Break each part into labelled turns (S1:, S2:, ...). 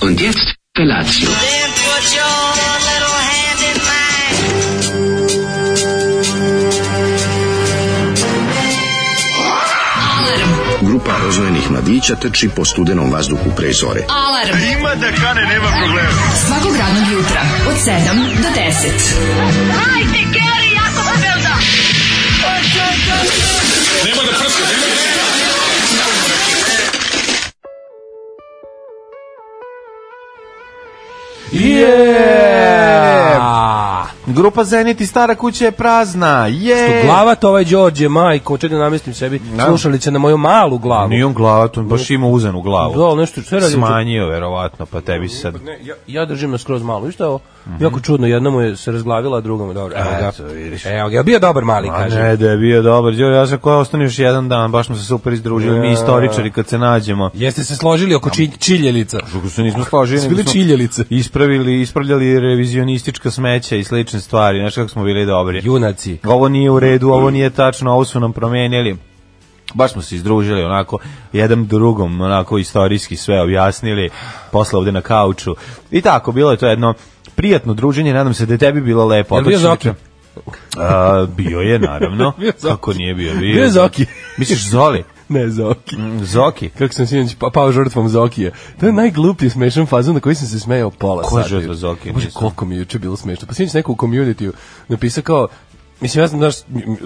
S1: Und jetzt Felatio.
S2: Then put your little hand in mine.
S3: Grupa rozvojenih mladića trči po studenom vazduhu pre zore.
S4: Alarm. Ima da kane, nema problema. Svakog radnog jutra, od 7 do 10.
S5: Je!
S6: A,
S5: Grupa Zenit i stara kuća je prazna. Je!
S6: glava to ovaj Đorđe, majko, čekaj da namestim sebi slušalice na moju malu glavu.
S5: Nije on glava, on baš ima uzenu glavu.
S6: Da, ali nešto sve radi.
S5: Smanjio, verovatno, pa tebi se sad...
S6: Ne, ja, ja držim na skroz malu, isto je ovo? Jako čudno, jedna mu je se razglavila, a druga mu je dobro. Evo ga.
S5: Mhm. Eto, vidiš.
S6: Evo ga, bio dobar mali,
S5: A
S6: kaže.
S5: ne, da je bio dobar. Đorđe, ja sam koja ostane još jedan dan, baš smo se super izdružili, mi istoričari kad se nađemo.
S6: Jeste se složili oko či, čiljelica.
S5: Kako se nismo složili,
S6: Su bili
S5: nego smo
S6: čiljelice.
S5: Ispravili, ispravljali revizionistička smeća i slične stvari, znaš kako smo bili dobri.
S6: Junaci.
S5: ovo nije u redu,
S6: Mm-hmm.
S5: ovo nije tačno, ovo su nam promenili. Baš smo se izdružili onako, jedan drugom onako istorijski sve objasnili, posle ovde na kauču. I tako, bilo je to jedno prijatno druženje, nadam se da je tebi bilo lepo.
S6: Jel bio
S5: Otišli
S6: Zoki?
S5: smo- A, bio je, naravno.
S6: Bio Zoki.
S5: Kako nije bio? Bio,
S6: Bio je Zoki.
S5: Misliš Zoli?
S6: Ne, Zoki.
S5: Mm, Zoki?
S6: Kako sam sinoć pa, pao žrtvom Zokije. To je najgluplji smešan fazon na koji sam se smejao pola
S5: Mm. Ko je žrtva Zokije?
S6: Bože,
S5: Nisam.
S6: koliko mi je juče bilo smešno. Pa sinoć neko u community napisao kao Mislim, ja sam, znaš,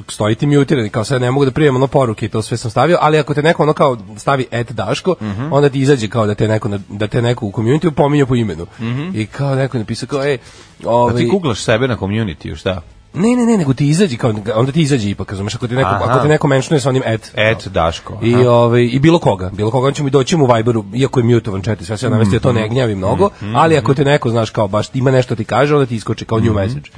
S6: stoji ti mutirani, kao sad ne mogu da prijem ono poruke i to sve sam stavio, ali ako te neko ono kao stavi et Daško,
S5: Mhm.
S6: onda ti izađe kao da te neko, na- da te neko u community pominje po imenu.
S5: Mhm.
S6: I kao neko je napisao kao, ej,
S5: A
S6: ovaj,
S5: ti kuglaš sebe na community, šta?
S6: ne, ne, ne, nego ti izađe, kao, onda ti izađe ipak, razumeš, ako ti neko,
S5: Aha.
S6: ako ti neko menšuje sa onim et.
S5: Et, Daško.
S6: I ovaj i bilo koga, bilo koga on će mi doći mu u Viberu, iako je mutovan chat, i sve se ja navesti, ja to ne gnjavim mnogo,
S5: Mhm,
S6: ali ako te neko znaš kao baš ima nešto ti kaže, onda ti iskoči kao
S5: Mhm,
S6: new message.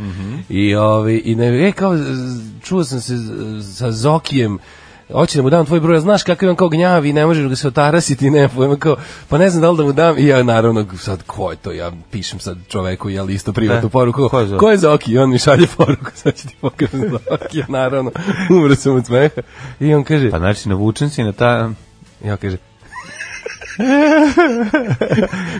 S6: I ovaj i ne e, kao z- z- čuo sam se z- sa Zokijem Hoće da mu dam tvoj broj, a znaš kakav je on kao gnjavi, ne možeš ga se otarasiti, ne pojma kao, pa ne znam da li da mu dam, i ja naravno, sad ko je to, ja pišem sad čoveku, jel isto privatnu
S5: E,
S6: poruku,
S5: ko je Zoki?
S6: ko je Zoki, i on mi šalje poruku, sad ću ti pokazati Zoki, ja naravno, umro sam od smeha, i on kaže,
S5: Pa znači, navučen si na ta...
S6: ja kaže.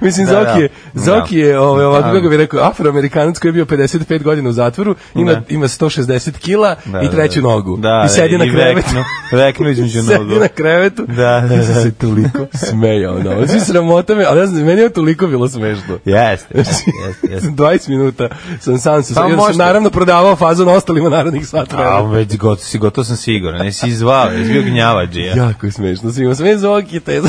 S6: Mislim,
S5: Da,
S6: da, Zoki je,
S5: da.
S6: Zoki
S5: Da.
S6: je ovaj, ovako,
S5: Da.
S6: kako bi rekao, afroamerikanac koji je bio 55 godina u zatvoru, ima,
S5: Da.
S6: ima 160 kila i treću nogu.
S5: Da,
S6: I sedi na krevetu.
S5: Veknu, veknu između nogu.
S6: Sedi na krevetu.
S5: Da, da,
S6: Ja sam se toliko smejao. Da. Ovo Svi sramota me, ali ja znam, meni je toliko bilo smešno.
S5: Jeste, jeste, jeste, jeste.
S6: 20 minuta sam sam se,
S5: Pa
S6: sam, sam
S5: možete.
S6: naravno prodavao fazon ostalima narodnih sat
S5: A,
S6: vremena.
S5: već gotovo si, gotovo sam siguran. Nisi izvao, jesi bio gnjavađija.
S6: Jako je smešno. Svima sve Zoki, te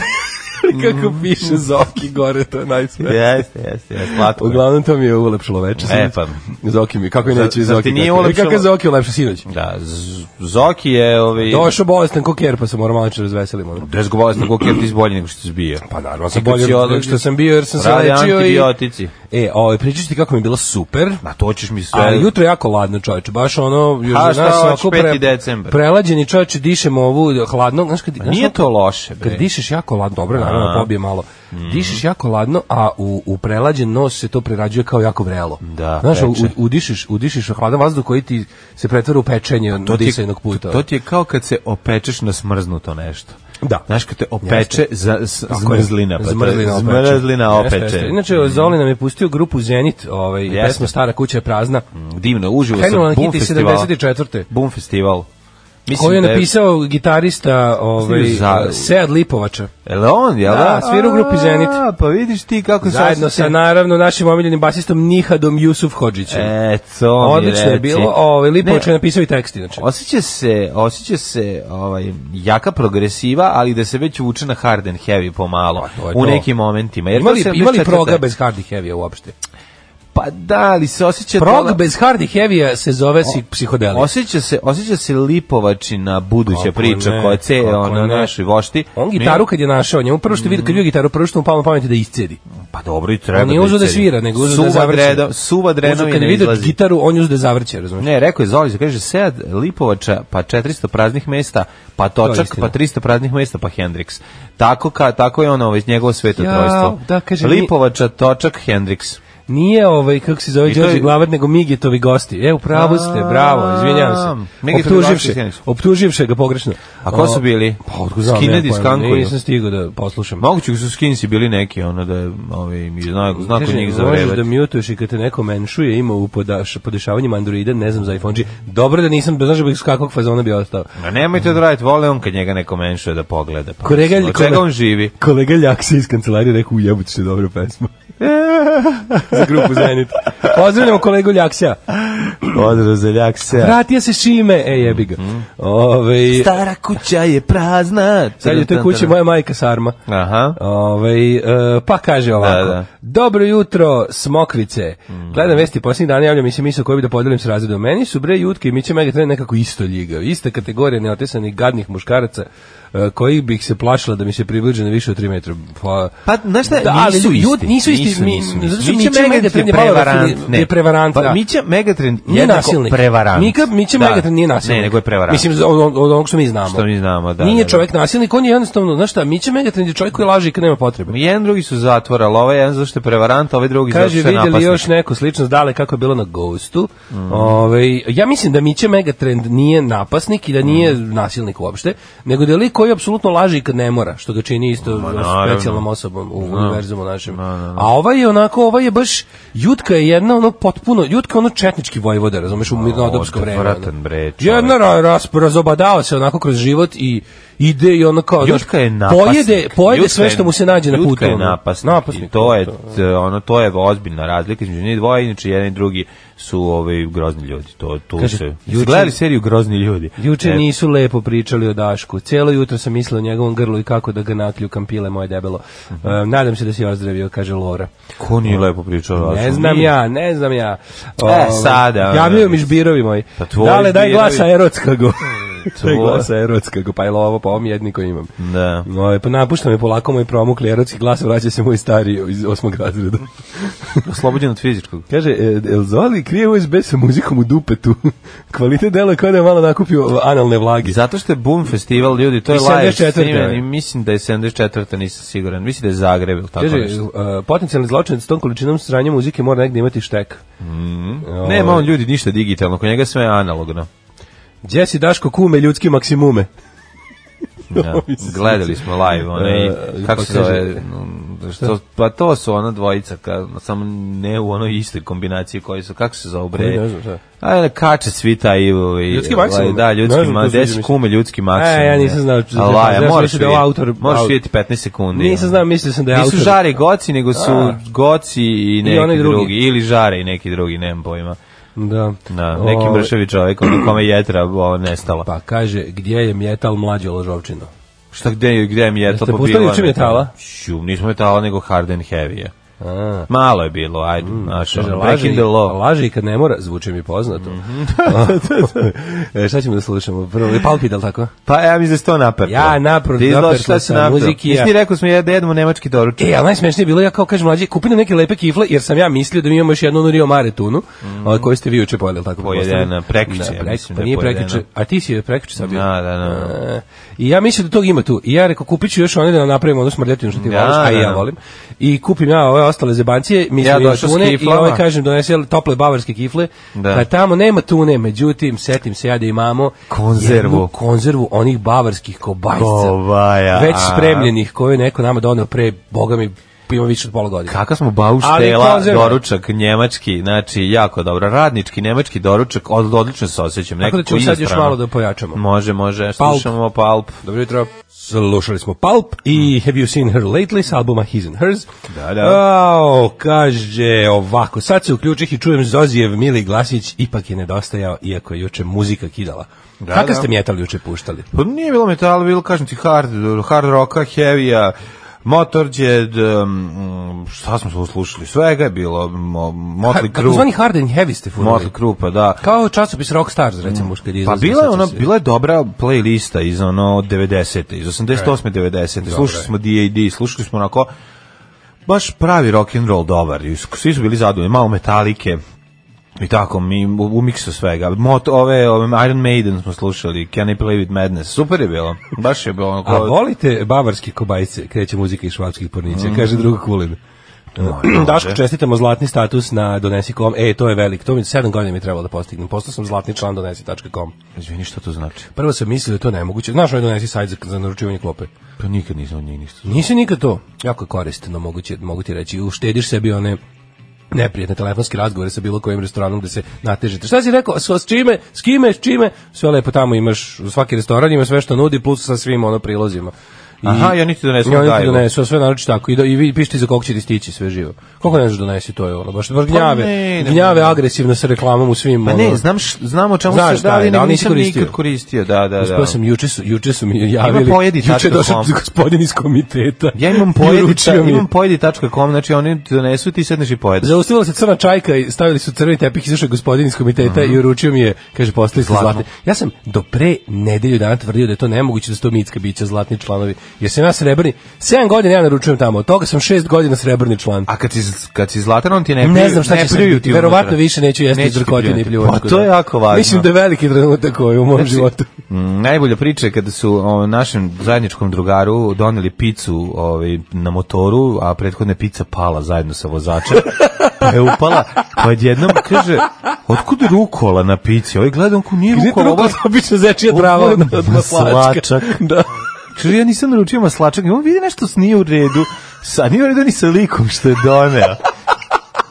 S6: kako
S5: Mhm.
S6: piše Zoki gore, to je najsmešnije.
S5: Jeste, jeste, jeste, slatko. je.
S6: Uglavnom to mi je ulepšalo večer.
S5: pa E, pa.
S6: Zoki mi, kako je
S5: Zar-
S6: neće
S5: zar
S6: Zoki.
S5: ti nije
S6: kako-
S5: ulepšalo?
S6: Kako je Zoki ulepšao sinoć?
S5: Da, Z- Zoki je ovi...
S6: Došao bolestan ko ker, pa se moram malo razveselim. ono.
S5: Da zgovala sam koliko je ti bolje nego što si bio.
S6: Pa naravno, sam
S5: I kad si
S6: bolje
S5: odlazio-
S6: nego što sam bio, jer sam se
S5: Radi
S6: lečio i...
S5: antibiotici.
S6: E, ovaj, pričat ću ti kako mi je bilo super.
S5: Ma to ćeš mi sve...
S6: A jutro je jako ladno, čoveče, baš ono, još
S5: A,
S6: je
S5: šta
S6: nas
S5: hoćeš,
S6: ovako
S5: 5. decembar? Pa
S6: prelađeni čoveče, dišemo ovu hladno, znaš kad, znaš
S5: Nije
S6: kako-
S5: to loše,
S6: Kad
S5: bre.
S6: dišeš jako ladno, dobro, naravno,
S5: Aha. Mhm.
S6: pobije malo. Dišeš jako ladno, a u, u prelađen nos se to prerađuje kao jako vrelo.
S5: Da,
S6: Znaš, u,
S5: peče.
S6: udišeš, udišeš hladan vazduh koji ti se pretvara u pečenje od
S5: ti je-
S6: disajnog puta.
S5: To ti je kao kad se opečeš na smrznuto nešto.
S6: Da.
S5: Znaš kad te opeče za s-
S6: Tako je.
S5: zmrzlina, pa to je
S6: zmrzlina, opeče.
S5: zmrzlina
S6: Jeste,
S5: opeče.
S6: jeste. Inače, Zoli nam je pustio grupu Zenit, ovaj,
S5: Jeste. Mhm.
S6: pesma Stara kuća je prazna.
S5: divno, uživo sam
S6: Krenula na
S5: Boom
S6: Kiti
S5: festivala.
S6: 74.
S5: Boom festival.
S6: Koju je
S5: da
S6: napisao gitarista ovaj,
S5: Mislim da je za-
S6: Sead Lipovača.
S5: Je li on, jel da?
S6: Da, svira u grupi Zenit.
S5: A, pa vidiš ti kako se
S6: Zajedno
S5: osjeća.
S6: sa, naravno, našim omiljenim basistom Nihadom Jusuf Hođićem.
S5: E, to mi
S6: Odlično je
S5: reci.
S6: bilo. Ovaj, Lipovač
S5: Ne,
S6: je napisao i tekst, inače.
S5: Osjeća se, osjeća se ovaj, jaka progresiva, ali da se već uče na hard and heavy pomalo,
S6: Pa to je
S5: u
S6: to.
S5: nekim momentima. Jer
S6: Imali,
S5: to se-
S6: imali
S5: četvrta-
S6: proga bez hardy heavy uopšte?
S5: Pa da, ali se osjeća... dela-
S6: Prog bez hardy heavy se zove si, psihodelija.
S5: Osjeća se, osjeća se lipovačina buduća
S6: Kako
S5: priča
S6: ne,
S5: koja ce
S6: kako
S5: ona
S6: ne.
S5: ono, našoj vošti.
S6: On gitaru kad je našao, njemu prvo što vidi kad je gitaru, prvo što mu palo na pamet je da iscedi.
S5: Pa dobro i Mm. treba.
S6: On nije uzeo da
S5: iscedi.
S6: svira, nego uzeo da
S5: Suva
S6: zavrće.
S5: dredo- Suva
S6: Uzeo
S5: drenovina
S6: kad je vidio
S5: izlazi.
S6: gitaru, on je uzeo da zavrće, razumiješ?
S5: Ne, rekao je Zoli, kaže, sed Lipovača, pa 400 praznih mesta, pa
S6: To je
S5: Točak,
S6: istina.
S5: pa 300 praznih mesta, pa Hendrix. Tako, ka, tako je ono, već njegovo sveto
S6: Ja,
S5: trojstvo.
S6: da, kaže, mi-
S5: Lipovača, Točak, Hendrix.
S6: Nije ovaj kako se zove
S5: I to
S6: Đorđe
S5: je-
S6: Glavar nego Migetovi gosti. E, u pravu ste,
S5: A,
S6: bravo, izvinjavam se.
S5: Migetovi gosti,
S6: Optuživše,
S5: sjećam se.
S6: optuživše ga pogrešno.
S5: A ko su bili?
S6: Pa otkud znam,
S5: Skinheadi
S6: nemam pojma,
S5: skankuju.
S6: Nisam stigao da poslušam.
S5: Moguće da su skinsi bili neki, ono da je, ovaj, mi zna, zna kod
S6: Kaže,
S5: njih
S6: Možeš da
S5: zavrevati.
S6: mutuješ i kad te neko menšuje, ima u podaš, podešavanjima Androida, ne znam za iPhone G. Dobro da nisam, da znaš da bih s kakvog fazona bi ostao.
S5: Ma nemojte da radite, vole on kad njega neko menšuje da pogleda. Pa,
S6: Kolega,
S5: mislim, od čega on živi?
S6: Kolega Ljaksa iz kancelarije rekao, ujebut što je dobra pesma. za grupu Zenit. Pozdravljamo kolegu Ljaksa.
S5: Odro za ljak se.
S6: Vratio se Šime. E, jebi ga. Ovaj,
S5: Stara kuća Mhm. je prazna.
S6: sad je u toj kući moja majka Sarma.
S5: Aha.
S6: Ovaj, e, pa kaže ovako.
S5: Da, da.
S6: Dobro jutro, smokvice. Gledam vesti posljednjih dana, javljam mi se misao koju bi da podelim s razredom. Meni su bre jutke i Miće Megatren nekako isto ljiga. Ista kategorija neotesanih gadnih muškaraca e, koji bih se plašila da mi se približe na više od 3 metra. Pa,
S5: Pa, znaš šta, nisu
S6: ljudi-
S5: isti.
S6: Nisu isti.
S5: Nisu,
S6: mi-
S5: nisu, nisu.
S6: zato što
S5: Mića
S6: Miće Megatren je malo
S5: prevarant, ne.
S6: je prevarant.
S5: Pa,
S6: da.
S5: Mića Megatrend
S6: Nije
S5: jednako
S6: nasilnik.
S5: prevarant.
S6: Mika, Mića
S5: Da.
S6: Megatren nije nasilnik.
S5: Ne, nego je prevarant.
S6: Mislim, za- od, od, od onog što mi znamo.
S5: Što mi znamo, da, da,
S6: Nije
S5: da.
S6: čovjek nasilnik, on je jednostavno, znaš šta, Mića Megatren je čovjek koji laži kad nema potrebe.
S5: jedan drugi su zatvora, ali ovaj jedan zašto je prevarant, a ovaj drugi zašto
S6: Kaže,
S5: se napasnik. Mhm.
S6: vidjeli još neku sličnost dale kako je bilo na Ghostu. Ovaj, ja mislim da Miće Megatrend nije napasnik i da nije
S5: Mhm.
S6: nasilnik uopšte, nego da je lik koji apsolutno laži kad ne mora, što ga čini isto
S5: naravno.
S6: specijalnom osobom u univerzumu našem. A ovaj je onako, ovaj je baš, Jutka je jedna ono potpuno, Jutka je ono četnički vojvoda, razumeš, u mirnodopsko vreme. ono.
S5: odvratan, bre, čovek.
S6: Jedna ra, ras, razobadava se onako kroz život i ide i ono kao, znaš,
S5: Jutka je napasnik.
S6: Pojede, pojede
S5: Jutka
S6: sve
S5: je-
S6: što mu se nađe na putu.
S5: Jutka je
S6: ono.
S5: napasnik. I to je, t- ono, to je ozbiljna razlika između njih dvoje, inače jedan i drugi su ovaj, grozni ljudi. To, tu
S6: Kaže,
S5: se... Juče...
S6: juče-
S5: Gledali seriju Grozni ljudi?
S6: Juče
S5: E,
S6: nisu lepo pričali o Dašku. Cijelo jutro sam mislio o njegovom grlu i kako da ga nakljukam pile moje debelo.
S5: Mhm.
S6: E, nadam se da si ozdravio, kaže Lora.
S5: Ko nije lepo pričao?
S6: Ne znam ja, ne znam ja.
S5: E, sada,
S6: Javio
S5: ono,
S6: mi žbirovi moji.
S5: Pa tvoji
S6: Dale, daj
S5: žbirovi. Mm,
S6: glasa erotskago. daj
S5: Tvoje-
S6: glasa erotskago, pa je ovo, pa ovom jedni koji imam.
S5: Da.
S6: Moje, pa napušta me polako moj promukli erotski glas, vraća se moj stariji iz osmog razreda.
S5: Oslobođen od fizičkog.
S6: Kaže, e, El Zoli krije USB sa muzikom u dupetu. Kvalitet delo je kao da je malo nakupio e, analne vlage.
S5: Zato što je Boom festival, ljudi, to je
S6: I
S5: live
S6: 74.
S5: sniman i mislim da je 74. nisam siguran. Mislim da je Zagreb ili tako
S6: Kaže,
S5: nešto.
S6: e, potencijalni zločinac s tom količinom sranja muzike mora negdje imati štek. ovaj-
S5: Nema on ljudi ništa digitalno, kod njega sve je analogno.
S6: Jesse Daško kume ljudski maksimume.
S5: Da. Gledali smo live, one, i,
S6: E,
S5: kako
S6: pa
S5: se
S6: kaže-
S5: zove, mm, što, pa to su ona dvojica, ka, samo ne u onoj istoj kombinaciji koji su, kako se zove, bre?
S6: Ne znam šta.
S5: A, ne, kače svi taj i... ovaj,
S6: Ljudski maksimum?
S5: Da, ljudski
S6: Ne znam, to
S5: maksimum,
S6: sviđa mi
S5: desi
S6: se.
S5: kume ljudski maksimum.
S6: E, ja nisam znao-
S5: da. A, Laja,
S6: ja sam
S5: moraš
S6: mislio da je ovo
S5: vidjeti-
S6: autor-
S5: Moraš
S6: au-
S5: vidjeti 15 sekundi. ono.
S6: Nisam znao, mislio sam da je
S5: Nisu
S6: autor.
S5: žari goci, nego su goci i neki
S6: onaj
S5: drugi.
S6: drugi.
S5: Ili žare i neki drugi, nemam pojma.
S6: Da.
S5: Da, neki
S6: Ove,
S5: mršavi čovjek, ono kome jetra o, nestala.
S6: Ovaj. Pa kaže, gdje je metal mlađe ložovčino?
S5: Šta, gde, je- gde je mi je to
S6: Jeste
S5: pobila?
S6: pustili juče metala?
S5: Ću, nismo metala, nego hard and heavy je. Malo je bilo, ajde, mm, znaš,
S6: Kaže,
S5: ono,
S6: laže,
S5: breaking
S6: i-
S5: the law. Mhm.
S6: laže i kad ne mora, zvuči mi poznato. e, šta ćemo da slušamo? Prvo, palpidal tako?
S5: Pa ja mislim da si to naprto.
S6: Ja naprto, naprto sam muziki,
S5: Jesi ti
S6: ja.
S5: rekao smo ja da jedemo nemački doručak?
S6: E, ali najsmešnije je bilo, ja kao kažem mlađe, kupili neke lepe kifle, jer sam ja mislio da mi imamo još jednu onu Rio Mare tunu, a, koju ste vi juče pojeli, jel tako? pretpostavljam?
S5: Pojedena, Mhm. prekjuče,
S6: Da,
S5: ja
S6: prek-
S5: mislim
S6: pa
S5: da je
S6: nije
S5: pojedena.
S6: prekjuče, a ti si je prekjuče sam bio.
S5: Da, da, da.
S6: E, I ja mislim da tog ima tu. I ja rekao, kupit ću još one da nam napravimo onu smrdetinu što ti
S5: Da,
S6: voliš, a i
S5: da,
S6: ja
S5: da.
S6: volim. I kupim ja ove ostale zebancije,
S5: Ja
S6: mislim ja
S5: došao s
S6: tune, i
S5: kiflama.
S6: ove kažem, donesi jel, tople bavarske kifle.
S5: Da.
S6: Da. tamo nema tune, međutim, setim se ja da imamo
S5: Konzervu.
S6: jednu konzervu onih bavarskih kobajca.
S5: Kobaja.
S6: Već spremljenih, koju je neko nama doneo pre, boga mi, ima više od pola godine.
S5: Kaka smo
S6: Ali
S5: bauštela
S6: konzerve.
S5: doručak njemački, znači jako dobro. Radnički nemački doručak, od, odlično se osjećam.
S6: Tako da
S5: nekako
S6: ćemo sad još
S5: inostrano.
S6: malo da pojačamo.
S5: Može, može,
S6: Palp.
S5: slušamo palp.
S6: Dobro jutro. Slušali smo Pulp i Have You Seen Her Lately s albuma His and Hers.
S5: Da, da.
S6: Ao, kaže ovako, sad se uključih i čujem Zozijev Mili Glasić, ipak je nedostajao, iako je juče muzika kidala. Da, Kaka
S5: da.
S6: ste mjetal juče puštali?
S5: Pa nije bilo metala, bilo kažem ti hard, hard rocka, heavy-a, Motorhead, um, šta smo se slušali, svega je bilo, mo, Motley
S6: Kako zvani
S5: Crue,
S6: Hard and Heavy ste furali?
S5: Motley Crue, pa da.
S6: Kao časopis Rockstars, recimo, mm. kad je
S5: Pa
S6: izlazio,
S5: bila je
S6: sećam
S5: ona,
S6: se.
S5: bila je dobra playlista iz ono 90. iz
S6: E,
S5: 88. 90. Slušali smo D.A.D., slušali smo onako baš pravi rock and roll dobar. i Svi su bili zadovoljni, malo metalike. I tako, mi u, u miksu svega. Mot, ove, ove, Iron Maiden smo slušali, Can I Play With Madness. Super je bilo. Baš je bilo.
S6: A
S5: Onako,
S6: volite bavarski kobajce, kreće muzika iz švabskih pornića, kaže drugo kulin. Daško, čestitamo zlatni status na donesi.com. E, to je velik. To mi 7 godina mi je trebalo da postignem. Postao sam zlatni član donesi.com.
S5: Izvini, šta to znači?
S6: Prvo sam mislio da to je nemoguće. Znaš, onaj donesi sajt za, za naručivanje klope.
S5: Pa nikad nisam od njih ništa.
S6: Nisi nikad to. Jako je korisno, moguće, mogu ti reći. Uštediš sebi one neprijatne telefonske razgovore sa bilo kojim restoranom gde se natežete. Šta si rekao? S, s čime? S kime? S čime? Sve lepo tamo imaš, u svaki restoran ima sve što nudi, plus sa svim ono prilozima. I,
S5: Aha, i oni ti donesu
S6: I oni ti
S5: gajbu.
S6: donesu, sve naroči tako. I, do, i vi pišite za kog će ti stići sve živo. Koliko ne znaš donesi, to je ono, baš, baš gnjave.
S5: Pa ne, ne,
S6: gnjave agresivno sa reklamom u svim, ono,
S5: Ma ne, znam, š, znam o čemu
S6: Znaš
S5: se da,
S6: šta je,
S5: ali
S6: da, ali nisi
S5: nisam
S6: koristio.
S5: nikad koristio. Da, da, da.
S6: Uspeo sam, juče su, juče su mi javili,
S5: pojedi
S6: juče je došao
S5: tačka.com.
S6: gospodin iz komiteta.
S5: Ja imam
S6: I uručio
S5: pojedi,
S6: mi je.
S5: imam pojedi.com, znači oni ti donesu i ti sedneš i pojedeš.
S6: Zaustavila se crna čajka i stavili su crveni tepih, izašao je gospodin iz komiteta i uručio mi je, kaže, postali ste
S5: Mhm. Zlatno.
S6: zlatni. Ja sam do pre nedelju dana tvrdio da je to nemoguće da su to mitska bića zlatni članovi. Jer sam ja srebrni, 7 godina ja naručujem tamo, od toga sam 6 godina srebrni član.
S5: A kad si, kad si zlatan, on ti ne,
S6: Ne
S5: pljuju-
S6: znam šta
S5: ne
S6: će se
S5: pljuju ti
S6: biti. Verovatno
S5: unutra.
S6: više neću jesti
S5: Neće ti
S6: drkotine i
S5: pljunuti.
S6: pljuvačku.
S5: Pa to je
S6: da.
S5: jako važno.
S6: Mislim da je veliki trenutak koji je u mom životu.
S5: Mm, najbolja priča je kada su o, našem zajedničkom drugaru doneli picu ovaj, na motoru, a prethodna je pica pala zajedno sa vozačem. Pa je upala, pa odjednom kaže, otkud rukola na pici? Ovaj gleda, on ko nije
S6: Gdje je to
S5: rukola, ovo
S6: rukola? Obično zečija trava od, od maslačka.
S5: Maslačak.
S6: Da.
S5: Kaže, ja nisam naručio maslačak, i on vidi nešto s nije u redu, sa nije u redu ni sa likom što je doneo.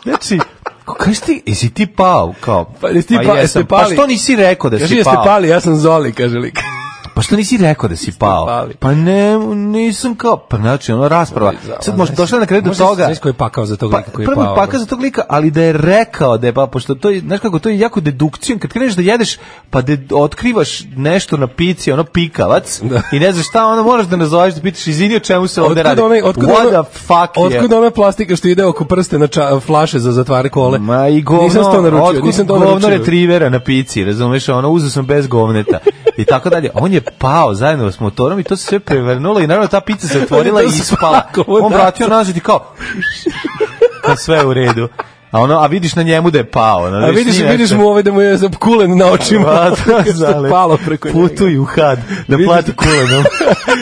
S5: Znači, ko- kažeš ti, jesi ti pao? Kao,
S6: Pa jesi ti pa- jeste
S5: jesam.
S6: pali?
S5: Pa što nisi rekao da
S6: Kaže,
S5: si
S6: jeste
S5: pao?
S6: pali, ja sam Zoli, kaže lik.
S5: Pa što nisi rekao da si pao?
S6: pali. Ovaj,
S5: Pa ne, nisam kao, pa znači, ono rasprava. Sad možda došla na kraju do
S6: Možda
S5: toga.
S6: Znaš koji je pakao za tog
S5: Pa,
S6: lika koji je
S5: prvo
S6: pao? ono.
S5: paka za tog lika, ali da je rekao da je pa, pošto to je, znaš kako, to je jako dedukcijom, kad kreneš da jedeš, pa de, otkrivaš nešto na pici, ono pikavac,
S6: Da.
S5: i ne znaš šta, onda moraš da nazoveš, da pitaš, izvini o čemu se ovde
S6: Otkud
S5: radi.
S6: onaj, otkud
S5: What
S6: ono-
S5: the fuck je?
S6: otkud ona plastika što ide oko prste na ča, flaše za zatvare kole?
S5: Ma i govno,
S6: nisam to naručio,
S5: otkud
S6: nisam to
S5: govno
S6: naručio.
S5: retrivera na pici, razumeš, ono, uzeo sam bez govneta i tako dalje. On je pao zajedno s motorom i to se sve prevrnulo i naravno ta pica se otvorila i
S6: To su
S5: ispala.
S6: svakovo
S5: On vratio nazad i kao, pa sve je u redu. A ono, a vidiš na njemu da je pao. Ono,
S6: A vidiš,
S5: nije
S6: vidiš
S5: nešto-
S6: mu ovaj da mu je kulen na očima.
S5: Pa, da,
S6: Kad se
S5: zale.
S6: palo preko njega.
S5: Putuj u had, da
S6: Vidiš-
S5: plati kulenom.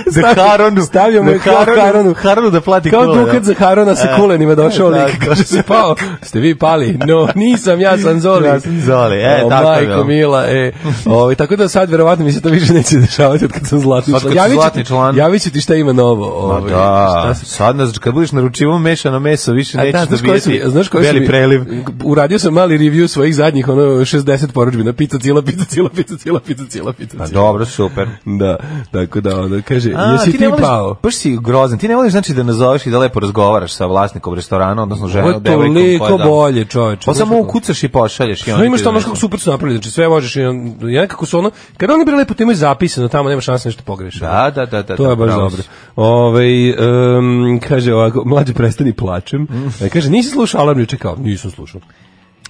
S5: za
S6: Stavio-
S5: Haronu.
S6: stavio mu je
S5: za
S6: kao Haronu.
S5: Haronu da plati
S6: Kao
S5: kulenom.
S6: dukat za Harona sa
S5: E,
S6: kulenima došao
S5: da,
S6: lik,
S5: da.
S6: kaže se pao, ste vi pali? No, nisam, ja sam Zoli.
S5: Ja sam Zoli, e,
S6: o,
S5: tako je,
S6: majko
S5: ono.
S6: mila, e. O, tako da sad verovatno mi se to više neće dešavati od kad sam zlatni
S5: Sad
S6: član.
S5: kad si
S6: Javit ću ti-
S5: zlatni član.
S6: Javit ću ti šta ima novo.
S5: Pa
S6: ovaj,
S5: da,
S6: šta se-
S5: sad nas, kad budeš naručivo mešano meso, više
S6: A
S5: nećeš da,
S6: znaš koji su mi-
S5: dobijeti
S6: znaš koji su
S5: beli
S6: mi-
S5: preliv.
S6: Uradio sam mali review svojih zadnjih ono 60 porudžbina, pizza cila, pizza cila, pizza cila, pizza cila, pizza
S5: Pa
S6: cila.
S5: dobro, super.
S6: Da, tako da onda kaže,
S5: A,
S6: jesi ti,
S5: ne voliš,
S6: pao?
S5: Baš si grozan. Ti ne voliš znači da nazoveš i da lepo razgovaraš sa vlasnikom restorana, odnosno
S6: Ovo
S5: ženom,
S6: je
S5: devojkom. koja je
S6: toliko
S5: dala.
S6: bolje, čoveče.
S5: Pa
S6: Znaš
S5: samo
S6: kako?
S5: ukucaš i pošalješ. i
S6: Što
S5: oni
S6: imaš
S5: ti
S6: tamo
S5: donesu.
S6: kako super su napravili, znači sve možeš i ja nekako su ono, kada oni bre lepo to imaju zapisano, tamo nema šanse nešto pogrešiš.
S5: Da, da, da, da.
S6: to je baš
S5: pravo
S6: dobro.
S5: si.
S6: Ovaj em, kaže ovako, mlađe prestani plačem.
S5: Mm.
S6: E, kaže, nisi slušao alarm juče kao, nisam slušao.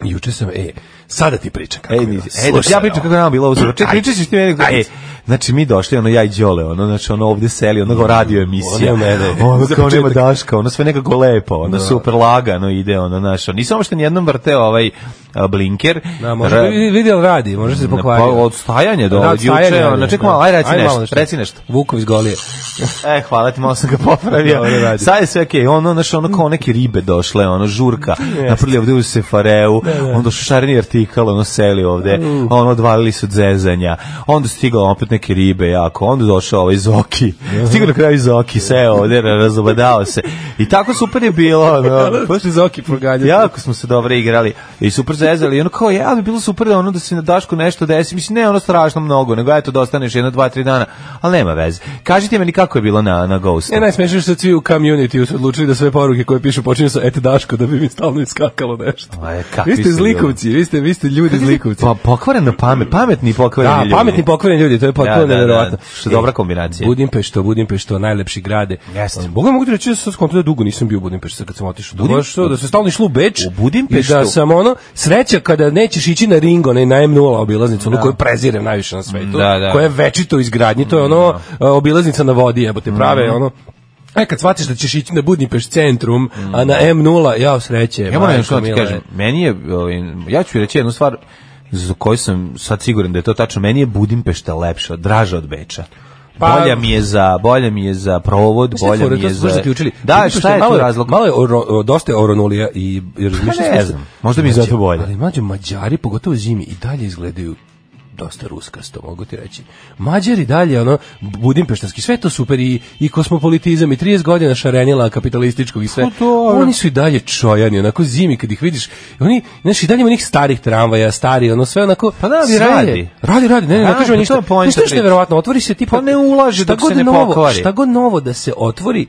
S6: Juče sam, e, sada ti pričam kako
S5: Ej,
S6: je E,
S5: nisi,
S6: bilo.
S5: ej, da,
S6: Slušaj,
S5: e, ja pričam
S6: ovo.
S5: kako je nama bilo ovo sutra. Čekaj,
S6: ono. Ajde.
S5: pričat ćeš ti meni. Ej, znači mi došli, ono ja i Đole, ono, znači ono ovde seli, ono kao radio emisija.
S6: Ono nema mene.
S5: Ono
S6: Za
S5: kao nema
S6: početak.
S5: Daška, ono sve nekako lepo, ono super lagano ide, ono, znaš, ono, nisam uopšte nijednom vrteo ovaj a, blinker.
S6: Da, može,
S5: Ra-
S6: vidi- vidi jel radi, može se
S5: Pa
S6: pokvariti.
S5: od stajanja do
S6: Da,
S5: od
S6: stajanje
S5: juče,
S6: radi,
S5: ono, čekaj
S6: da.
S5: malo, aj reci
S6: Ajde malo
S5: nešto, reci nešto.
S6: Vukov iz Golije.
S5: E, hvala ti, malo sam ga popravio.
S6: Dobro radi.
S5: Sad je sve okej, ono, znaš, ono kao neke ribe došle, ono, žurka, napravili ovde u Sefareu, onda su šareni artikal, ono, seli ovde,
S6: Uh.
S5: ono, odvalili su od zezanja, onda stigla opet neke ribe jako, onda došao ovaj Zoki, stigao na kraju Zoki, seo ovde, ra- razobadao se, i tako super je bilo, ono,
S6: Posle Zoki proganjati.
S5: Jako smo se dobro igrali i super zezali. I ono kao, ja bi bilo super da ono da se na Dašku nešto desi. Mislim, ne ono strašno mnogo, nego eto da ostaneš jedno, dva, tri dana. Ali nema veze. Kažite meni kako je bilo na, na Ghostu.
S6: E, najsmešnije je što svi u community su odlučili da sve poruke koje pišu počinju sa et Daško da bi mi stalno iskakalo nešto.
S5: Ma, e, kakvi
S6: vi ste
S5: ste
S6: zlikovci, vi ste, vi ste ljudi zlikovci.
S5: Pa pokvarena pamet, pametni pokvareni
S6: Da,
S5: ljudi. ono.
S6: pametni pokvareni ljudi, to je potpuno
S5: Da, da, da.
S6: neverovatno.
S5: Što je dobra kombinacija.
S6: Budimpešto, Budimpešto, najlepši grade.
S5: Jeste.
S6: Boga mogu ti reći da sam skonto da dugo nisam bio u Budimpeštu sad kad sam otišao. Da,
S5: Budim-
S6: baš to, da se stalno išlo u Beč.
S5: U Budimpeštu?
S6: I da sam ono, sreća kada nećeš ići na Ringo, ne na M0 obilaznicu, ono koju prezirem najviše na svetu,
S5: Da, da.
S6: koja je večito u izgradnji, to je ono a, obilaznica na vodi,
S5: Mhm.
S6: jebote, prave ono E, kad shvatiš da ćeš ići na Budimpešt centrum, a na M0, jao sreće,
S5: Ja moram nešto da ti
S6: mila,
S5: kažem. Meni je, ovaj, ja ću reći jednu stvar za koju sam sad siguran da je to tačno. Meni je Budimpešta lepša, draža od Beča.
S6: Pa-
S5: bolja mi je za, bolja mi je za provod,
S6: Šta je
S5: bolja
S6: fora,
S5: mi
S6: Pa to
S5: je
S6: smo baš
S5: za...
S6: zaključili.
S5: Da,
S6: Zato što
S5: šta je
S6: malo,
S5: tu razlog? Pa
S6: Malo je oro, o, dosta je oronulija i i razmišljaš
S5: ne
S6: smisla-
S5: znam, možda mi je zato bolje.
S6: Ali mlađo Mađari pogotovo zimi i dalje izgledaju dosta ruskasto, mogu ti reći. Mađari dalje, ono, budimpeštanski, sve je to super i, i kosmopolitizam i 30 godina šarenjela kapitalističkog i sve.
S5: Pa dobro.
S6: Oni su i dalje čojani, onako zimi kad ih vidiš. Oni, znaš, i dalje ima onih starih tramvaja, stari, ono sve onako...
S5: Pa da, ali
S6: sve je-
S5: radi.
S6: Radi, radi, ne, ne, ne
S5: Radi,
S6: kažem
S5: pa
S6: ništa.
S5: to je poenta
S6: Znaš, to je što je
S5: priče.
S6: neverovatno, otvori se tipa...
S5: Pa ne ulaže
S6: šta
S5: dok se
S6: god
S5: ne
S6: novo,
S5: pokvari.
S6: Šta god novo da se otvori,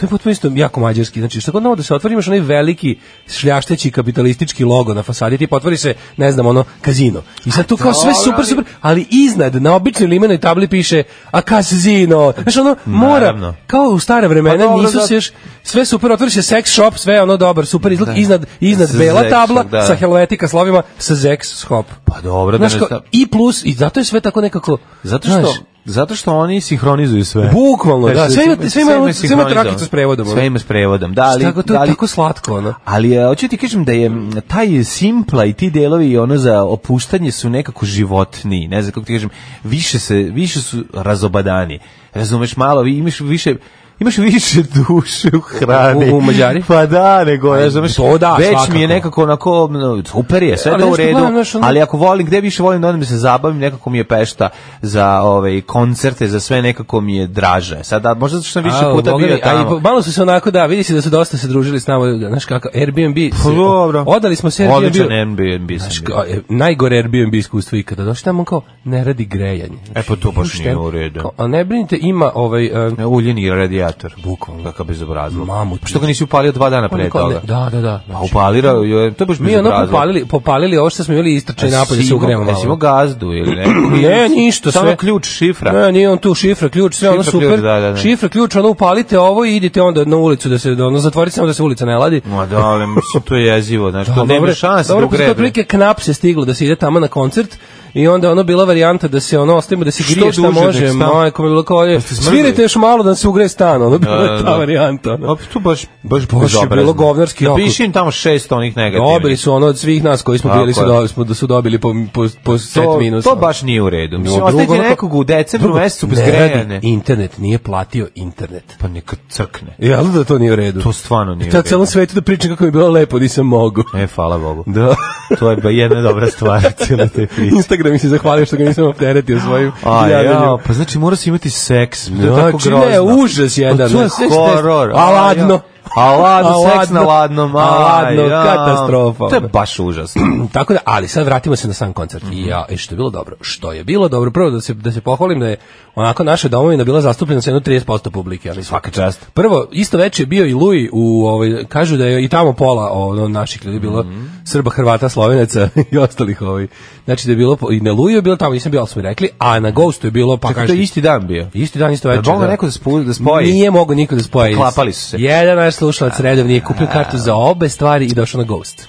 S6: to je potpuno isto jako mađarski, znači šta god novo da se otvori, imaš onaj veliki šljašteći kapitalistički logo na fasadi, tipa otvori se, ne znam, ono, kazino. I sad tu kao sve super, super, ali iznad, na običnoj limenoj tabli piše, a kazino, znaš ono, mora,
S5: Naravno.
S6: kao u stare vremena,
S5: Pa dobro,
S6: nisu se
S5: zato-
S6: još, sve super, otvori se sex shop, sve ono dobar, super izlog, iznad, iznad
S5: Sex
S6: bela
S5: shop,
S6: tabla,
S5: da.
S6: sa helvetika slovima, sa sex shop.
S5: Pa dobro, da
S6: Znaš
S5: ne
S6: kao,
S5: sta-
S6: i plus, i zato je sve tako nekako,
S5: Zato što,
S6: znaš,
S5: zato što oni sinhronizuju sve.
S6: Bukvalno, da,
S5: Znači,
S6: sve ima- sve ima-
S5: je
S6: sve ima
S5: sinhronizovano.
S6: trakicu s prevodom, ono.
S5: Sve ima s prevodom, da, ali...
S6: tako, to
S5: da,
S6: je
S5: ali
S6: tako slatko, ono.
S5: Ali e, hoću ti kažem da je m, taj simpla i ti delovi ono za opuštanje su nekako životni, ne znam kako ti kažem, više se više su razobadani. Razumeš malo, vi imaš više imaš više duše u hrani.
S6: U- u Mađari?
S5: Pa da, nego, razumeš,
S6: to da,
S5: već mi
S6: svakako.
S5: je nekako onako, no, super je, sve
S6: Ali
S5: to u
S6: znaš šta,
S5: redu,
S6: gledam, znaš, ono-
S5: ali ako volim, gde više volim da odem da se zabavim, nekako mi je pešta za ove koncerte, za sve nekako mi je draže. Sada, možda zato što sam više
S6: A,
S5: puta
S6: Boga
S5: bio
S6: mi, a i
S5: tamo.
S6: po- malo su se onako, da, vidi se da su dosta se družili s nama, da, znaš kako, Airbnb.
S5: Pa
S6: se-
S5: dobro.
S6: Odali smo se Airbnb.
S5: Odličan Airbnb sam
S6: Znaš,
S5: bio.
S6: kao, e, najgore Airbnb iskustvo ikada. Došli tamo kao, ne radi grejanje.
S5: E, pa to baš nije u redu.
S6: Kao, a ne brinite, ima ovaj... e,
S5: Ne, uljeni radijator. Bukvalno. Kakav bezobrazluk.
S6: Mamu.
S5: Pa Što ga nisi upalio dva dana pre
S6: ono znači- kao, ne-
S5: toga?
S6: Da, da, da.
S5: A
S6: znači,
S5: upalirao je, to je baš
S6: mi ono
S5: bezobrazluk.
S6: popalili, popalili ovo što smo imali istrčaj napolje se ugremo malo.
S5: Jesi imao gazdu ili ne?
S6: Ne, ništa,
S5: Samo
S6: sve.
S5: ključ, šifra.
S6: Ne, nije on tu šifra, ključ, sve ono
S5: Šifra,
S6: super.
S5: ključ, da, da, da.
S6: Šifra, ključ, ono upalite ovo i idite onda na ulicu da se da ono zatvorite samo da se ulica ne ladi.
S5: Ma da, ali mislim, to je jezivo, znači,
S6: Da,
S5: to nema
S6: dobro,
S5: šanse
S6: Dobro, postoje
S5: da ugrebe.
S6: otprilike knap se stiglo da se ide tamo na koncert i onda ono bila varijanta da se ono ostavimo da se
S5: Što
S6: grije šta
S5: duže,
S6: može,
S5: nek stan-
S6: majko mi je bilo kao ovdje,
S5: ste smrdili?
S6: svirajte još malo da se ugre stan, ono bila
S5: Da,
S6: je
S5: da,
S6: ta
S5: da.
S6: varijanta. ono.
S5: A, to baš, baš,
S6: Baš je
S5: bezobrazno.
S6: bilo govnarski jako.
S5: Napiši im tamo šest onih negativnih.
S6: Dobili su ono od svih nas koji smo
S5: Tako
S6: bili su,
S5: je.
S6: do, smo, da su dobili po, po, po set
S5: to,
S6: minusa.
S5: to baš nije u redu. Mislim,
S6: Drugo,
S5: ostavite
S6: onako-
S5: nekog u decembru
S6: Drugo,
S5: mesecu bez
S6: ne radi
S5: grejane.
S6: Internet nije platio internet.
S5: Pa neka crkne.
S6: Jel da to nije u redu?
S5: To stvarno nije u
S6: Ta
S5: redu.
S6: celom svetu da pričam kako mi je bilo lepo, nisam mogu.
S5: E, hvala Bogu.
S6: Da.
S5: To je ba- jedna dobra stvar cijele te priče.
S6: Instagram mi se zahvalio što ga nisam opteretio svojim
S5: A
S6: javljanjem.
S5: ja, pa znači mora se imati seks. To je tako
S6: Znači,
S5: grozno.
S6: ne, užas jedan.
S5: Pa To je
S6: Sve što je-
S5: horor.
S6: A ladno.
S5: A ladno, seks na
S6: ladno.
S5: ladnom.
S6: A
S5: aj,
S6: ladno,
S5: ja.
S6: katastrofa. ono. Pa
S5: To je baš užasno.
S6: Tako da, ali sad vratimo se na sam koncert. I ja, i što je bilo dobro? Što je bilo dobro? Prvo da se da se pohvalim da je onako naša domovina bila zastupljena sa jedno 30% publike, ali svaka
S5: čast.
S6: Prvo, isto veče je bio i Luj u ovaj kažu da je i tamo pola ono, naših ljudi bilo
S5: Mhm.
S6: Srba, Hrvata, Slovenaca i ostalih ovaj. Znači da je bilo po- i na Luju je bilo tamo, nisam bio, ali smo rekli, a na Ghostu je bilo pa
S5: Čekaj,
S6: kaže
S5: to je isti dan bio.
S6: Isti dan, isto
S5: Jel
S6: večer.
S5: mogao neko da spu- da spoji?
S6: Nije mogao niko da spoji.
S5: Poklapali su se.
S6: Jedan naš slušalac redovni je kupio kartu za obe stvari i došao na Ghost.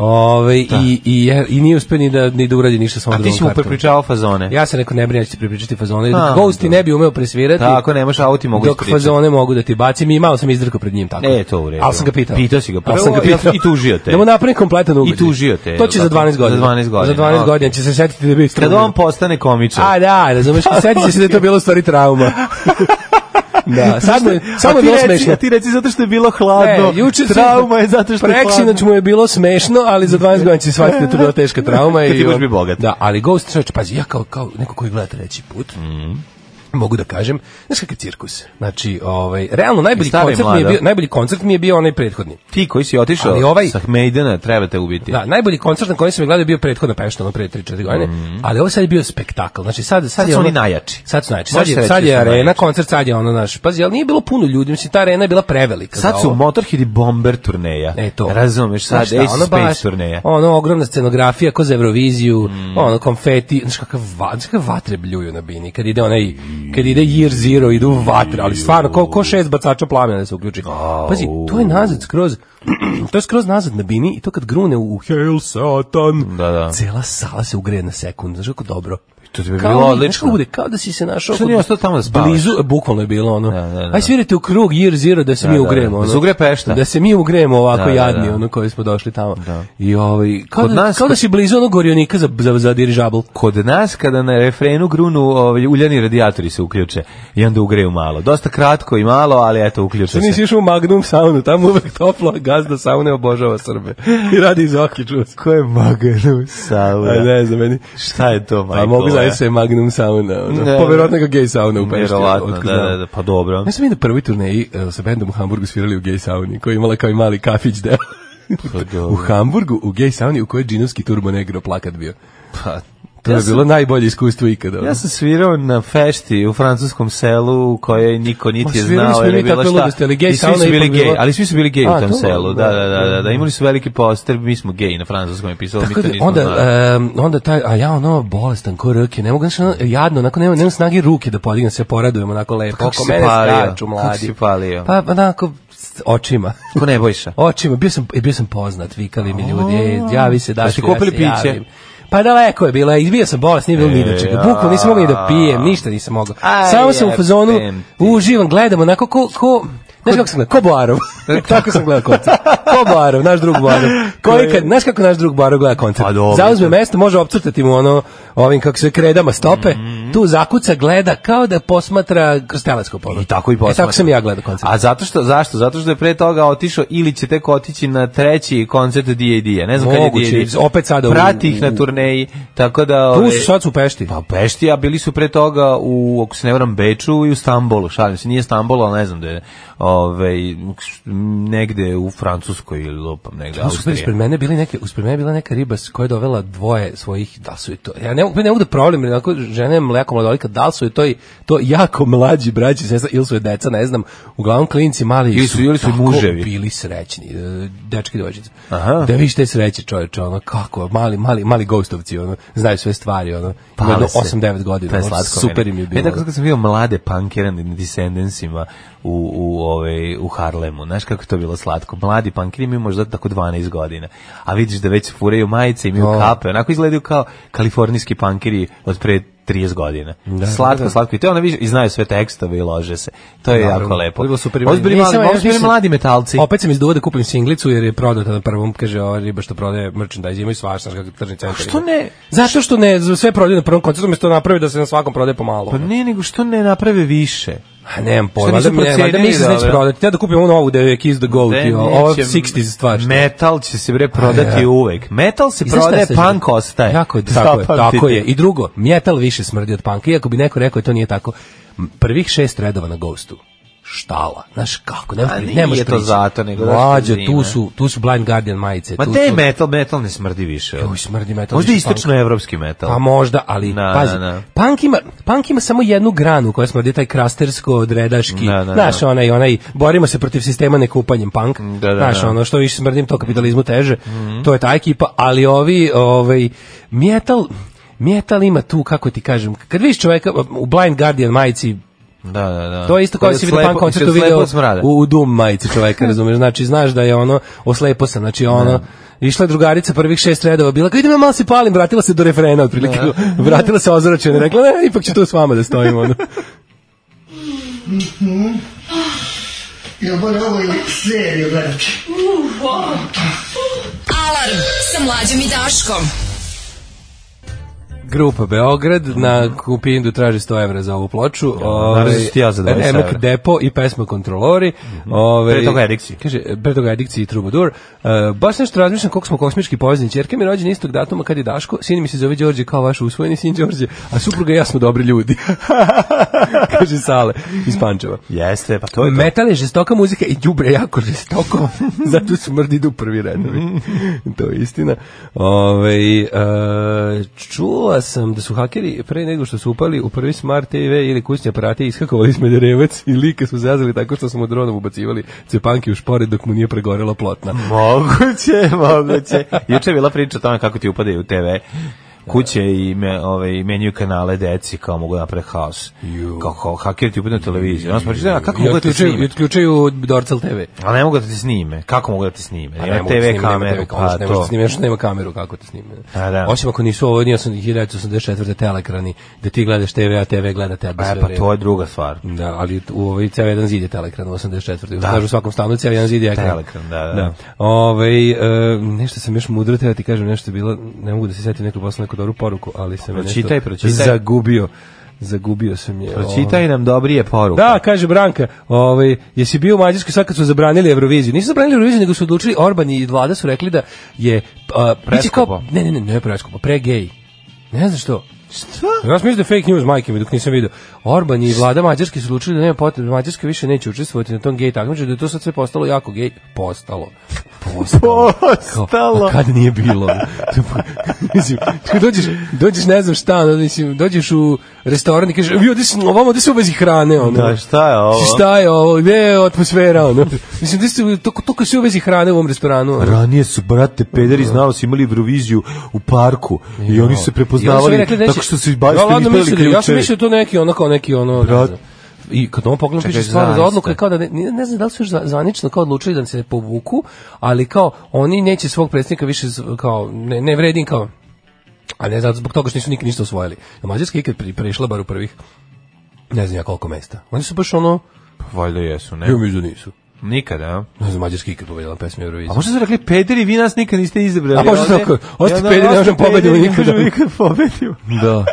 S6: Ove, i, i, i nije uspio ni da, ni da uradi ništa sa ovom
S5: A ti si mu
S6: drugom kartom.
S5: prepričavao fazone.
S6: Ja se neko ne brinem, ja ću ti prepričati fazone.
S5: A,
S6: Ghost ti
S5: dobro.
S6: ne bi umeo presvirati.
S5: Tako, nemaš, a ovo ti mogu
S6: Dok
S5: ispričati.
S6: fazone mogu da ti bacim i malo sam izdrkao pred njim tako.
S5: E, to u redu.
S6: Ali sam ga pitao.
S5: Pitao si ga
S6: Ali
S5: prvo,
S6: sam ga
S5: jel
S6: pitao.
S5: i tužio te?
S6: Da mu napravim kompletan ugođaj.
S5: I tužio te,
S6: To će
S5: jel
S6: za
S5: tako?
S6: 12 godina.
S5: Za 12 godina,
S6: Za 12
S5: ok.
S6: godina će se setiti da je bio
S5: Kad
S6: istražen.
S5: on postane komičar.
S6: A da, razumeš, sjeti će se da je to bilo u stvari trauma. da, sad mu je, samo je
S5: A Pa ti
S6: bilo
S5: reci-
S6: smešno.
S5: a ti reci zato što je bilo hladno. Trauma je zato što je hladno.
S6: Preksinoć mu je bilo smešno, ali za 12 godina će shvatiti da je to bila teška trauma.
S5: Kad ti
S6: i
S5: budeš
S6: on-
S5: bio bogat.
S6: Da, ali Ghost Church, pazi, ja kao, kao neko koji gleda treći put, mogu da kažem, znaš kakav cirkus. Znači, ovaj, realno najbolji
S5: Stara i
S6: koncert, mi je
S5: mlada.
S6: bio, najbolji koncert mi je bio onaj prethodni.
S5: Ti koji si otišao
S6: Ali ovaj-
S5: sa Hmejdena, treba te ubiti.
S6: Da, najbolji koncert na kojem sam je gledao je bio prethodno pešta, ono pre 3-4 godine, ali ovo sad je bio spektakl. Znači sad, sad,
S5: Mhm. Sad
S6: je
S5: su
S6: ono,
S5: oni najjači.
S6: Sad su najjači.
S5: Može
S6: Sad
S5: se
S6: je,
S5: reći
S6: sad
S5: da
S6: je
S5: su
S6: arena,
S5: najjači.
S6: koncert, sad je ono naš, pazi, ali nije bilo puno ljudi, mislim, ta arena je bila prevelika.
S5: Sad
S6: za
S5: su
S6: ovo.
S5: Motorhead i Bomber turneja.
S6: E to.
S5: Razumeš, sad
S6: Znaš šta,
S5: Ace
S6: ono baš,
S5: Space turneja. Mhm.
S6: Ono, ogromna scenografija, ko za Euroviziju, ono, konfeti, znaš kakav, va, znaš kakve vatre bljuju na bini, kad ide onaj, kad ide Year Zero, idu vatre, ali stvarno, ko, ko šest bacača plamena da se uključi. Pazi, to je nazad skroz, to je skroz nazad na bini i to kad grune u Hail Satan,
S5: Da, da.
S6: cela sala se ugreje na sekund, znaš kako dobro.
S5: To ti bi
S6: Kao
S5: bilo
S6: da- znaš kako
S5: odlično.
S6: bude, kao da si se našao...
S5: Što
S6: kod-
S5: nije ostao tamo da spavaš?
S6: Blizu, e, bukvalno je bilo ono.
S5: Da, da, da.
S6: Aj svirajte u krug Year Zero da se
S5: Da,
S6: mi
S5: da,
S6: ugremo.
S5: da.
S6: ono.
S5: Da se ugre pešta.
S6: Da se mi ugremo ovako
S5: Da, da,
S6: jadni,
S5: da.
S6: ono koji smo došli tamo. I ovaj, kao,
S5: Kod
S6: da,
S5: nas-
S6: kao da si blizu onog gorionika za, za, za dirižabl.
S5: Kod nas kada na refrenu grunu ovaj, uljani radijatori se uključe i onda ugreju malo. Dosta kratko i malo, ali eto uključe
S6: Što nisi
S5: se.
S6: išao u Magnum saunu, tamo uvek toplo, a gazda saune obožava Srbe. I radi iz oki, čuo se.
S5: Ko je Maganu Saura?
S6: A ne znam, meni.
S5: Šta je to, e, Michael?
S6: A mogu znači se Magnum sauna, ono.
S5: Ne.
S6: Poverovatno ga gej sauna u Pešti.
S5: Verovatno,
S6: otkud
S5: da,
S6: znam.
S5: da, da, pa dobro.
S6: Ja sam i na prvoj turneji e, sa bendom u Hamburgu svirali u gej sauni, koja je imala kao i mali kafić deo.
S5: Pa
S6: u Hamburgu, u gej sauni, u kojoj je džinovski turbo negro plakat bio.
S5: Pa,
S6: To
S5: ja
S6: je
S5: sam-
S6: bilo najbolje iskustvo ikada. ono.
S5: Ja sam svirao na fešti u francuskom selu u kojoj niko
S6: Ma,
S5: niti je
S6: svirali
S5: znao
S6: smo
S5: ili
S6: mi
S5: je bilo
S6: takve
S5: šta.
S6: ludosti, ali gej
S5: I svi
S6: sauna
S5: su bili
S6: ipak
S5: gej,
S6: bila.
S5: ali svi su bili gej u
S6: A,
S5: tom
S6: to,
S5: selu. Da,
S6: da,
S5: da, da, da, da.
S6: da.
S5: Imali su veliki postrb, mi smo gej na francuskom je pisalo, mi
S6: Tako
S5: to
S6: da,
S5: nismo
S6: onda, e,
S5: znali.
S6: em, onda taj, a ja ono bolestan ko rke, ne mogu, znaš, ono, jadno, onako nema, nema snage ruke da podignem, se poradujem onako lepo,
S5: Pa kako
S6: oko
S5: si
S6: mene
S5: palio?
S6: skaču
S5: Kako
S6: mladi.
S5: si palio?
S6: Pa onako, s- očima.
S5: Ko ne bojiša?
S6: Očima, bio sam, e, bio sam poznat, vikali mi ljudi, e, javi se, daš,
S5: ste
S6: mi,
S5: kupili
S6: se
S5: piće?
S6: javim. Pa daleko je bilo, i bio sam bolest, nije bilo ni do čega.
S5: ja.
S6: Bukvalno nisam mogao ni da pijem, ništa nisam mogao.
S5: Aj,
S6: Samo sam u fazonu,
S5: jebem ti.
S6: uživam, gledam, onako ko, ko, Znaš kako sam gledao? Ko Boarov. Tako sam gledao koncert. Ko Boarov, naš drug Boarov. Koji kad, znaš kako naš drug Boarov gleda koncert?
S5: Pa dobro.
S6: Zauzme mesto, može opcrtati mu ono, ovim kako se kredama stope,
S5: Mhm.
S6: tu zakuca, gleda kao da posmatra kroz teleskop. ono.
S5: I tako i
S6: E, tako
S5: posmatra.
S6: sam i ja gledao koncert.
S5: A zato što, zašto? Zato što je pre toga otišao ili će tek otići na treći koncert D.A.D. Ne znam kad je
S6: Moguće,
S5: D.A.D.
S6: opet sada u-
S5: Prati ih na turneji, tako da...
S6: Tu
S5: ove,
S6: su, sad su u Pešti.
S5: Pa u Pešti, a bili su pre toga u, ako se ne varam, Beču i u Stambolu, šalim se, nije Stambol, ali ne znam da je, ove, negde u Francuskoj ili lupam, negde
S6: Ono su bili
S5: Austrije.
S6: ispred mene bili neke, ispred mene je bila neka riba s- koja je dovela dvoje svojih, da li su i to, ja ne, mogu- ne mogu da problem, jer onako žene mleko mladolika, da li su i to, i, to jako mlađi braći, i sestra, ili su je deca, ne znam, uglavnom klinci mali.
S5: Ili su- ili su i
S6: tako
S5: muževi.
S6: Bili srećni, e, dečki i devojčice.
S5: Aha.
S6: Da viš te sreće čoveče, ono, kako, mali, mali, mali ghostovci, ono, znaju sve stvari, ono,
S5: Pale
S6: jedno
S5: Pa, se.
S6: 8-9 godina,
S5: To je
S6: ono,
S5: slatko
S6: super
S5: meni.
S6: im je bilo.
S5: E, tako kad sam bio mlade punkere na Descendantsima u, u, ovaj, u Harlemu, znaš kako je to bilo slatko. Mladi punkeri imaju možda tako 12 godina, a vidiš da već furaju majice, imaju
S6: O.
S5: kape, onako izgledaju kao kalifornijski punkeri od pre 30 godina. slatko,
S6: da.
S5: slatko. I to je ono više, i znaju sve tekstove i lože se. To je
S6: Naravno.
S5: jako lepo.
S6: To je bilo super
S5: Ovo su bili
S6: Nisam,
S5: mali,
S6: ja
S5: ovo su bili
S6: nisam-
S5: mladi metalci.
S6: Opet sam izduvao da kupim singlicu jer je prodata na prvom, kaže ova riba što prodaje merchandise, imaju svašta, znaš kako tržni centar.
S5: što
S6: ima.
S5: ne?
S6: Zato što pa ne, za sve prodaje na prvom koncertu, umesto da napravi da se na svakom prodaje pomalo.
S5: Pa ne, nego što ne naprave više?
S6: A nemam pojma,
S5: nisu
S6: da mi nema, da
S5: procenili
S6: mi se neće
S5: dobro?
S6: prodati. Ja da kupim ovu novu da je Kiss the Goat,
S5: Ne,
S6: i ovo- ovo
S5: neće.
S6: 60s stvar. što-
S5: Metal će se bre prodati
S6: A, ja.
S5: uvek. Metal se
S6: I znaš šta je
S5: prodaje,
S6: sve
S5: punk
S6: što-
S5: ostaje.
S6: Jako je, tako je,
S5: Zapamtite.
S6: tako je. I drugo, metal više smrdi od panka, iako bi neko rekao da to nije tako. M, Prvih šest redova na Ghostu štala, znaš kako, ne,
S5: A
S6: ne možeš
S5: nije to zato, nego zato što je
S6: Mlađo,
S5: zima.
S6: tu su, tu su Blind Guardian majice.
S5: Ma
S6: tu
S5: te
S6: su-
S5: metal, metal ne smrdi više.
S6: Uj, smrdi metal.
S5: Možda
S6: više
S5: istočno
S6: punk.
S5: evropski metal.
S6: Pa možda, ali
S5: Na,
S6: pazi,
S5: na, na.
S6: punk ima, punk ima samo jednu granu koja smrdi, taj krastersko, odredaški,
S5: Na, na,
S6: znaš,
S5: na.
S6: onaj, onaj, borimo se protiv sistema ne kupanjem punk,
S5: Da, da,
S6: znaš,
S5: da. Mhm.
S6: ono, što više smrdim, to kapitalizmu teže, to je ta ekipa, ali ovi, ovaj, metal, metal ima tu, kako ti kažem, kad vidiš čoveka u Blind Guardian majici,
S5: Da, da, da.
S6: to je isto kao da si vidio punk koncertu video u, u Doom majici čoveka, razumeš, znači znaš da je ono, oslepo sam, znači ono, Išla je drugarica prvih šest redova, bila kao, idem ja malo se palim, vratila se do refrena, otprilike, vratila se ozračena, rekla, ne, ipak ću tu s vama da stojim, ono.
S1: Jel, bolje, ovo je serio gledati.
S4: Alarm sa mlađom i Daškom.
S6: Grupa Beograd na Kupindu traži 100 evra za ovu ploču. Ovaj,
S5: naravno si ti ja za 20
S6: Remek
S5: evra. Mhm.
S6: Depo i pesma Kontrolori. Ovaj,
S5: Pre toga Ediksi.
S6: Kaže, pre toga Ediksi i Troubadour. Uh, baš nešto razmišljam koliko smo kosmički povezani. Čerka mi je rođena istog datuma kad je Daško, sin mi se zove Đorđe kao vaš usvojeni sin Đorđe, a supruga i ja smo dobri ljudi. kaže Sale iz Pančeva.
S5: Jeste, pa to je to.
S6: Metal je žestoka muzika i đubre jako žestoko, zato su mrdi idu u prvi redovi. to je istina. Ove, čula sam da su hakeri pre nego što su upali u prvi smart TV ili kućne aparate iskakovali smederevac i lika su zazali tako što smo dronom ubacivali cepanke u špore dok mu nije pregorela plotna.
S5: Moguće, moguće. Juče je bila priča o tome kako ti upadaju u TV kuće i me, ovaj, menjuju kanale deci kao mogu napraviti haos. Kao, kao hakeri ti upadnu televiziju. Ono smo pričali, a kako
S6: I
S5: mogu da te
S6: otključuju, i
S5: snime?
S6: otključuju Dorcel TV.
S5: A ne mogu da te snime. Kako mogu da te snime?
S6: A
S5: Pa Ima
S6: Pa mogu da snime,
S5: TV
S6: nema
S5: kameru,
S6: TV kameru,
S5: pa
S6: ne možeš da
S5: to.
S6: snime, još nema kameru kako te snime.
S5: A, da.
S6: Osim ako nisu ovo, nije 1984. telekrani, da ti gledaš TV, a TV gleda tebe sve
S5: E, pa
S6: vreme.
S5: to je druga stvar.
S6: Da, ali u ovaj ceo jedan zid je telekran u 84.
S5: Da.
S6: Da. Kažu u svakom stanu ceo jedan zid je ekran.
S5: Telekran, da, da.
S6: Ovaj, e, nešto sam još mudro, treba ti kažem, nešto je bilo, ne mogu da se setim neku poslu neku dobru poruku, ali sam je
S5: Pročitaj,
S6: nešto
S5: pročitaj.
S6: zagubio. Zagubio sam je. ovaj.
S5: Pročitaj Pa nam dobrije poruke.
S6: Da, kaže Branka, ovaj, jesi bio u Mađarskoj sad kad su zabranili Euroviziju? Nisu zabranili Euroviziju, nego su odlučili, Orban i vlada su rekli da je... a, biće
S5: Preskupo.
S6: kao- Ne, ne, ne, ne preskupo, pre gej. Ne znam što.
S5: Šta?
S6: Ja sam mislio da je fake news, majke mi, dok nisam vidio. Orban i vlada Mađarske su odlučili da nema potrebe, Mađarska više neće učestvovati na tom gej takmičenju, da je to sad sve postalo jako gej. Postalo. Postalo.
S5: Postalo.
S6: Kao, a kad nije bilo? mislim, kad dođeš, dođeš ne znam šta, ono, mislim, dođeš u restoran i kažeš, vi ovde, su- ovamo ovde se ubazi hrane, ono.
S5: Da, šta je ovo?
S6: Šta je ovo? Gde je atmosfera, ono? Mislim, da su, toliko, toliko se uvezi hrane u ovom restoranu, ono.
S5: Ranije su, brate, pederi znalo su imali Euroviziju u parku i oni su
S6: I onda su
S5: se
S6: mi
S5: prepoznavali
S6: rekli da neće-
S5: tako što su ba-
S6: Ja, ladno
S5: ste izbili
S6: mislili, Ja sam
S5: ključevi.
S6: mislio to neki ono kao neki ono, ne
S5: Brat.
S6: znam. I kad on pogleda
S5: Čekaj,
S6: piše stvarno za
S5: zaista.
S6: odluka je kao da ne, ne, ne znam da li su još za- zvanično kao odlučili da se povuku, ali kao oni neće svog predsjednika više z- kao ne, ne vredim kao a ne zato zbog toga što nisu nikad ništa osvojili. A Mađarska je ikad pri, prešla bar u prvih ne znam ja koliko mesta. Oni su baš ono,
S5: Valjda jesu, ne?
S6: ja mislim da nisu.
S5: Nikada, a?
S6: Ne znam, Mađarska je ikad pobedila pesme Eurovizije.
S5: A možda su rekli, pederi, vi nas nikad niste izabrali.
S6: A možda su
S5: ovde-
S6: tako, osti
S5: Ja,
S6: pederi, ne
S5: osti
S6: možemo pobedimo
S5: pederi, ne
S6: nikada.
S5: možemo nikad pobedimo.
S6: Da.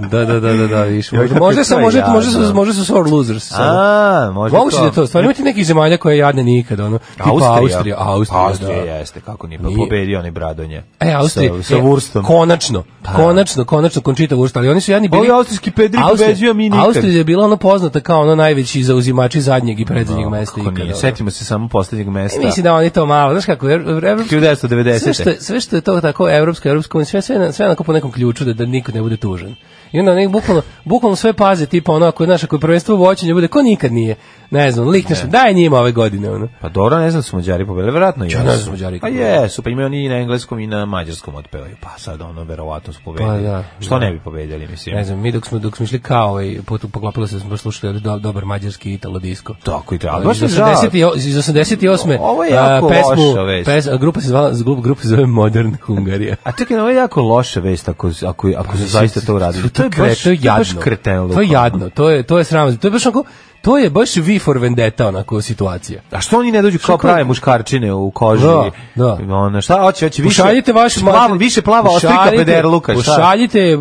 S6: Da, da, da, da, da, viš.
S5: Ja,
S6: Možda,
S5: kako
S6: možda,
S5: je
S6: su-
S5: to
S6: možda, možda,
S5: jadno.
S6: su, možda su sore losers. ono.
S5: A, pa možda
S6: Moguće da je to, stvarno imate nekih zemalja koje jadne nikad, ono, tipa Austrija, Austrija, Austrija,
S5: Pa, Austrija
S6: da.
S5: jeste, kako nije, pa
S6: Nije.
S5: pobedio onaj Bradonje.
S6: E, Austrija,
S5: Sa, sa
S6: e,
S5: Wurstom.
S6: Konačno, konačno, konačno Končita Wurst, ali oni su jadni bili.
S5: Ovi austrijski pederi pobeđuju, a mi nikad.
S6: Austrija je bila ono poznata kao ono najveći zauzimači zadnjeg i predzadnjeg mesta
S5: Kako
S6: ikada.
S5: nije,
S6: ono.
S5: setimo se samo poslednjeg mesta.
S6: I mislim da oni to malo, znaš kako, ev- ev-
S5: 1990.
S6: sve što, je- sve što je to tako evropska, evropska unija, sve, sve, na- sve onako po nekom ključu da, da niko ne bude tužen. I onda nek bukvalno, bukvalno sve paze, tipa ono, ako, znaš, ako je prvenstvo voćenje, bude ko nikad nije, ne znam, lik nešto, daj njima ove godine, ono.
S5: Pa dobro, ne znam da su Mađari pobedili, verovatno i
S6: Čak ne znam da su Mađari
S5: Pa
S6: pobedili.
S5: jesu, pa imaju oni i na engleskom i na mađarskom otpevaju, pa sad ono, verovatno su pobedili.
S6: Pa da,
S5: Što
S6: da.
S5: ne bi pobedili, mislim.
S6: Ne znam, mi dok smo, dok smo išli kao ovaj, put u poklopilo se, smo baš slušali ovaj do, dobar mađarski italo disko.
S5: Tako i treba.
S6: Ali
S5: Baš mi je
S6: iz
S5: žao.
S6: 80 iz 88.
S5: Ovo je
S6: a,
S5: jako
S6: pesmu,
S5: loša vest.
S6: pes, a grupa se zvala, grup, grupa se zove Modern Hungarija.
S5: A čekaj, ovo je jako loša vest ako, ako, ako su zaista to uradili.
S6: To je baš, to je
S5: to je
S6: jadno.
S5: baš ono. kretenluk.
S6: To je jadno, to je, to je sramozno. To je baš onako, to je baš vi for vendetta onako situacija.
S5: A što oni ne dođu kao
S6: kao-
S5: prave muškarčine u koži?
S6: Da, da.
S5: Ono, šta hoće, hoće više...
S6: Pošaljite vaš
S5: plava, više plava ostrika pederluka, šta?
S6: Pošaljite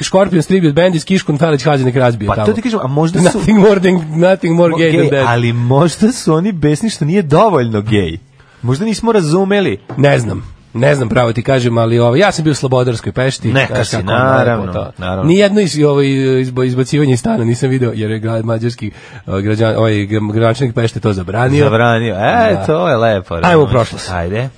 S6: Scorpion Tribute Band iz Kiškun Felić Hazi nek razbije
S5: Pa
S6: tamo.
S5: to ti kažem, a možda su...
S6: Nothing more than nothing more gay than
S5: Gej,
S6: that.
S5: ali možda su oni besni što nije dovoljno gej. Možda nismo razumeli.
S6: Ne znam. Ne znam pravo ti kažem, ali ovaj ja sam bio u Slobodarskoj pešti.
S5: Neka
S6: znaš
S5: si,
S6: kako ono,
S5: naravno,
S6: lepo to.
S5: naravno.
S6: Nijedno iz ovaj izbo- izbacivanje iz stana nisam video jer je grad mađarski eh, građan ovaj gra- gradonačelnik Pešte to zabranio.
S5: Zabranio. E,
S6: Da.
S5: to je lepo.
S6: Ajmo u prošlost.
S5: Ajde.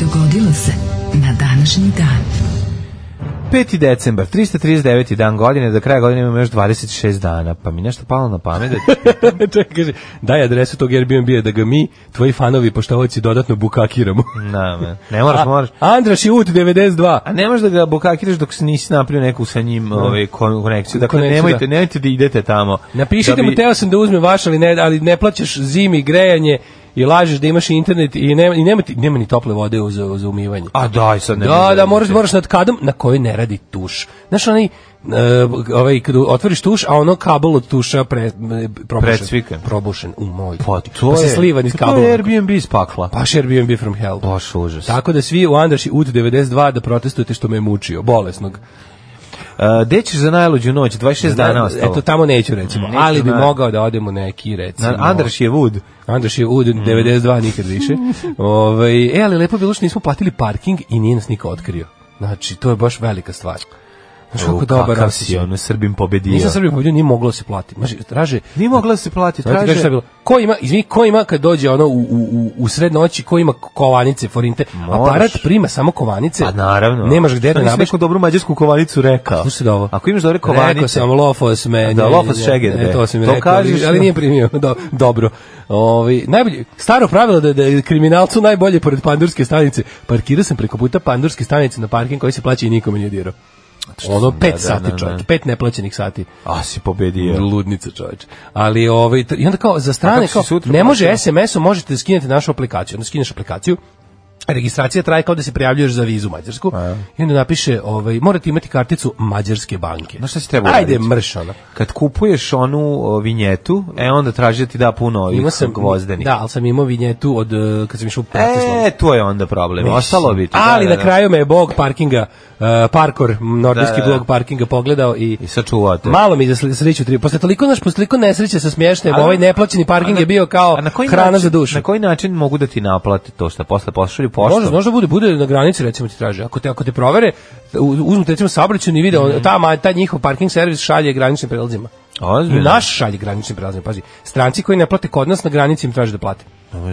S4: Dogodilo se na današnji dan.
S5: 5. decembar, 339. dan godine, do kraja godine imamo još 26 dana, pa mi nešto palo na pamet. da-
S6: Čekaj, kaže, daj adresu tog Airbnb-a da ga mi, tvoji fanovi poštovaoci dodatno bukakiramo.
S5: Na, ne, ne moraš, moraš.
S6: Andraš je ut 92.
S5: A ne možeš da ga bukakiraš dok se nisi napravio neku sa njim ovaj, kon- konekciju. Dakle,
S6: Konekciju, da.
S5: nemojte, nemojte da idete tamo.
S6: Napišite
S5: da bi-
S6: mu, teo sam da uzmem vaš, ali ne, ali ne plaćaš zimi grejanje i lažeš da imaš internet i nema, i nema, ti, nema ni tople vode u- za, za umivanje.
S5: A daj sad ne.
S6: da,
S5: mogu
S6: da, moraš,
S5: idete.
S6: moraš nad kadom na kojoj ne radi tuš. Znaš, onaj, e, ovaj, kad otvoriš tuš, a ono kabel od tuša pre, m, probušen.
S5: Precvikan.
S6: Probušen, u moj.
S5: Pa to
S6: se
S5: je.
S6: slivan iz
S5: pa To je Pa
S6: kabela.
S5: Airbnb iz pakla.
S6: Baš Airbnb from hell.
S5: Baš užas.
S6: Tako Pa- da svi u Andraši ut 92 da protestujete što me je mučio, bolesnog.
S5: Uh, gde ćeš za najluđu noć? 26 dana ostalo.
S6: Eto, tamo neću recimo,
S5: Neću,
S6: ali bi
S5: da.
S6: mogao da odem u neki recimo.
S5: Na, Andraš je Wood.
S6: Andraš je u 92 nikad više. Ovaj e, ali lepo je bilo što nismo platili parking i nije nas niko otkrio. Znači, to je baš velika stvar. Znaš kako dobar
S5: kakav
S6: raspis
S5: si,
S6: je.
S5: ono, Srbim pobedio.
S6: Nisam Srbiju pobedio, nije moglo se platiti. Znači, traže...
S5: Nije mogla da se plati,
S6: Znači,
S5: traže...
S6: šta je bilo? Ko ima, izvini, ko ima kad dođe ono u, u, u, u sred noći, ko ima kovanice, forinte?
S5: Moraš.
S6: Aparat prima samo kovanice.
S5: Pa naravno.
S6: Nemaš gde
S5: Šta
S6: da
S5: nisi
S6: nabaviš.
S5: neku dobru mađarsku kovanicu rekao.
S6: Slušaj da ovo.
S5: Ako imaš dobre
S6: Rekao
S5: kovanice,
S6: sam lofos me.
S5: Da, lofos šegede.
S6: E, to sam mi
S5: To
S6: rekao, ali-
S5: kažeš,
S6: ali
S5: no.
S6: nije primio. Do, dobro. Ovi, najbolje, staro pravilo da, da je kriminalcu najbolje pored pandurske stanice. Parkirao sam preko puta pandurske stanice na parking koji se plaća i nikome nije dirao. Ono pet
S5: da,
S6: sati
S5: da,
S6: čovječ,
S5: da.
S6: pet neplaćenih sati.
S5: a si pobedio.
S6: Ludnica čovječ. Ali ovaj, t- i onda kao za
S5: A
S6: strane,
S5: kako si
S6: kao,
S5: sutra
S6: ne može SMS-om, možete da skinete našu aplikaciju. Onda skineš aplikaciju, registracija traje kao da se prijavljuješ za vizu mađarsku i onda napiše ovaj morate imati karticu mađarske banke.
S5: Znaš šta si trebao
S6: Ajde
S5: uraditi?
S6: mrš ono. ona.
S5: Kad kupuješ onu o, vinjetu, e onda traži da ti da puno ovih
S6: Imao sam
S5: gvozdenih.
S6: Da, ali sam imao vinjetu od eh, kad sam išao u Bratislavu.
S5: E, to je onda problem. Ostalo bi ti.
S6: Ali
S5: da,
S6: na
S5: da, da.
S6: kraju me je bog parkinga, eh, parkor, nordijski
S5: Da, da, da.
S6: bog parkinga pogledao i
S5: I sačuvate.
S6: Malo mi za sli- sreću tri. Posle toliko naš posle toliko nesreće sa smještajem,
S5: Ali-
S6: ovaj neplaćeni parking je bio kao
S5: A na koji
S6: hrana
S5: način,
S6: za dušu.
S5: Na koji način mogu da ti naplate to što posle pošalju poštom?
S6: Može, možda bude bude na granici recimo ti traže. Ako te ako te provere, u- uzmu te recimo saobraćajni i vide
S5: Mhm.
S6: on- ta ma- ta njihov parking servis šalje graničnim prelazima.
S5: Ozbiljno?
S6: Naš šalje graničnim prelazima, pazi. Stranci koji ne plate kod nas na granici im traže da plate.
S5: Da, da,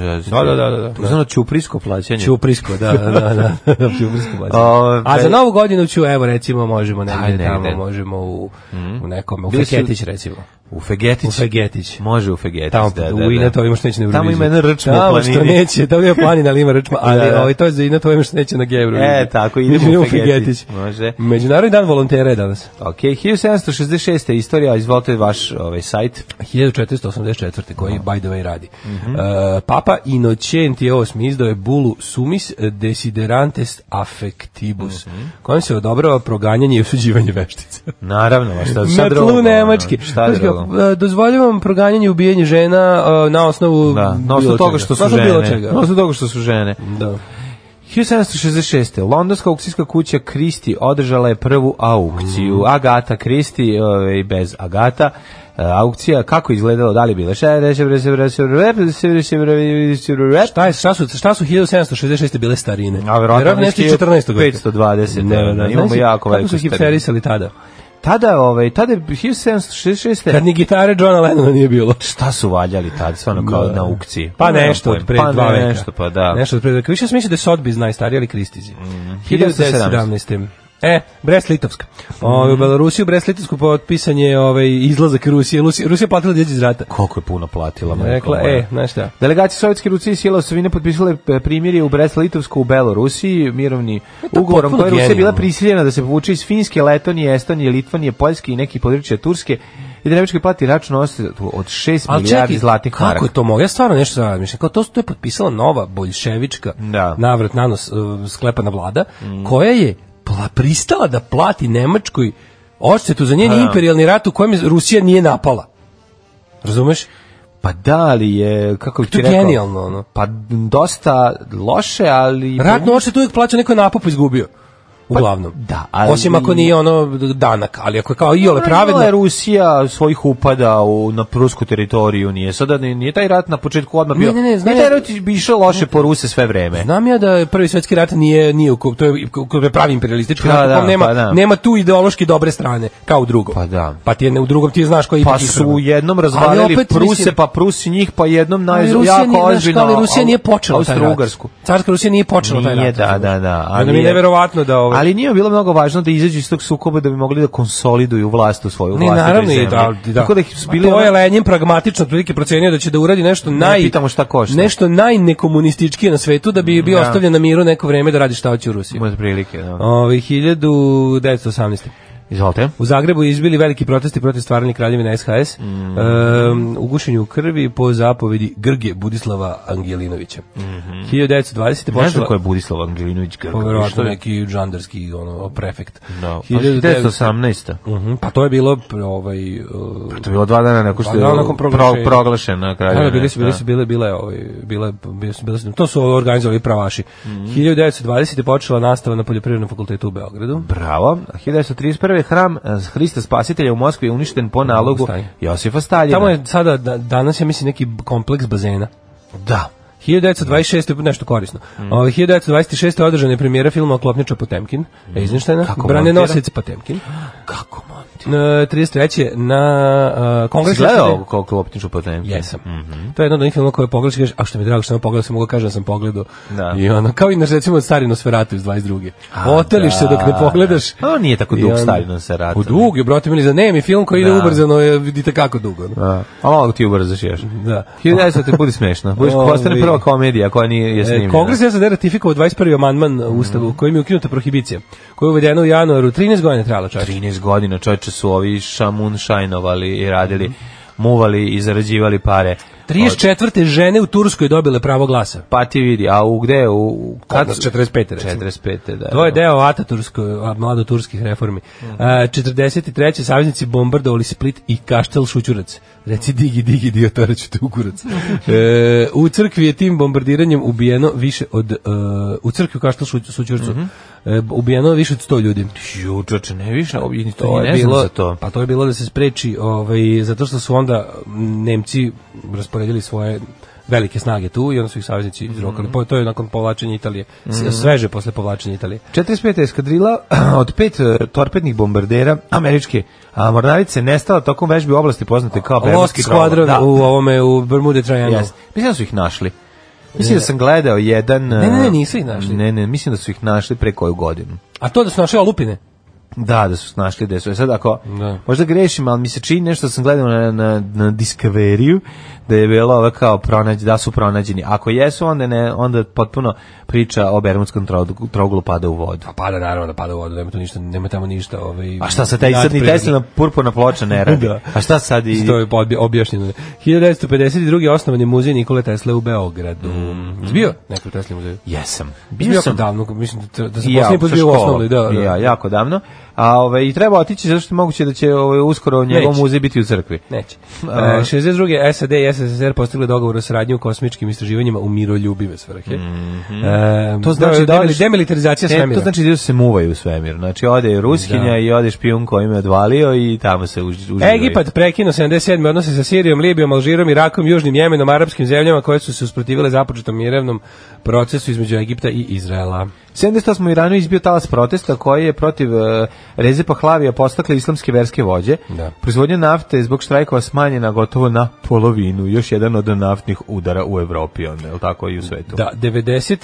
S5: da, da. To je ono čuprisko plaćanje.
S6: Ćuprisko, da, da, da, da, da Ćuprisko baš.
S5: Ove-
S6: A za novu godinu ću, evo recimo, možemo negde
S5: Ajde,
S6: tamo,
S5: negde. Mhm.
S6: možemo u, u nekom, u
S5: Bili su-
S6: Feketić recimo.
S5: U Fegetić.
S6: U Fegetić.
S5: Može u Fegetić,
S6: E, Tamo
S5: da, da,
S6: u
S5: da.
S6: Inato, ovima što neće na
S5: Tamo
S6: Euroviziju.
S5: ima jedna rčma u
S6: Tamo što
S5: planini.
S6: neće, tamo ima planina, ali ima rčma, ali
S5: Da, da.
S6: ovaj, to je za Inato, ovima što neće na Gej Euroviziju.
S5: E, tako, idemo
S6: Idemo
S5: u Fegetić. Može.
S6: Međunarodni dan volontera je danas.
S5: Ok, 1766. istorija, izvolite vaš ovaj sajt.
S6: 1484. koji, by the way, radi.
S5: Mhm.
S6: E, Papa Inocenti VIII izdao je bulu sumis desiderantes affectibus,
S5: Mhm.
S6: kojom se odobrava proganjanje i osuđivanje veštice.
S5: Naravno, ma šta, šta
S6: Na
S5: drugo?
S6: tlu
S5: ono,
S6: Nemačke.
S5: Šta
S6: Znaš
S5: drugo?
S6: kao, e, Dozvoljavam proganjanje i ubijanje žena e, na osnovu
S5: Da, na
S6: bilo
S5: osnovu toga
S6: čega.
S5: što
S6: Na
S5: su
S6: osnovu bilo
S5: žene.
S6: čega.
S5: Na osnovu toga što su žene.
S6: Da.
S5: 1766. Londonska aukcijska kuća Christie održala je prvu
S6: Mm.
S5: aukciju. Agata Christie, ovaj, bez Agata, E, aukcija kako je izgledala, da li je bila
S6: E, Šta, je, šta, su, šta su 1766. bile starine?
S5: A verovatno
S6: nešto iz
S5: nešto
S6: 14. veka.
S5: 520,
S6: Ne, ne, ne.
S5: imamo
S6: Znaš,
S5: jako
S6: Kako
S5: veliku
S6: su
S5: starinu.
S6: hipsterisali tada?
S5: Tada, ovaj, tada je 1766.
S6: Kad ni gitare Johna Lennona nije bilo.
S5: šta su valjali tad, stvarno kao
S6: Da.
S5: na aukciji?
S6: Pa nešto od
S5: Nemam
S6: pre
S5: pojma.
S6: dva
S5: pa
S6: veka.
S5: Nešto, pa da. Mhm.
S6: Nešto od pre dva veka. Više sam mislio da je Sotbiz najstariji, ali Kristizi.
S5: 1917.
S6: 1917. E, Brest-Litovsk. Ovaj, U Belorusiju Brest-Litovsku potpisan je ovaj, izlazak Rusije. Rusija, Rusija platila djeđe iz rata.
S5: Koliko je puno platila, majko
S6: Rekla,
S5: moja.
S6: e, znaš šta?
S5: Delegacije Sovjetske Rusije i sila Osovine potpisale e, primirje u Brest-Litovsku u Belorusiji, mirovni ugovorom
S6: potpuno
S5: koja je Rusija
S6: genijalno.
S5: bila prisiljena da se povuče iz Finske, Letonije, Estonije, Litvanije, Poljske i nekih područja Turske i da Nemačkoj plati račun odštetu od 6
S6: Ali
S5: milijardi
S6: čekaj,
S5: zlatnih
S6: kako
S5: maraka.
S6: je to mogu? Ja stvarno nešto sad razmišljam. Kao to, to je potpisala nova boljševička
S5: Da.
S6: navrat nanos uh, sklepana vlada, koja je pla, pristala da plati Nemačkoj odštetu za njen imperijalni rat u kojem je Rusija nije napala. Razumeš?
S5: Pa da, ali je, kako bih
S6: To je
S5: ti rekao...
S6: genijalno, ono.
S5: Pa dosta loše, ali...
S6: Ratnu odštetu uvijek plaća neko je napup izgubio. Uglavnom.
S5: Pa da, ali-
S6: Osim ako nije ono danak, ali ako je kao iole
S5: Pravila je
S6: pravedno...
S5: Rusija svojih upada u, na prusku teritoriju, nije sada, nije, nije taj rat na početku odmah
S6: Ne,
S5: bio.
S6: ne, ne, znam
S5: nije taj
S6: ja-
S5: rat bi išao loše po Ruse sve vreme.
S6: Znam ja da je prvi svetski rat nije nije u kom- to je u kom je pravi imperialistički
S5: Pa
S6: rat, u kom
S5: da,
S6: nema
S5: pa da.
S6: nema tu ideološki dobre strane kao u drugom.
S5: Pa da.
S6: Pa ti je ne- u drugom ti znaš koji je
S5: Pa
S6: ipak
S5: su
S6: ispravan.
S5: jednom
S6: Ali
S5: razvalili
S6: opet,
S5: Pruse,
S6: mislim,
S5: pa Prusi njih, pa jednom
S6: ali
S5: naj,
S6: Rusija nije,
S5: jako
S6: znaš,
S5: ozbiljno.
S6: ali Rusija nije počela taj rat.
S5: Austro-Ugarsku.
S6: Carska Rusija nije počela taj
S5: Nije,
S6: rat.
S5: da, da, da.
S6: Ali mi je
S5: je-
S6: neverovatno da ovaj
S5: Ali nije bilo mnogo važno da izađu iz tog sukoba da bi mogli da konsoliduju vlast u svoju
S6: Ne,
S5: vlast.
S6: naravno i da, da. Pa
S5: Tako da ih su bili...
S6: to je
S5: ono-
S6: Lenin pragmatično otprilike procenio da će da uradi nešto naj
S5: pitamo šta košta.
S6: Nešto najnekomunističkije na svetu da bi bio
S5: Da.
S6: ostavljen na miru neko vreme da radi šta hoće u Rusiji.
S5: Ima prilike, da.
S6: Ovaj 1918.
S5: Izvolite.
S6: U Zagrebu izbili veliki protesti protiv stvaranja kraljevina SHS
S5: Mm.
S6: em, u gušenju krvi po zapovedi Grge Budislava Angelinovića. 1920.
S5: Mhm. Ne znam ko
S6: počela
S5: je Budislav Angelinović Grga.
S6: Poverovatno
S5: što je-
S6: neki žandarski ono, prefekt.
S5: Da. Pa
S6: 1918.
S5: 1918.
S6: Mhm, pa to je bilo pr- ovaj, uh,
S5: To je bilo dva dana nakon što
S6: Pa da,
S5: je
S6: nakon
S5: pro,
S6: proglašenja.
S5: proglašen na kraju.
S6: Da, da, bili su, bili
S5: Da.
S6: su, bile, bile, ovaj, bile, bile, su- bile su, to su organizovali pravaši.
S5: Mhm.
S6: 1920. je počela nastava na Poljoprivrednom fakultetu u Beogradu.
S5: Bravo. 1931. hram eh, Hrista Spasitelja u Moskvi je uništen po nalogu
S6: Stalin.
S5: Josifa Staljina.
S6: Tamo je sada, da, danas ja mislim neki b- kompleks bazena.
S5: Da.
S6: 1926. je nešto korisno.
S5: Mhm.
S6: Mm. 1926. održana je premijera filma Klopnjača Potemkin,
S5: Mhm.
S6: mm. Eisensteina, Branenosec Potemkin.
S5: Kako monti?
S6: E, 33. na uh, kongresu.
S5: Gledao Mhm. kao klopniču potemke?
S6: Jesam. Mm -hmm. To je jedno od onih filmova koje pogledaš i kažeš, a što mi je drago što sam pogledao, sam mogao kažem da sam pogledao.
S5: Da.
S6: I ono, kao i naš recimo stari Nosferatu iz 22.
S5: A,
S6: Oteliš se dok ne
S5: da.
S6: pogledaš.
S5: A on nije tako dug
S6: I ono-
S5: stari Nosferatu,
S6: U dug je, brate, mili za nemi film koji ide
S5: Da.
S6: ubrzano, je, vidite kako dugo. ono.
S5: Da. A malo ti ubrzaš još.
S6: Da.
S5: 1900. budi smešno. Budiš
S6: Ovi.
S5: postane prva komedija koja nije je
S6: E,
S5: snimljena. Mhm.
S6: Kongres je sad ratifikovao 21. amandman Ustavu kojim je ukinuta prohibicija, koja je uvedena u januaru 13 godina je trajala čak.
S5: 13 godina čoveče su ovi šamun šajnovali i radili, muvali i zarađivali pare.
S6: 34. žene u Turskoj dobile pravo glasa.
S5: Pa ti vidi, a u gde? U, u
S6: Kod nas 45., recimo.
S5: 45. Da, Mhm.
S6: To je deo Atatursko, a, mlado-turskih reformi. E, 43. saveznici bombardovali Split i Kaštel Šućurac. Reci digi, digi, dio, to reću te ukurac. E, u crkvi je tim bombardiranjem ubijeno više od... e, u crkvi u Kaštel Šuć- Šućurcu
S5: Mhm.
S6: e, ubijeno više od 100 ljudi.
S5: Ju, čoče, ne više, i to,
S6: To
S5: i
S6: je
S5: ne znam
S6: bilo
S5: za to.
S6: Pa to je bilo da se spreči, ovaj zato što su onda Nemci rasporedili svoje velike snage tu i onda su ih saveznici
S5: Mhm.
S6: izrokali. Po- To je nakon povlačenja Italije, s- sveže posle povlačenja Italije.
S5: Pa 45. eskadrila od pet e, torpednih bombardera američke a mornarice nestala tokom vežbi u oblasti poznate kao
S6: Lost
S5: Bermudski
S6: Squadron
S5: Da,
S6: u ovome u Bermude Triangle.
S5: Jeste. Mislim da su ih našli. Mislim da sam gledao jedan... e,
S6: ne, ne, nisu ih našli.
S5: Ne, ne, mislim da su ih našli pre koju godinu.
S6: A to da su našli olupine.
S5: Da, da su našli gde su. E sad ako,
S6: Da.
S5: možda grešim, ali mi se čini nešto da sam gledao na, na, na Discovery-u, da je bilo ovo kao pronađ, da su pronađeni. Ako jesu, onda ne, onda potpuno priča o Bermudskom trou- trouglu pada u vodu.
S6: Pa pada naravno da pada u vodu, nema tu ništa, nema tamo ništa, ovaj.
S5: A šta sad, taj sad ni
S6: nadprirodno.
S5: Tesla purpurna ploča ne radi.
S6: Da.
S5: A šta sad i...
S6: To je podbi- objašnjeno. 1952. osnovan je muzej Nikole Tesla u Beogradu.
S5: Mhm.
S6: Mm. Bio neko Tesla muzej.
S5: Jesam.
S6: Bio sam davno, mislim da, da sam posljednji put bio u
S5: sa
S6: osnovnoj, da,
S5: školom.
S6: da.
S5: I Ja, jako davno. A ovaj i treba otići zato što je moguće da će ovaj uskoro njegov
S6: Neće.
S5: muzej biti u crkvi.
S6: Neće. E, 62. SAD i SSSR postigli dogovor o saradnju u kosmičkim istraživanjima u miroljubive svrhe. e,
S5: Mhm. To znači da li-
S6: demilitarizacija
S5: E,
S6: svemira.
S5: to znači da se muvaju u svemir. Znači ode Ruskinja
S6: Da.
S5: i ode špijun koji me odvalio i tamo se uži- uživaju.
S6: Egipat prekinuo 77. odnose sa Sirijom, Libijom, Alžirom, Irakom, Južnim Jemenom, arapskim zemljama koje su se usprotivile započetom mirevnom procesu između Egipta i Izraela.
S5: 78. u Iranu izbio talas protesta koji je protiv uh, Reze Pahlavija postakle islamske verske vođe.
S6: Da.
S5: Proizvodnja nafte je zbog štrajkova smanjena gotovo na polovinu. Još jedan od naftnih udara u Evropi, onda, je li tako i u svetu.
S6: Da,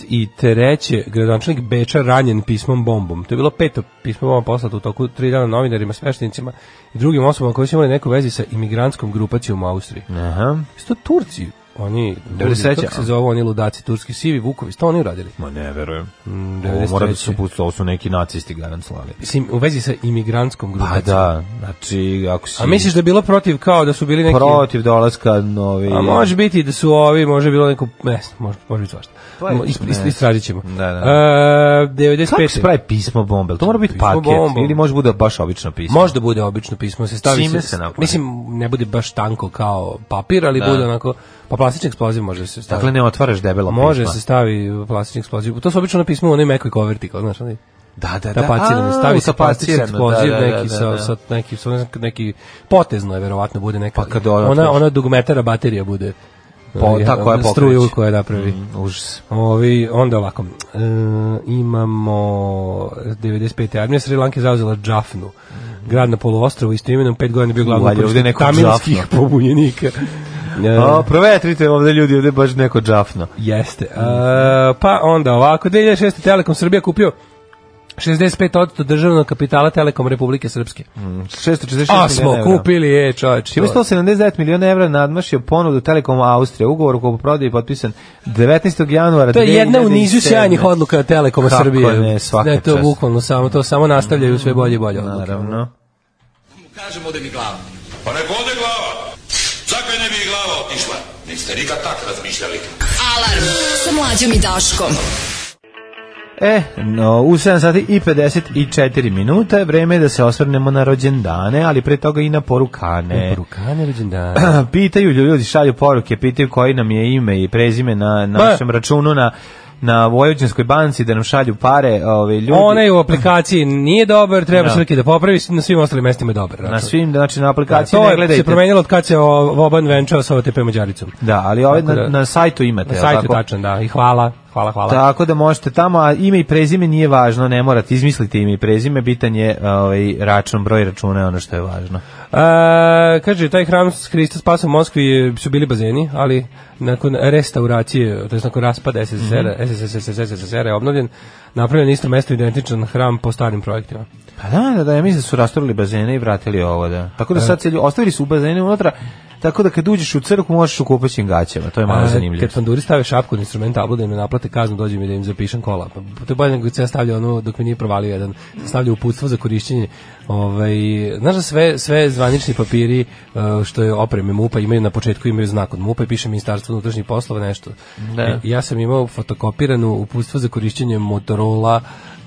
S6: 93. gradonačelnik Beča ranjen pismom bombom. To je bilo peto pismo bomba poslato u toku tri dana novinarima, sveštenicima i drugim osobama koji su imali neku vezi sa imigrantskom grupacijom u Austriji.
S5: Aha.
S6: Isto Turci, oni,
S5: Dobro
S6: Turci,
S5: sreća.
S6: kako se zove oni ludaci, turski sivi vukovi, to oni uradili.
S5: Ma ne, verujem. Ovo
S6: 93..
S5: mora da su, ovo su neki nacisti garant slali.
S6: Mislim, u vezi sa imigrantskom
S5: Pa
S6: grupacijom.
S5: da, znači, ako si
S6: A misliš da je bilo protiv kao da su bili neki...
S5: protiv dolaska novi...
S6: A može biti da su ovi, može bilo neko, ne, može, može biti svašta.
S5: To je-
S6: Is- is-
S5: ne.
S6: istražit ćemo.
S5: Da, da.
S6: E, 95.
S5: Kako se pravi pismo bombe? Jel To mora biti
S6: Pismo
S5: paket
S6: bomba.
S5: ili može bude baš obično pismo.
S6: Možda bude obično pismo, se stavi
S5: Čime se napravi?
S6: Mislim, ne bude baš tanko kao papir, ali bude onako, pa plastični eksploziv može se stavi.
S5: Dakle, ne pa. otvaraš debelo
S6: može
S5: pisma.
S6: se stavi plastični eksploziv. To su obično na pismu u onoj mekoj koverti, kao, znaš, onaj
S5: Da, E, da, da.
S6: tapacirani,
S5: A,
S6: stavi se plastični
S5: utapacirano,
S6: eksploziv,
S5: da, da, da,
S6: neki
S5: da,
S6: sa,
S5: da.
S6: sa neki, sa, ne znam, neki potezno je verovatno bude neka.
S5: Pa kad Pa, ona
S6: ona,
S5: otvoriš.
S6: ona dugmetara baterija bude.
S5: Po-
S6: eh,
S5: ta
S6: ona
S5: koja pokreće.
S6: Struju koja napravi.
S5: Mm, Užas.
S6: Ovi, onda ovako, e, imamo 95. armija Sri Lanke zauzela Džafnu, grad na poluostrovu, isto imenom pet godina je bio glavno
S5: Valjda ovdje
S6: uporište
S5: neko
S6: tamilskih
S5: Džafna.
S6: pobunjenika. E,
S5: A, provetrite ovde ljudi, ovde je baš neko džafno.
S6: jeste. E, pa onda ovako, 2006. Telekom Srbija kupio 65% državnog kapitala Telekom Republike Srpske.
S5: Mm. 646
S6: A smo
S5: miliona evra.
S6: kupili, je čovječ.
S5: Čime 179 miliona evra nadmašio ponudu Telekomu Austrije. Ugovor o kupoprodaji je potpisan 19. januara
S6: To je jedna u
S5: 2007.
S6: nizu sjajnih odluka Telekoma
S5: Kako
S6: Srbije.
S5: ne, svaka
S6: Ne, to
S5: čast.
S6: bukvalno samo, to samo nastavljaju sve bolje i bolje odluke.
S5: Naravno.
S7: Kažemo da mi glava. Pa neko ode glava. Zakaj ne bi i glava otišla? Niste nikad tak razmišljali.
S4: Alarm sa mlađom i Daškom.
S5: E, no, u 7 sati i 54 minuta je vreme da se osvrnemo na rođendane, ali pre toga i na porukane.
S6: Porukane rođendana. Pa,
S5: Pitaju ljudi, ljudi šalju poruke, pitaju koji nam je ime i prezime na našem računu na na Vojvođanskoj banci da nam šalju pare, ovaj ljudi.
S6: Onaj u aplikaciji nije dobar, treba
S5: Da.
S6: Srki da popravi, na svim ostalim mestima je dobar.
S5: na
S6: račun.
S5: svim znači na
S6: Da,
S5: aplikaciji
S6: to
S5: ne
S6: je se
S5: gledajte.
S6: promenilo od kad se o- Voban venčao sa OTP Mađaricom.
S5: Da, ali ovaj
S6: Tako
S5: na,
S6: da-
S5: na sajtu imate,
S6: Na
S5: jel
S6: sajtu
S5: tako?
S6: tačno, da. I hvala, hvala, hvala.
S5: Tako da možete tamo, a ime i prezime nije važno, ne morate izmisliti ime i prezime, bitan je ovaj, račun, broj računa je ono što je važno.
S6: E, kaže, taj hram Hrista spasa u Moskvi e, su bili bazeni, ali nakon restauracije, to je nakon raspada SSSR, SSSR, SSSR je obnovljen, napravljen na istom mestu identičan hram po starim projektima.
S5: Pa da, da, da, ja mislim da su rastorili bazene i vratili ovo, da. Tako da sad se lju- ostavili su bazene unutra, tako da kad uđeš u crkvu možeš u kupaćim gaćama, to je malo
S6: A,
S5: zanimljivo.
S6: Kad panduri stave šapku na instrument tablu da im ne naplate kaznu, dođem i da im zapišem kola. Pa, to je bolje nego kad se ja stavlja ono, dok mi nije provalio jedan, stavlja uputstvo za korišćenje. Ovaj, znaš da sve, sve zvanični papiri eh, što je opreme MUPA imaju na početku imaju znak od MUPA i piše Ministarstvo unutrašnjih poslova nešto.
S5: Da.
S6: I Ja sam imao fotokopirano uputstvo za korišćenje Motorola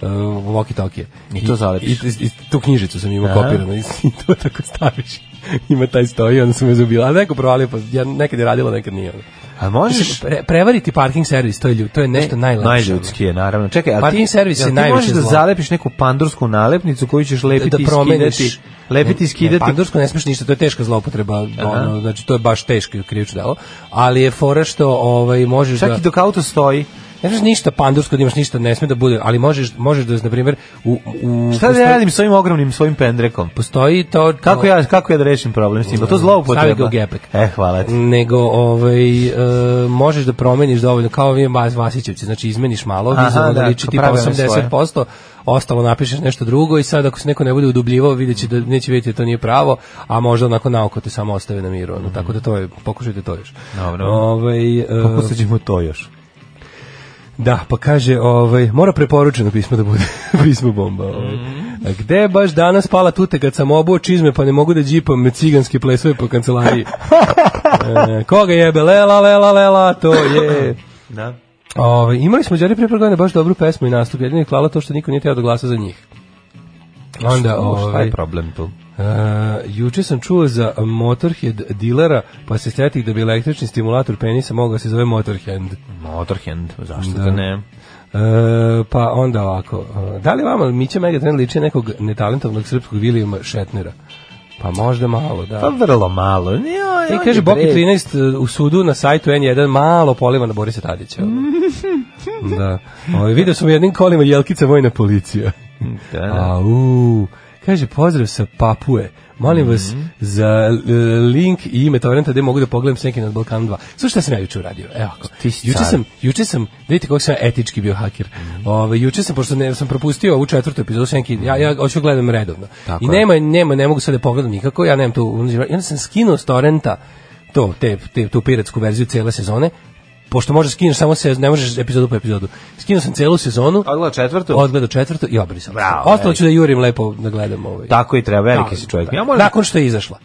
S6: uh, walkie talkie.
S5: I to zalepiš.
S6: I, i, tu knjižicu sam imao kopiranu i, i to tako staviš. Ima taj stoji, onda sam me zubila. A neko provalio, pa ja nekad je radilo, nekad nije.
S5: A možeš...
S6: Mislim, pre, prevariti parking servis, to je, lju- to je nešto najlepše. ono. Pa
S5: Najljudski je, naravno. Čekaj, a
S6: Parking
S5: ti,
S6: servis je
S5: jel ti
S6: najveće
S5: možeš da
S6: zlo.
S5: zalepiš neku pandursku nalepnicu koju ćeš lepiti
S6: da
S5: i
S6: promeniš
S5: skidati, lepiti i skidati.
S6: Ne, pandursko ne smeš ništa, to je teška zloupotreba, ono, znači to je baš teško krivično delo, ali je fora što ovaj možeš da
S5: Čak i dok auto stoji.
S6: ne smeš ništa pandursko, da imaš ništa, ne sme da bude, ali možeš možeš da na primjer u u
S5: Šta da ja radim s ovim ogromnim svojim pendrekom?
S6: postoji to
S5: Kako ja, kako ja da rešim problem s njim? Pa To
S6: Mm,
S5: zloupotreba.
S6: Stavi ga u gepek.
S5: E, hvala ti.
S6: nego ovaj e, možeš da promeniš dovoljno kao vi vas Vasićevci znači izmeniš malo
S5: Aha,
S6: vizualno da
S5: da,
S6: liči tipa
S5: prave one
S6: 80% ostalo napišeš nešto drugo i sad ako se neko ne bude udubljivao videće da neće vidjeti da to nije pravo a možda onako naoko te samo ostave na miru ono, tako da to je pokušajte to još
S5: Dobro.
S6: ovaj e,
S5: Pokusat ćemo to još.
S6: da, pa kaže, ovaj, mora preporučeno pismo da bude pismo bomba. Ovaj.
S5: Mhm.
S6: A gde je baš danas pala tute kad sam obuo čizme pa ne mogu da džipam ciganske plesove po kancelariji? e, koga jebe? Lela, lela, lela, to je...
S5: Da.
S6: Ove, imali smo Đari pre par godina baš dobru pesmu i nastup, jedino je klala to što niko nije teo da glasa za njih. Onda,
S5: Šta
S6: ovaj,
S5: je problem tu?
S6: Uh, juče sam čuo za Motorhead dilera, pa se stetih da bi električni stimulator penisa mogao se zove Motorhand.
S5: Motorhand, zašto
S6: Da.
S5: da ne?
S6: E, pa onda ovako, e, da li vama Mića Megatrend liči nekog netalentovnog srpskog Vilijama Šetnera? Pa možda malo, da.
S5: Pa vrlo malo. Ja,
S6: I kaže Boki 13 e, u sudu na sajtu N1 malo poliva na Borisa Tadića. ono. da. Ovo, video sam u jednim kolima Jelkica vojna policija.
S5: Da, da.
S6: Au. Kaže, pozdrav sa Papue. Molim vas
S5: Mhm.
S6: za e, link i ime torrenta gde mogu da pogledam Senke nad Balkan 2. Slušaj šta sam ja juče uradio. Evo ako.
S5: Ti si
S6: Juče
S5: car. Mhm.
S6: sam, juče sam, vidite kako sam ja etički bio haker. Ovaj juče sam pošto ne, sam propustio ovu četvrtu epizodu Senke, ja ja hoću gledam redovno.
S5: Tako
S6: I
S5: je.
S6: nema nema ne mogu sad da pogledam nikako. Ja nemam tu, ja onda sam skinuo s torrenta to te, te tu piratsku verziju cele sezone pošto možeš skineš samo se ne možeš epizodu po epizodu. Skinuo sam celu sezonu.
S5: Odgledao četvrtu?
S6: Odgledao četvrtu i obrisao.
S5: Bravo,
S6: Ostalo ću da jurim lepo da gledam ovaj.
S5: Tako i treba, veliki
S6: Da,
S5: si čovjek.
S6: da.
S5: Ja moram,
S6: Nakon što je izašla.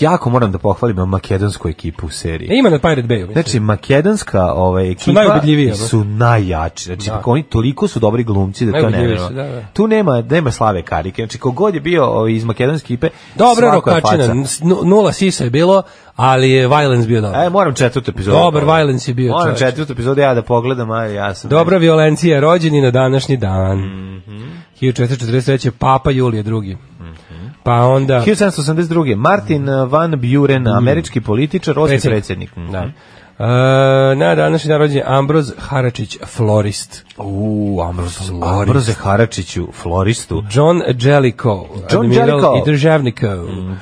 S5: jako moram da pohvalim makedonsku ekipu u seriji.
S6: E, ima na Pirate Bayu. mislim.
S5: Znači, makedonska ovaj, ekipa
S6: najubedljivije,
S5: su najjači. Znači,
S6: Da.
S5: oni toliko su dobri glumci da to ne
S6: Najubedljiviji
S5: nema.
S6: su, da, da.
S5: Tu nema, nema slave karike. Znači, kogod je bio ovaj, iz makedonske ekipe,
S6: Dobra
S5: svako je
S6: rokačina,
S5: faca.
S6: n- nula sisa je bilo, ali je Violence bio dobar.
S5: E, moram četvrtu epizodu.
S6: Dobar Violence je bio,
S5: Moram
S6: čoveče.
S5: četvrtu epizodu ja da pogledam, a ja sam...
S6: Dobra violencija je rođeni na današnji dan.
S5: Mhm.
S6: 1443. Papa Julije II.
S5: Mhm.
S6: Pa onda...
S5: 1782. Martin
S6: Mhm.
S5: Van Buren, američki političar, osmi predsjednik. Mhm.
S6: Da. E, na današnji dan rođen je Ambroz Haračić, florist.
S5: U, Ambroz, Ambroze Haračiću, floristu.
S6: John Jellicoe,
S5: John
S6: admiral
S5: Jellicoe.
S6: i državnik. e,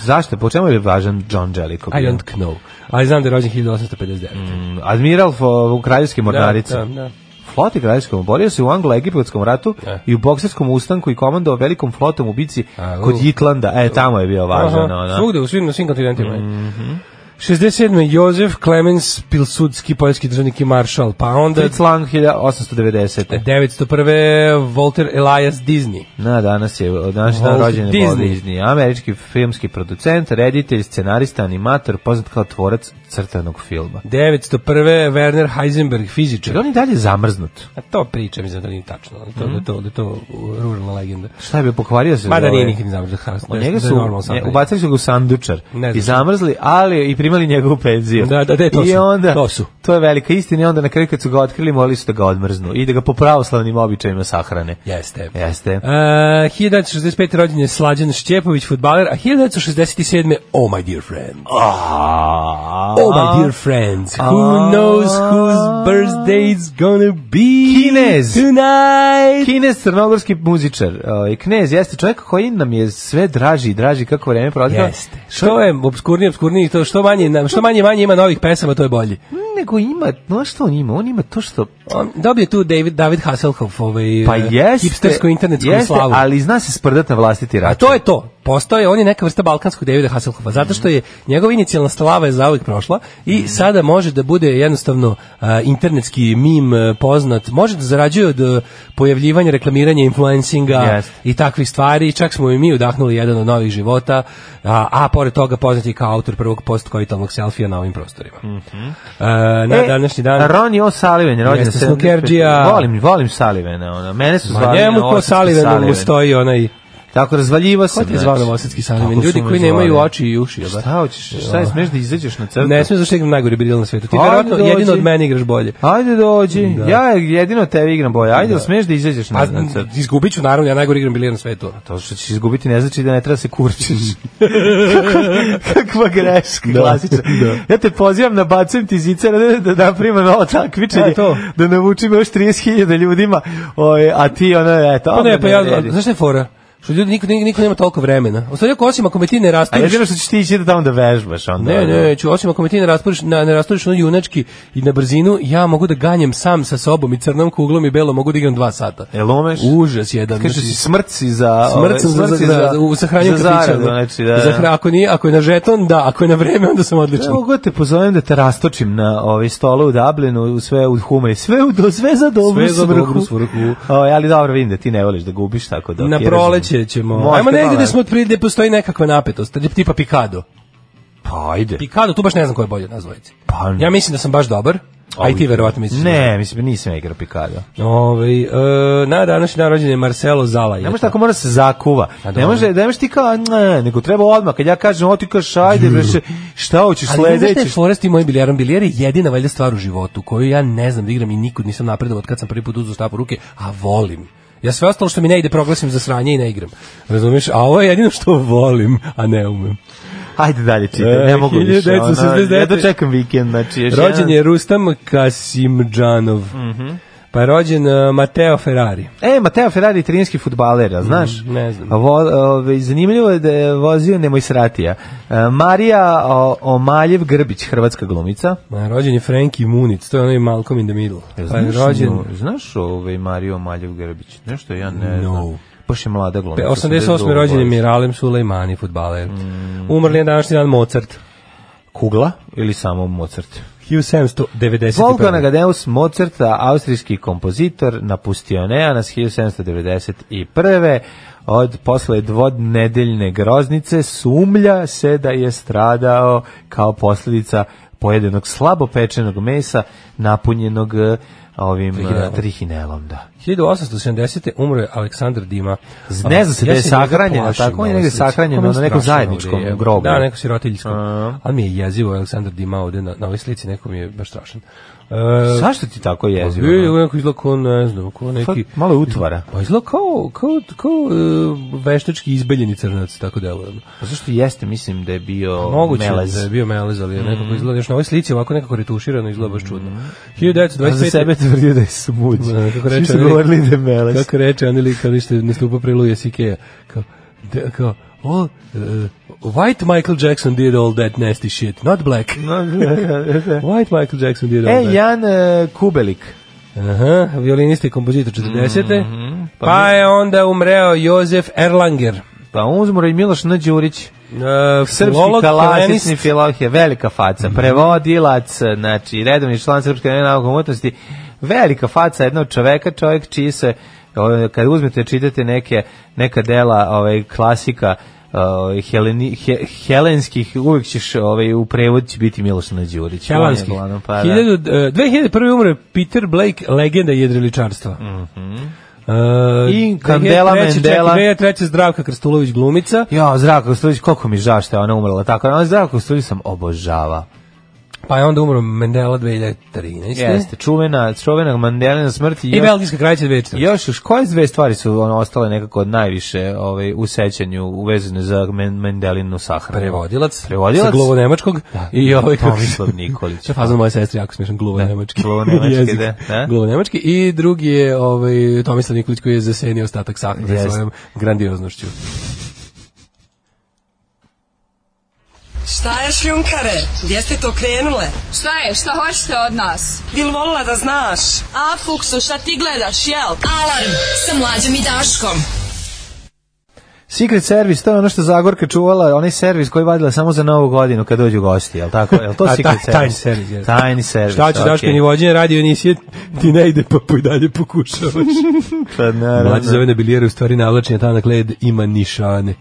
S5: Zašto? Po čemu je važan John Jellicoe?
S6: I don't know. Ali znam da je rođen 1859.
S5: Mm. Admiral fo- kraljevske mornarice.
S6: Da, da, da.
S5: Floti kraljevskom borio se u anglo-egipatskom ratu i u bokserskom ustanku i komandovao velikom flotom u bici
S6: A, u.
S5: kod Jitlanda. E, tamo je bio važan.
S6: Aha,
S5: ono.
S6: Svugde, u svim, na svim kontinentima. je.
S5: Mhm.
S6: 67. Jozef Klemens Pilsudski, poljski državnik i maršal. Pa onda
S5: Fritz Lang 1890.
S6: 901. Walter Elias Disney.
S5: Na danas je danas dan
S6: Walt
S5: rođen je Walt
S6: Disney.
S5: Disney, američki filmski producent, reditelj, scenarista, animator, poznat kao tvorac crtanog filma.
S6: 901. Werner Heisenberg, fizičar.
S5: Jer on je dalje zamrznut.
S6: A to pričam, mislim da nije tačno. To, da, to, da je to ruralna legenda.
S5: Mhm. Šta je bio pokvario se?
S6: Mada
S5: za
S6: nije
S5: ovaj-
S6: nikad ni zamrzak.
S5: Od njega su, ne, ubacili su ga u sandučar
S6: Ne znam
S5: i
S6: šta.
S5: zamrzli, ali i imali njegovu penziju.
S6: Da, da, da, to
S5: I
S6: su,
S5: onda,
S6: to su.
S5: To je velika istina i onda na kraju kad su ga otkrili molili su da ga odmrznu i da ga po pravoslavnim običajima sahrane.
S6: Jeste.
S5: Jeste.
S6: Uh, 1965. rođen je Slađan Šćepović, futbaler, a 1967. Oh my dear friend. Oh my dear friends, who knows whose birthday is gonna be
S5: Kinez.
S6: tonight?
S5: Kines crnogorski muzičar, ovaj knez jeste čovjek koji nam je sve draži i draži kako vreme prolazi.
S6: Jeste. Što je obskurniji, obskurniji, to što manje, što manje, manje ima novih pesama, to je bolji.
S5: nego ima, no što on ima? On ima to što
S6: On dobio tu David, David Hasselhoff, ovaj,
S5: pa
S6: eh,
S5: jeste.
S6: hipstersku internetsku
S5: jeste,
S6: slavu.
S5: ali zna se sprdat na vlastiti račun.
S6: A to je to. Postoje, on je neka vrsta balkanskog Davida Hasselhoffa, zato što je njegova inicijalna slava je zauvek prošla i sada može da bude jednostavno a, internetski mim e, poznat, može da zarađuje od e, pojavljivanja, reklamiranja, influencinga
S5: Jeste.
S6: i takvih stvari, čak smo i mi udahnuli jedan od novih života, a, a pored toga poznat je kao autor prvog post-koitalnog selfija na ovim prostorima. E, na
S5: Mhm. E,
S6: današnji dan...
S5: Ronnie O'Sullivan je rođen
S6: Jeste,
S5: 75.
S6: Snookerđija.
S5: Volim, volim Sullivana, ona. Mene su
S6: Ma
S5: zvali.
S6: njemu
S5: na
S6: ko
S5: Osetski
S6: Salivanu mu
S5: Sullivan.
S6: stoji onaj...
S5: Tako razvaljivo se.
S6: Ko ti je zvao Novosadski Salivan?
S5: Tako
S6: Ljudi
S5: su me
S6: koji nemaju
S5: zvali.
S6: oči i uši, jel da?
S5: Šta hoćeš? Šta je smeš da izađeš na crtu?
S6: Ne smiješ zašto igram najgori bridil na svetu. Ti
S5: Ajde,
S6: verovatno
S5: Pa, dođi.
S6: jedino od mene igraš bolje.
S5: Ajde dođi. Ja jedino tebe igram boje. Ajde, da. smeš da izađeš na,
S6: Pa,
S5: na crtu?
S6: izgubit ću, naravno, ja najgori igram bilijar na svetu.
S5: To što ćeš izgubiti ne znači da ne treba se kurčiš. Kakva greška, klasična. Ja te pozivam na bacujem ti zicer da, da napravimo novo takmičenje,
S6: E, to.
S5: da navučimo još 30.000 ljudima, oj, a ti ono, eto.
S6: Pa ne,
S5: ono
S6: pa ja,
S5: vredi.
S6: znaš šta je fora? Što ljudi, niko, niko, niko nema toliko vremena. Ostavljaj, ako osim ako me ti ne
S5: A
S6: rasturiš...
S5: jedino što ćeš ti ići da tamo da vežbaš onda.
S6: Ne,
S5: ono.
S6: ne, ću, osim ako me ti ne rasturiš, na, ne rasturiš ono junački i na brzinu, ja mogu da ganjem sam sa sobom i crnom kuglom i belom, mogu da igram dva sata.
S5: Jel umeš?
S6: Užas jedan.
S5: Kažeš da
S6: znači,
S5: E, si smrt si za... ovaj,
S6: smrt sam za, za,
S5: si
S6: za, u- za hranjem
S5: za
S6: kafića.
S5: zaradu, znači, da,
S6: Za
S5: da.
S6: hra- ako, nije, ako je na žeton, da, ako je na vreme, onda sam odličan.
S5: Mogu da te pozovem da te rastočim na ovaj stolu u Dublinu, u sve u hume, sve u do sve za dobru
S6: Sve za
S5: svrhu.
S6: dobru svrhu.
S5: Ovaj, ali dobro vidim da ti ne voliš da gubiš tako da.
S6: Na
S5: okiraš.
S6: proleće ćemo.
S5: Možda,
S6: Ajmo negdje
S5: da,
S6: gde smo otprilike gde postoji nekakva napetost, tipa Pikado.
S5: Pa ajde.
S6: Pikado, tu baš ne znam ko je bolje od nas dvojice.
S5: Pa-
S6: ja mislim da sam baš dobar. A i ti verovatno misliš.
S5: Ne, mislim nisam ja igrao pikada.
S6: Ovaj e, na današnji dan rođen je Marcelo Zala.
S5: Ne može tako mora se zakuva. Ne
S6: Pa dobro.
S5: može, ne možeš ti kao ne, nego treba odmah kad ja kažem o ti kažeš ajde bre še- šta hoćeš
S6: Ali znaš šta je
S5: sledeće.
S6: fora s tim mojim bilijarom? Bilijar je jedina valjda stvar u životu koju ja ne znam da igram i nikud nisam napredovao od kad sam prvi put uzeo štapu u ruke, a volim. Ja sve ostalo što mi ne ide proglasim za sranje i ne igram. Razumiješ? A ovo je jedino što volim, a ne umem.
S5: Ajde dalje čitaj, ne
S6: E,
S5: mogu više.
S6: 1969.
S5: ono, Ja dočekam vikend, znači još
S6: Rođen
S5: jedan-
S6: je Rustam Kasimđanov. Pa je rođen e, Mateo Ferrari.
S5: E, Mateo Ferrari je italijanski fudbaler, a znaš?
S6: Mm, ne znam.
S5: A Vo, ove, zanimljivo je da je vozio nemoj sratija. E, Marija o, Omaljev Grbić, hrvatska glumica.
S6: Ma, Pa rođen je Frankie Munic, to je onaj Malcolm in the Middle. Pa je
S5: Znaš,
S6: rođen
S5: no, znaš ovaj Mariju Omaljev Grbić? Nešto ja ne
S6: No.
S5: znam. Baš je mlada
S6: pe-
S5: glumica.
S6: 88.
S5: 82
S6: rođen je
S5: godište.
S6: Miralem Sulejmani, futbaler. Umrli je današnji dan Mozart.
S5: Kugla ili samo Mozart?
S6: 1795.
S5: Wolfgang Amadeus Mozart, austrijski kompozitor, napustio Neanas 1791. Od posle dvodnedeljne groznice sumlja se da je stradao kao posljedica pojedenog slabo pečenog mesa napunjenog eh, ovim trihinelom. trihinelom da.
S6: 1870. umro je Aleksandar Dima.
S5: Ne zna se da je
S6: Ja se njega
S5: sahranjen,
S6: plašim,
S5: tako? On je
S6: malo
S5: negde
S6: slično.
S5: sahranjen
S6: Kako mi je
S5: na nekom
S6: strašno
S5: zajedničkom
S6: ovdje, evo.
S5: grobu.
S6: Da, neko sirotiljskom. Ali mi je jezivo Aleksandar Dima ovde na, na ovoj slici, neko mi je baš strašan. E,
S5: Zašto ti tako jezivo?
S6: pa bio
S5: no?
S6: je neko izgleda kao, ne znam, kao neki...
S5: Sad Malo utvara.
S6: Pa izgleda kao, kao, kao e, veštački izbeljeni crnac, tako deluje. ono.
S5: Pa Zašto jeste, mislim da je bio
S6: Moguće
S5: melez. Mhm.
S6: da je bio melez, ali je nekako izgleda još na ovoj slici ovako nekako retuširano izgleda baš čudno. 1925.
S5: A Mhm. Pa za sebe tvrdio da je smuđ.
S6: Da, kako reče,
S5: Svi su
S6: ali-
S5: govorili da je melez.
S6: Kako reče Aneli kad ište nastupa pre Luja Sikeja. Kao, de, kao all, uh, white Michael Jackson did all that nasty shit, not black. White Michael Jackson did all
S5: E,
S6: that.
S5: Jan e, Kubelik.
S6: Aha, violinista i kompozitor 40. pa, je onda umreo Jozef Erlanger. e,
S5: Pa uzmora i Miloš Nađurić.
S6: Uh,
S5: Srpski kalasisni filoh je velika faca. Prevodilac, znači redovni član Srpske nauke umotnosti. Velika faca jednog čoveka, čovjek čiji se, ovaj, kad uzmete čitate neke, neka dela ovaj, klasika ovaj, heleni, he- helenskih, uvijek ćeš ovaj, u prevod će biti Miloš Nađurić.
S6: Helanski.
S5: On je uglavnom, Pa, da.
S6: 1000, e, 2001. umre Peter Blake, legenda jedriličarstva. Mm Uh,
S5: I Kandela Mendela.
S6: Čekaj, 2003. Zdravka Krstulović glumica.
S5: Jo, Zdravko Kostulić, koliko mi žao što je ona umrla tako. Ona Zdravko Kostulić sam obožava.
S6: Pa je onda umro Mendela 2013.
S5: Jeste, čuvena, čuvena Mandelina smrti.
S6: I Belgijska kraljica 2014.
S5: Još, još koje dve stvari su ono, ostale nekako od najviše ovaj, u sećanju uvezane za men, Mendelinu sahranu?
S6: Prevodilac,
S5: Prevodilac?
S6: sa gluvo nemačkog i ovaj kako se-
S5: Tomislav Nikolić.
S6: Sa fazom moje sestre, jako smiješan, gluvo nemački.
S5: gluvo nemački,
S6: Jezik.
S5: da, da.
S6: Gluvo nemački i drugi e, je ovaj Tomislav Nikolić koji je zasenio ostatak sahrane
S5: Jeste.
S6: svojom grandioznošću.
S8: Šta je šljunkare? Gdje ste to krenule?
S9: Šta je? Šta hoćete od nas?
S8: Bil volila da znaš?
S9: A, Fuksu, šta ti gledaš, jel? Alarm sa mlađom i Daškom.
S5: Secret Service, to je ono što Zagorka čuvala, onaj servis koji je vadila samo za novu godinu kad dođu gosti, jel tako? Jel to
S6: A,
S5: Secret
S6: taj-
S5: Service?
S6: tajni servis, jeste.
S5: Tajni servis,
S6: Šta će
S5: okej.
S6: Daško ni vođenje radio emisije, ti ne ide pa po i dalje pokušavaš.
S5: Pa, naravno.
S6: Mlađe zove na bilijere, u stvari navlačenje tanak led ima nišane.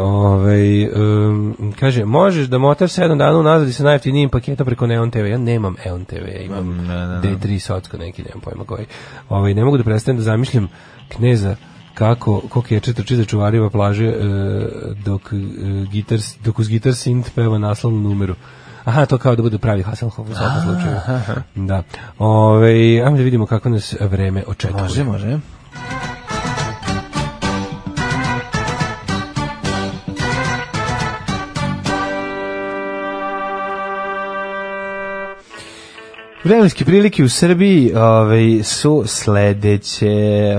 S6: Ovaj, um, kaže, možeš da motaš 7 dana unazad i sa najjeftinijim paketom preko Neon TV. Ja nemam Eon TV, imam D3 Socko neki, nemam pojma koji. Ovaj, ne mogu da prestanem da zamišljam kneza kako ko je trči za čuvarima plaže e, dok, e, gitar, dok uz gitar sint peva naslovnu numeru. Aha, to kao da bude pravi Hasselhoff u svakom slučaju. Da. Ove, ajmo da vidimo kako nas vreme očekuje.
S5: Može, može. Vremenske prilike u Srbiji ovaj, su sledeće.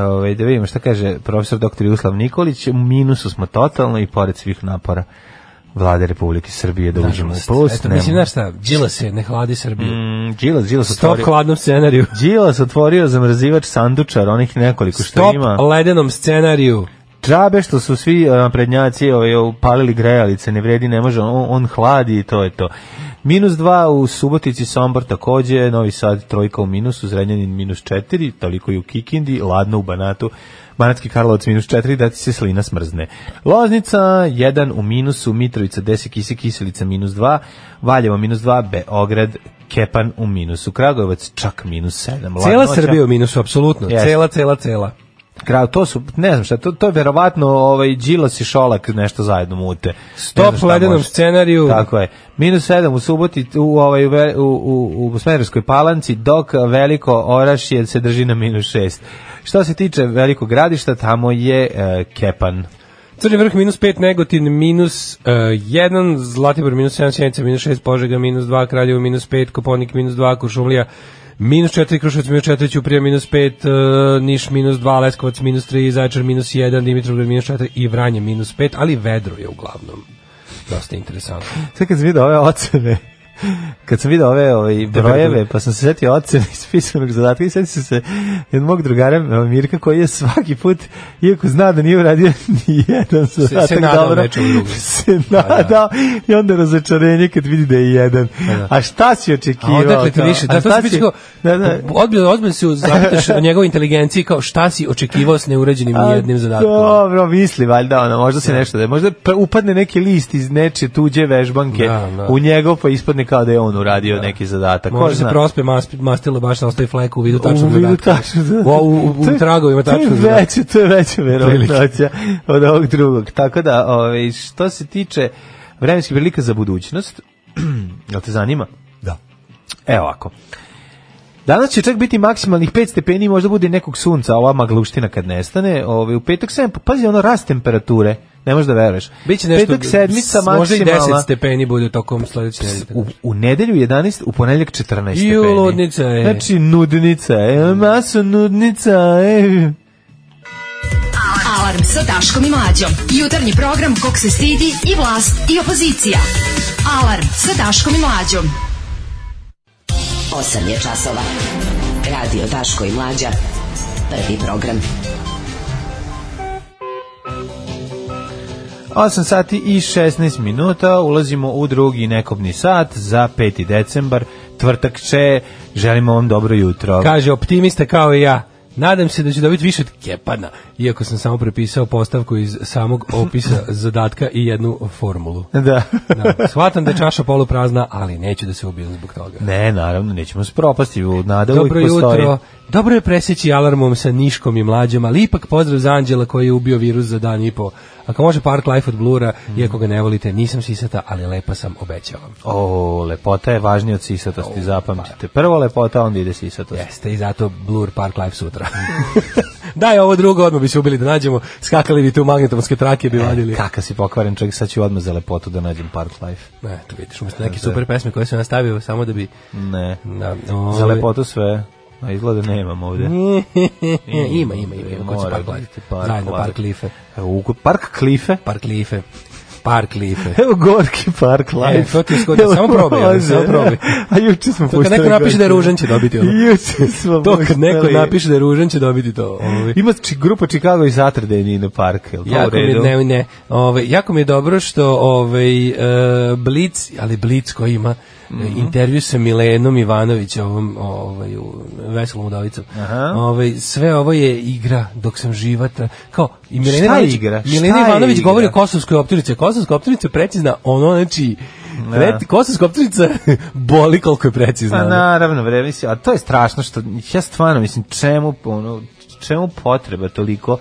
S5: Ovaj, da vidimo šta kaže profesor dr. Juslav Nikolić. U minusu smo totalno i pored svih napora vlade Republike Srbije da uđemo u plus.
S6: Eto,
S5: nema.
S6: mislim, znaš šta, džila se, ne hladi Srbiju.
S5: Mm, Đilas, Đilas
S6: Stop
S5: otvorio.
S6: hladnom scenariju.
S5: Đilas otvorio zamrzivač sandučar, onih nekoliko što
S6: Stop
S5: ima.
S6: ledenom scenariju.
S5: Džabe što su svi e, prednjaci ovaj, upalili grejalice, ne vredi, ne može, on, on hladi i to je to. Minus dva u Subotici, Sombor takođe, Novi Sad trojka u minusu, Zrenjanin minus četiri, toliko i u Kikindi, Ladno u Banatu, Banatski Karlovac minus četiri, da ti se slina smrzne. Loznica jedan u minusu, Mitrovica deset kisi, Kiselica minus dva, Valjevo minus dva, Beograd Kepan u minusu, Kragujevac čak minus sedam.
S6: Cela
S5: Ladnoća-
S6: Srbija u minusu, apsolutno.
S5: Jeste.
S6: Cela, cela, cela.
S5: Kraj, to su, ne znam šta, to, to je verovatno ovaj, Đilas i Šolak nešto zajedno mute. Ne znam
S6: Stop
S5: šta
S6: ledenom
S5: može.
S6: scenariju.
S5: Tako je. Minus 7 u Suboti, u, ovaj, u, Ve- u, u, u Smederskoj palanci, dok veliko Orašje se drži na minus 6. Što se tiče velikog gradišta, tamo je e, Kepan.
S6: Crni vrh minus 5, Negotin minus 1, Zlatibor minus 7, Sjenica minus 6, Požega minus 2, Kraljevo minus 5, Koponik minus 2, Kuršumlija minus 4, Krušovac minus 4, Ćuprija minus 5, Niš minus 2, Leskovac minus 3, Zajčar minus 1, Dimitrovgrad minus 4 i Vranje minus 5, ali vedro je uglavnom. Dosta interesantno.
S5: Sve kad sam vidio ove ocene, kad sam vidio ove ovaj, brojeve, pa sam se setio ocene iz pisanog zadatka i setio sam se jednog mog drugara e, Mirka koji je svaki put, iako zna da nije uradio ni jedan zadatak
S6: nadao
S5: dobro,
S6: nečemu drugom. Pa
S5: se nadao i onda razočarenje kad vidi da je jedan. A šta
S6: Pa
S5: si
S6: A
S5: očekivao?
S6: odakle ti
S5: kao?
S6: više?
S5: A
S6: Da, to
S5: šta
S6: se
S5: si-
S6: biće kao,
S5: Da, da.
S6: odbiljno, odbiljno se zapitaš o njegovoj inteligenciji kao šta si očekivao s neurađenim
S5: A,
S6: jednim zadatkom.
S5: Dobro, misli valjda ona, možda se nešto da, možda pre- upadne neki list iz nečije tuđe vežbanke
S6: Da, da.
S5: u njegov pa ispadne kao da je on uradio neki zadatak. Ko
S6: Može se
S5: zna?
S6: prospe mas- mastilo baš da ostaje fleku u vidu
S5: U
S6: tačnog
S5: vidu
S6: zadatka.
S5: tačnog zadatka.
S6: U, u, u,
S5: To
S6: u
S5: je-
S6: tragovima tačnog
S5: To je
S6: zadatka.
S5: veće, to je veća verovatnoća od ovog drugog. Tako da, ovaj, što se tiče vremenskih prilika za budućnost, jel te zanima? Da. Evo ovako. Danas će čak biti maksimalnih 5 stepeni, možda bude i nekog sunca, a ova magluština kad nestane. Ovaj, u petak 7, pa pazi, ono rast temperature, ne možeš da veruješ.
S6: Biće nešto,
S5: petak sedmica
S6: s- možda i 10
S5: maksimalna.
S6: stepeni bude tokom sledeće
S5: U,
S6: nedelje.
S5: u nedelju 11, u ponedeljak 14 stepeni.
S6: Ju, ludnica je.
S5: Znači, nudnica je, maso nudnica je.
S4: Alarm sa Daškom i Mlađom. Jutarnji program kog se stidi i vlast i opozicija. Alarm sa Daškom i Mlađom.
S10: 8 je časova. Radio Daško i Mlađa. Prvi program.
S5: 8 sati i 16 minuta, ulazimo u drugi nekobni sat za 5. decembar, tvrtak će, želimo vam dobro jutro.
S6: Kaže, optimista kao i ja. Nadam se da ću dobiti više od Kepana, iako sam samo prepisao postavku iz samog opisa zadatka i jednu formulu.
S5: Da.
S6: Da, shvatam da je čaša poluprazna, ali neću da se ubijem zbog toga.
S5: Ne, naravno, nećemo spropasti, u nada uvijek
S6: Dobro
S5: postoji.
S6: jutro, Dobro je preseći alarmom sa Niškom i mlađom, ali ipak pozdrav za Anđela koji je ubio virus za dan i po. Ako može Park Life od Blura, iako ga ne volite, nisam sisata, ali lepa sam, obećao vam.
S5: O, lepota je važnija od sisatosti, zapamtite. Prvo lepota, onda ide sisatost.
S6: Jeste, i zato Blur Park Life sutra. Daj ovo drugo, odmah bi se ubili da nađemo, skakali bi tu magnetomonske trake,
S5: E,
S6: bi vadili.
S5: Kaka si pokvaren čovjek, sad ću odmah za lepotu da nađem Park Life.
S6: Ne, to vidiš, umjesto neke super pesme koje sam nastavio samo da bi...
S5: Ne.
S6: Da,
S5: Za
S6: ovaj-
S5: lepotu sve. A izgleda nemam ovde.
S6: ima, ima, ima, ima, kod su
S5: Mora
S6: Park Life.
S5: biti Park
S6: Zajedno Park
S5: Life.
S6: Life.
S5: Evo, uku- Park Klife.
S6: Park Life. Park Life.
S5: Evo Gorki Park Life.
S6: E, to ti je skoda, samo probaj, ali,
S5: Može.
S6: samo probaj.
S5: A juče smo
S6: To kad neko napiše da je ružan će dobiti ono.
S5: Juče smo
S6: To kad neko
S5: pustili-
S6: napiše da je ružan će dobiti to. Ovaj.
S5: Ima či, grupa Chicago i Saturday Nino Park, je li to u
S6: Jako mi, je-
S5: redu?
S6: ne, ne, ovaj, jako mi je dobro što ovaj, e, Blic, ali Blic koji ima e,
S5: Mhm.
S6: intervju sa Milenom Ivanović ovom ovaj u veselom udovicom.
S5: Aha.
S6: Ovaj sve ovo je igra dok sam živata. Kao i Milena
S5: Šta je
S6: Ivanović,
S5: igra?
S6: Milena
S5: Šta je
S6: Ivanović
S5: igra?
S6: govori o kosovskoj optužnici. Kosovska optužnica je precizna, ono znači Pred, kosovska optužnica boli koliko je precizna.
S5: Pa
S6: ono.
S5: naravno, bre, mislim, a to je strašno što ja stvarno mislim čemu ono čemu potreba toliko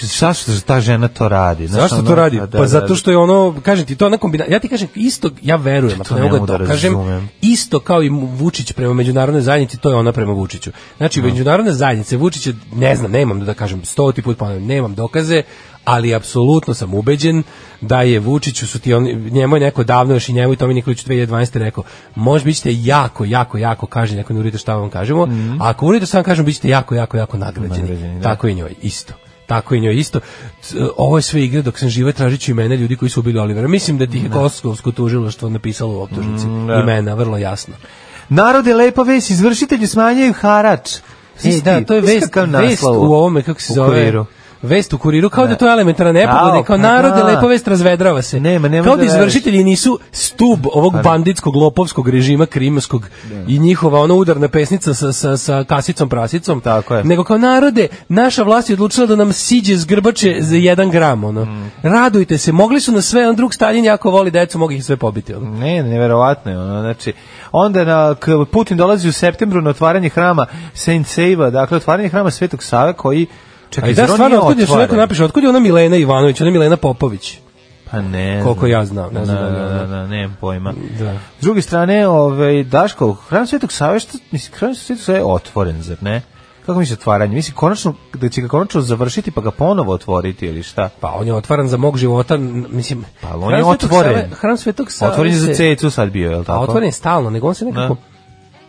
S5: Zašto ta žena to radi? Znaš,
S6: Zašto
S5: ono,
S6: to radi?
S5: a da,
S6: pa
S5: da,
S6: zato
S5: da.
S6: što je ono, kažem ti, to je ona kombinacija. Ja ti kažem isto, ja verujem, ako
S5: ne
S6: ne mogu
S5: mogu
S6: da
S5: da
S6: dokažem,
S5: razumem.
S6: isto kao i Vučić prema međunarodnoj zajednici, to je ona prema Vučiću. Znači, međunarodna zajednica, Vučić je, ne znam, nemam da kažem, stoti put ponavljam, nemam dokaze, ali apsolutno sam ubeđen da je Vučiću su ti on, njemu je neko davno još i njemu i Tomi Nikolić 2012. rekao možda bićete jako, jako, jako kažnjeni ako ne uradite šta vam kažemo, a ako uradite šta vam kažemo bićete jako, jako, jako nagrađeni.
S5: Nagrađeni, da.
S6: Tako i njoj, isto. Tako i njoj isto. C- Ovo je sve igra dok sam živa tražit ću imena ljudi koji su ubili Olivera. Mislim da ti je Kosovsko tužilaštvo napisalo u optužnici.
S5: da.
S6: Imena, vrlo jasno.
S5: Narode lepa vest, izvršitelji smanjaju harač.
S6: E, da, to je vest, vest u ovome, kako se zove?
S5: Kuriru.
S6: Vest u kuriru, kao da, to je elementarna nepogoda,
S5: Au,
S6: kao
S5: pa
S6: narode
S5: da.
S6: lepo vest razvedrava se.
S5: Nema, Pa nemoj
S6: kao
S5: da
S6: da
S5: veruješ.
S6: izvršitelji nisu stub ovog banditskog, lopovskog režima krimskog i njihova ona udarna pesnica sa, sa, sa kasicom prasicom.
S5: Tako je.
S6: Nego kao narode, naša vlast je odlučila da nam siđe z grbače za jedan gram. Ono.
S5: Mm.
S6: Radujte se, mogli su na sve, on drug Stalin jako voli decu, mogli ih sve pobiti. Ono.
S5: Ne, neverovatno je ono, znači, onda na, k, Putin dolazi u septembru na otvaranje hrama Saint Seiva, dakle, otvaranje hrama Svetog Save koji, čekaj,
S6: A i
S5: zar
S6: da,
S5: on
S6: stvarno,
S5: nije
S6: otkud je što neko
S5: otvoren?
S6: napiše, otkud je ona Milena Ivanović, ona Milena Popović.
S5: Pa ne.
S6: Koliko
S5: znam.
S6: ja znam, ne znam
S5: Da,
S6: da li
S5: da,
S6: je
S5: da,
S6: ono.
S5: da, nemam pojma.
S6: Da.
S5: S druge strane, ovaj, Daško, hram Svetog Save, što, mislim, hram Svetog Save je otvoren, zar ne? Kako misliš otvaranje? Mislim, konačno, da će ga konačno završiti pa ga ponovo otvoriti ili šta?
S6: Pa on je otvaran za mog života, n- mislim...
S5: Pa, ali on
S6: Hram
S5: je
S6: Svetog
S5: otvoren.
S6: Save- Hram Svetog Save
S5: Otvoren je za
S6: se-
S5: cecu sad bio, je li tako?
S6: A otvoren je stalno, nego on se nekako...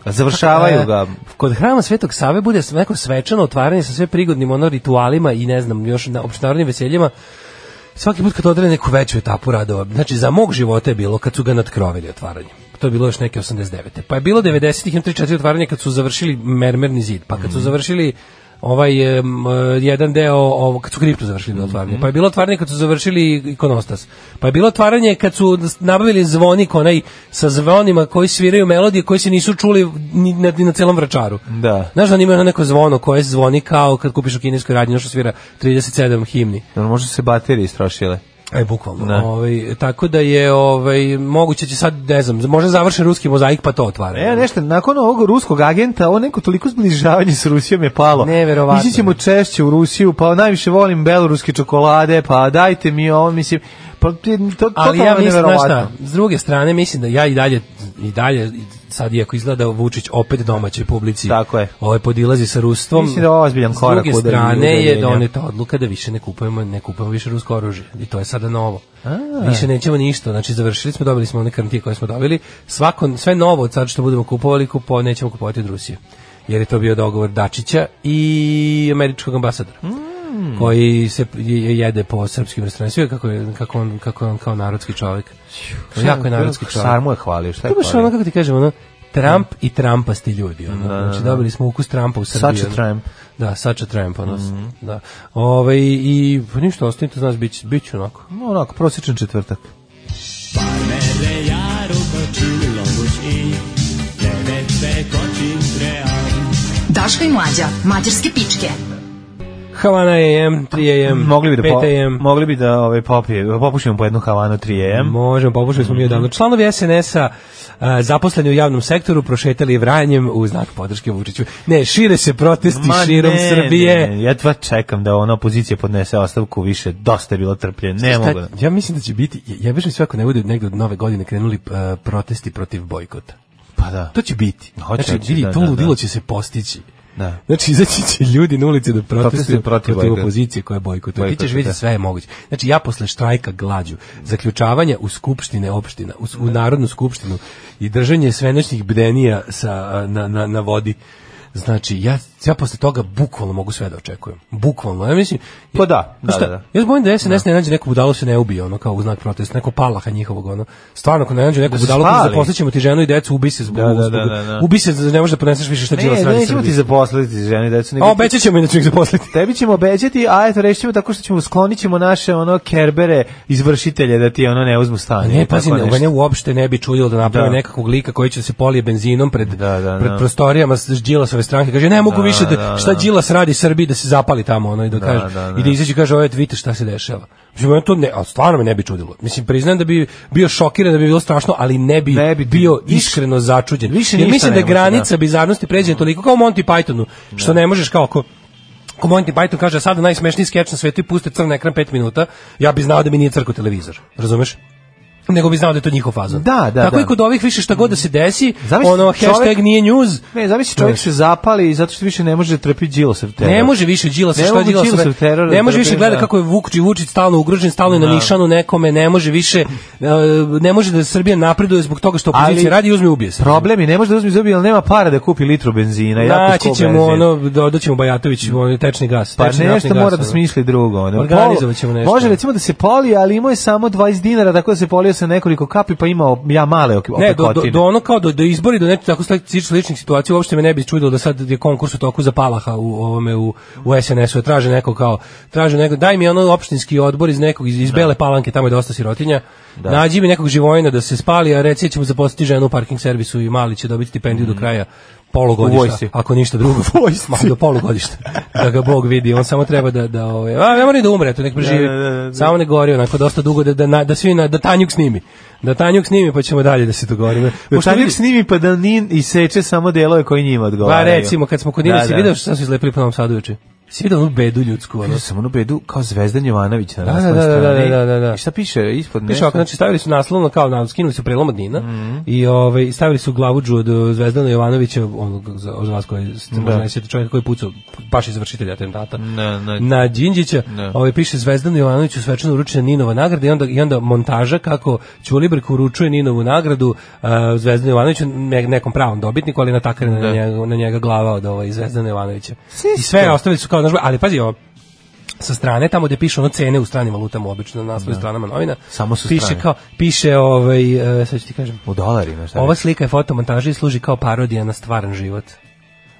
S5: A Završavaju
S6: e,
S5: ga.
S6: Kod hrama Svetog Save bude neko svečano otvaranje sa sve prigodnim ono ritualima i ne znam, još na opštenarodnim veseljima. Svaki put kad odrede neku veću etapu radova. Znači, za mog života je bilo kad su ga nadkrovili otvaranjem. To je bilo još neke 89. Pa je bilo 90-ih, imam 3-4 otvaranje kad su završili mermerni zid. Pa kad su završili ovaj em, eh, jedan deo ovo kad su kriptu završili otvaranje. Pa je bilo otvaranje kad su završili ikonostas. Pa je bilo otvaranje kad su s- nabavili zvonik onaj sa zvonima koji sviraju melodije koje se nisu čuli ni na, ni na celom vračaru.
S5: Da.
S6: Znaš da oni imaju ono neko zvono koje zvoni kao kad kupiš u kineskoj radnji ono što svira 37 himni.
S5: Jel Možda su se baterije istrošile.
S6: E, bukvalno.
S5: Da.
S6: Ovaj, tako da je ovaj, moguće će sad, ne znam, možda završen ruski mozaik pa to otvara.
S5: E, nešto, nakon ovog ruskog agenta, ovo neko toliko zbližavanje s Rusijom je palo.
S6: Neverovatno.
S5: Ići ćemo češće u Rusiju, pa najviše volim beloruske čokolade, pa dajte mi ovo, mislim, pa to, to,
S6: Ali ja mislim, znaš
S5: neverovatno.
S6: šta, s druge strane, mislim da ja i dalje, i dalje, sad iako izgleda Vučić opet domaćoj publici,
S5: Tako je.
S6: ovaj podilazi sa rustvom.
S5: Mislim da je ovo ozbiljan korak
S6: S druge
S5: udaljenja-
S6: strane je
S5: udaljenja.
S6: doneta odluka da više ne kupujemo, ne kupujemo više rusko oružje. I to je sada novo. Više nećemo ništa. Znači, završili smo, dobili smo one karantije koje smo dobili. Svako, sve novo od sad što budemo kupovali, kupo, nećemo kupovati od Rusije. Jer je to bio dogovor Dačića i američkog ambasadora
S5: Mhm.
S6: koji se je- jede po srpskim restoranima Sve kako je kako on kako je on kao narodski čovjek jako je narodski čovjek
S5: Sarmu je hvalio, šta
S6: to
S5: je
S6: je baš ono
S5: hvalio?
S6: kako ti kažem ono Trump i Trumpasti ljudi ono. znači dobili smo ukus Trumpa u Srbiji
S5: Such a
S6: ono.
S5: Trump. Mhm.
S6: da such a Trump ono. da ovaj i pa ništa ostanite znaš bić bić onako
S5: No, onako, prosječan četvrtak.
S4: Daško i mlađa, mađarske pičke.
S6: Havana AM, 3 AM,
S5: Mogli bi da
S6: 5 AM.
S5: po, mogli bi da ovaj popije, popušimo po jednu Havanu 3 AM.
S6: Možemo, popušali
S5: Mhm.
S6: smo mi odavno. Članovi SNS-a a, zaposleni u javnom sektoru prošetali Vranjem u znak podrške Vučiću. Ne, šire se protesti
S5: Ma
S6: širom
S5: ne,
S6: Srbije.
S5: Ne, ja tva čekam da ona opozicija podnese ostavku više. Dosta je bilo trpljenja. Ne
S6: Šta-
S5: mogu. da-
S6: ja mislim da će biti, ja, ja bišem sve ako ne bude negde od nove godine krenuli a, protesti protiv bojkota.
S5: Pa da.
S6: To će biti.
S5: Hoće,
S6: znači,
S5: hoće,
S6: vidi,
S5: da,
S6: to
S5: da, da.
S6: ludilo će se postići.
S5: Da.
S6: Znači, izaći će ljudi na ulici da protestuju
S5: Protestuju
S6: protiv,
S5: protiv bojkota.
S6: opozicije koja bojkotuje. Ti ćeš
S5: Bojkota,
S6: vidjeti
S5: da.
S6: sve je moguće. Znači, ja posle štrajka glađu, zaključavanja u skupštine opština, u, s- u Narodnu skupštinu i držanje svenoćnih bdenija sa, a, na, na, na vodi, Znači, ja, ja posle toga bukvalno mogu sve da očekujem. Bukvalno, ja mislim...
S5: Pa da, da,
S6: Znaš šta,
S5: da, da.
S6: Ja se bojim da SNS ne nađe neku budalu se ne ubije, ono, kao u znak protesta, neko palaha njihovog, ono. Stvarno, ako ne nađe neku
S5: se
S6: budalu, kaže,
S5: spali.
S6: zaposlit ćemo ti ženu i decu, ubi se zbog,
S5: Da, da,
S6: zbog-
S5: da, da, da.
S6: ubi se, ne možeš da podneseš više šta
S5: Ne,
S6: džila strani
S5: nećemo ti
S6: Srbije.
S5: zaposliti žene decu. nego
S6: A
S5: ti-
S6: obećat ćemo i da ću ih zaposliti.
S5: Tebi ćemo obećati, a eto rešit ćemo tako što ćemo sklonit ćemo naše ono kerbere izvršitelje da ti ono ne uzmu
S6: A
S5: stanje.
S6: ne,
S5: i tako
S6: pazi, ne,
S5: nešto.
S6: mene uopšte ne bi čudilo da naprave
S5: Da.
S6: nekakvog lika koji će da se polije benzinom pred,
S5: Da, da,
S6: pred
S5: da.
S6: prostorijama s- s Đilasove stranke. Kaže, ne mogu više, da,
S5: da,
S6: šta
S5: da.
S6: Đilas radi Srbiji da se zapali tamo, ono, i da, kaže,
S5: da, da.
S6: i da izađe i kaže, ovo vidite šta se dešava. Mislim, mene to ne, ali stvarno me ne bi čudilo. Mislim, priznajem da bi bio šokiran, da bi bilo strašno, ali ne bi,
S5: Ne bi ti-
S6: bio
S5: više-
S6: iskreno začuđen.
S5: više
S6: Jer
S5: ništa
S6: mislim da
S5: ne može,
S6: granica bizarnosti pređena toliko kao u Monty Pythonu, što ne možeš kao ako Ko Monty Python kaže sada najsmešniji skeč na svetu i puste crn ekran 5 minuta, ja bi znao da mi nije crko televizor. Razumeš? nego bi znao da je to njihov fazon.
S5: Da, da,
S6: Tako
S5: da.
S6: i kod ovih više šta god da se desi,
S5: Zamisli,
S6: ono
S5: čovek-
S6: hashtag nije news.
S5: Ne, zamisli čovjek se zapali zato što više ne može trpiti Đilasov teror.
S6: Ne može više Đilas,
S5: Ne
S6: šta
S5: mogu
S6: Đilas
S5: Đilasov
S6: sve-
S5: teror da
S6: Ne može više
S5: trpi,
S6: gleda
S5: da.
S6: kako je Vukči Vučić stalno ugrožen, stalno je na
S5: Da.
S6: nišanu nekome, ne može više e, ne može da Srbija napreduje zbog toga što opozicija
S5: Ali-
S6: radi i uzme i ubije se.
S5: Problem je, ne može da uzmi zubi, ali nema para da kupi litru benzina. jako
S6: Naći
S5: skup
S6: ćemo
S5: benzin.
S6: ono, dodaćemo Bajatović, ono, tečni gas.
S5: Pa
S6: tečni naftni
S5: nešto
S6: gas,
S5: mora da
S6: ono.
S5: smisli drugo. Ono.
S6: Organizovat ćemo
S5: Pol-
S6: nešto.
S5: Može recimo da se poli, ali imao je samo 20 dinara, tako da se polio sa nekoliko kapi, pa imao ja male opekotine.
S6: Ne, do, do, do ono kao do, do izbori, do nečeg tako sličnih sličnih situacija, uopšte me ne bi čudilo da sad je konkurs u toku za Palaha u ovome u, u SNS-u, traže neko kao, traže neko, daj mi ono opštinski odbor iz nekog, iz, iz Bele Palanke, tamo je dosta sirotinja, nađi mi nekog živojina da se spali, a reci ja ćemo zaposliti ženu u parking servisu i mali će dobiti stipendiju do kraja
S5: U
S6: polugodišta,
S5: Mhm. vojsci.
S6: ako ništa drugo. Ma, do polugodišta, da ga Bog vidi, on samo treba da, da ovaj, a, ne mora ni da umre, to nek preživi,
S5: Da, da, da, da.
S6: samo ne gori, onako dosta dugo, da, da, na- da svi, na, da Tanjuk snimi, da Tanjuk snimi, pa ćemo dalje da se dogovorimo. Pošto
S5: Pošto
S6: vidi-
S5: s njimi pa da nin i seče samo delove koji njima
S6: Pa
S5: odgovaraju.
S6: recimo, kad smo kod
S5: Da,
S6: Nina, si
S5: da.
S6: video što su izlepili po Novom Sadu juče? Si video onu bedu ljudsku, ono?
S5: Vidio sam onu bedu kao Zvezdan Jovanović na
S6: Da,
S5: naslovnoj
S6: da, da, da,
S5: strani.
S6: da, da, da.
S5: I šta piše ispod
S6: Piše ovako, znači stavili su naslovno kao na skinuli su prelom od Nina
S5: Mhm.
S6: i ovaj stavili su glavuđu od uh, Zvezdana Jovanovića, onog za od vas koji ste možda ne sjetite, čovjeka koji je pucao baš izvršitelja atentata.
S5: Na- na-
S6: znači- na Đinđića.
S5: Da.
S6: Ovaj piše Zvezdanu Jovanoviću svečano uručena Ninova nagrada i onda i onda montaža kako Ćulibrk uručuje Ninovu nagradu uh, Zvezdanu Jovanoviću ne- nekom pravom dobitniku, ali natakarena na njega, na njega glava od ovaj Zvezdana Jovanovića. I sve ostavili su kao naš, ali pazi ovo sa strane tamo gde piše ono cene u stranim valutama obično na naslovnim stranama novina
S5: Samo su
S6: piše
S5: strane.
S6: kao piše ovaj e, sad ću ti kažem
S5: U dolarima, šta
S6: ova
S5: Ovo
S6: slika je fotomontaža i služi kao parodija na stvaran život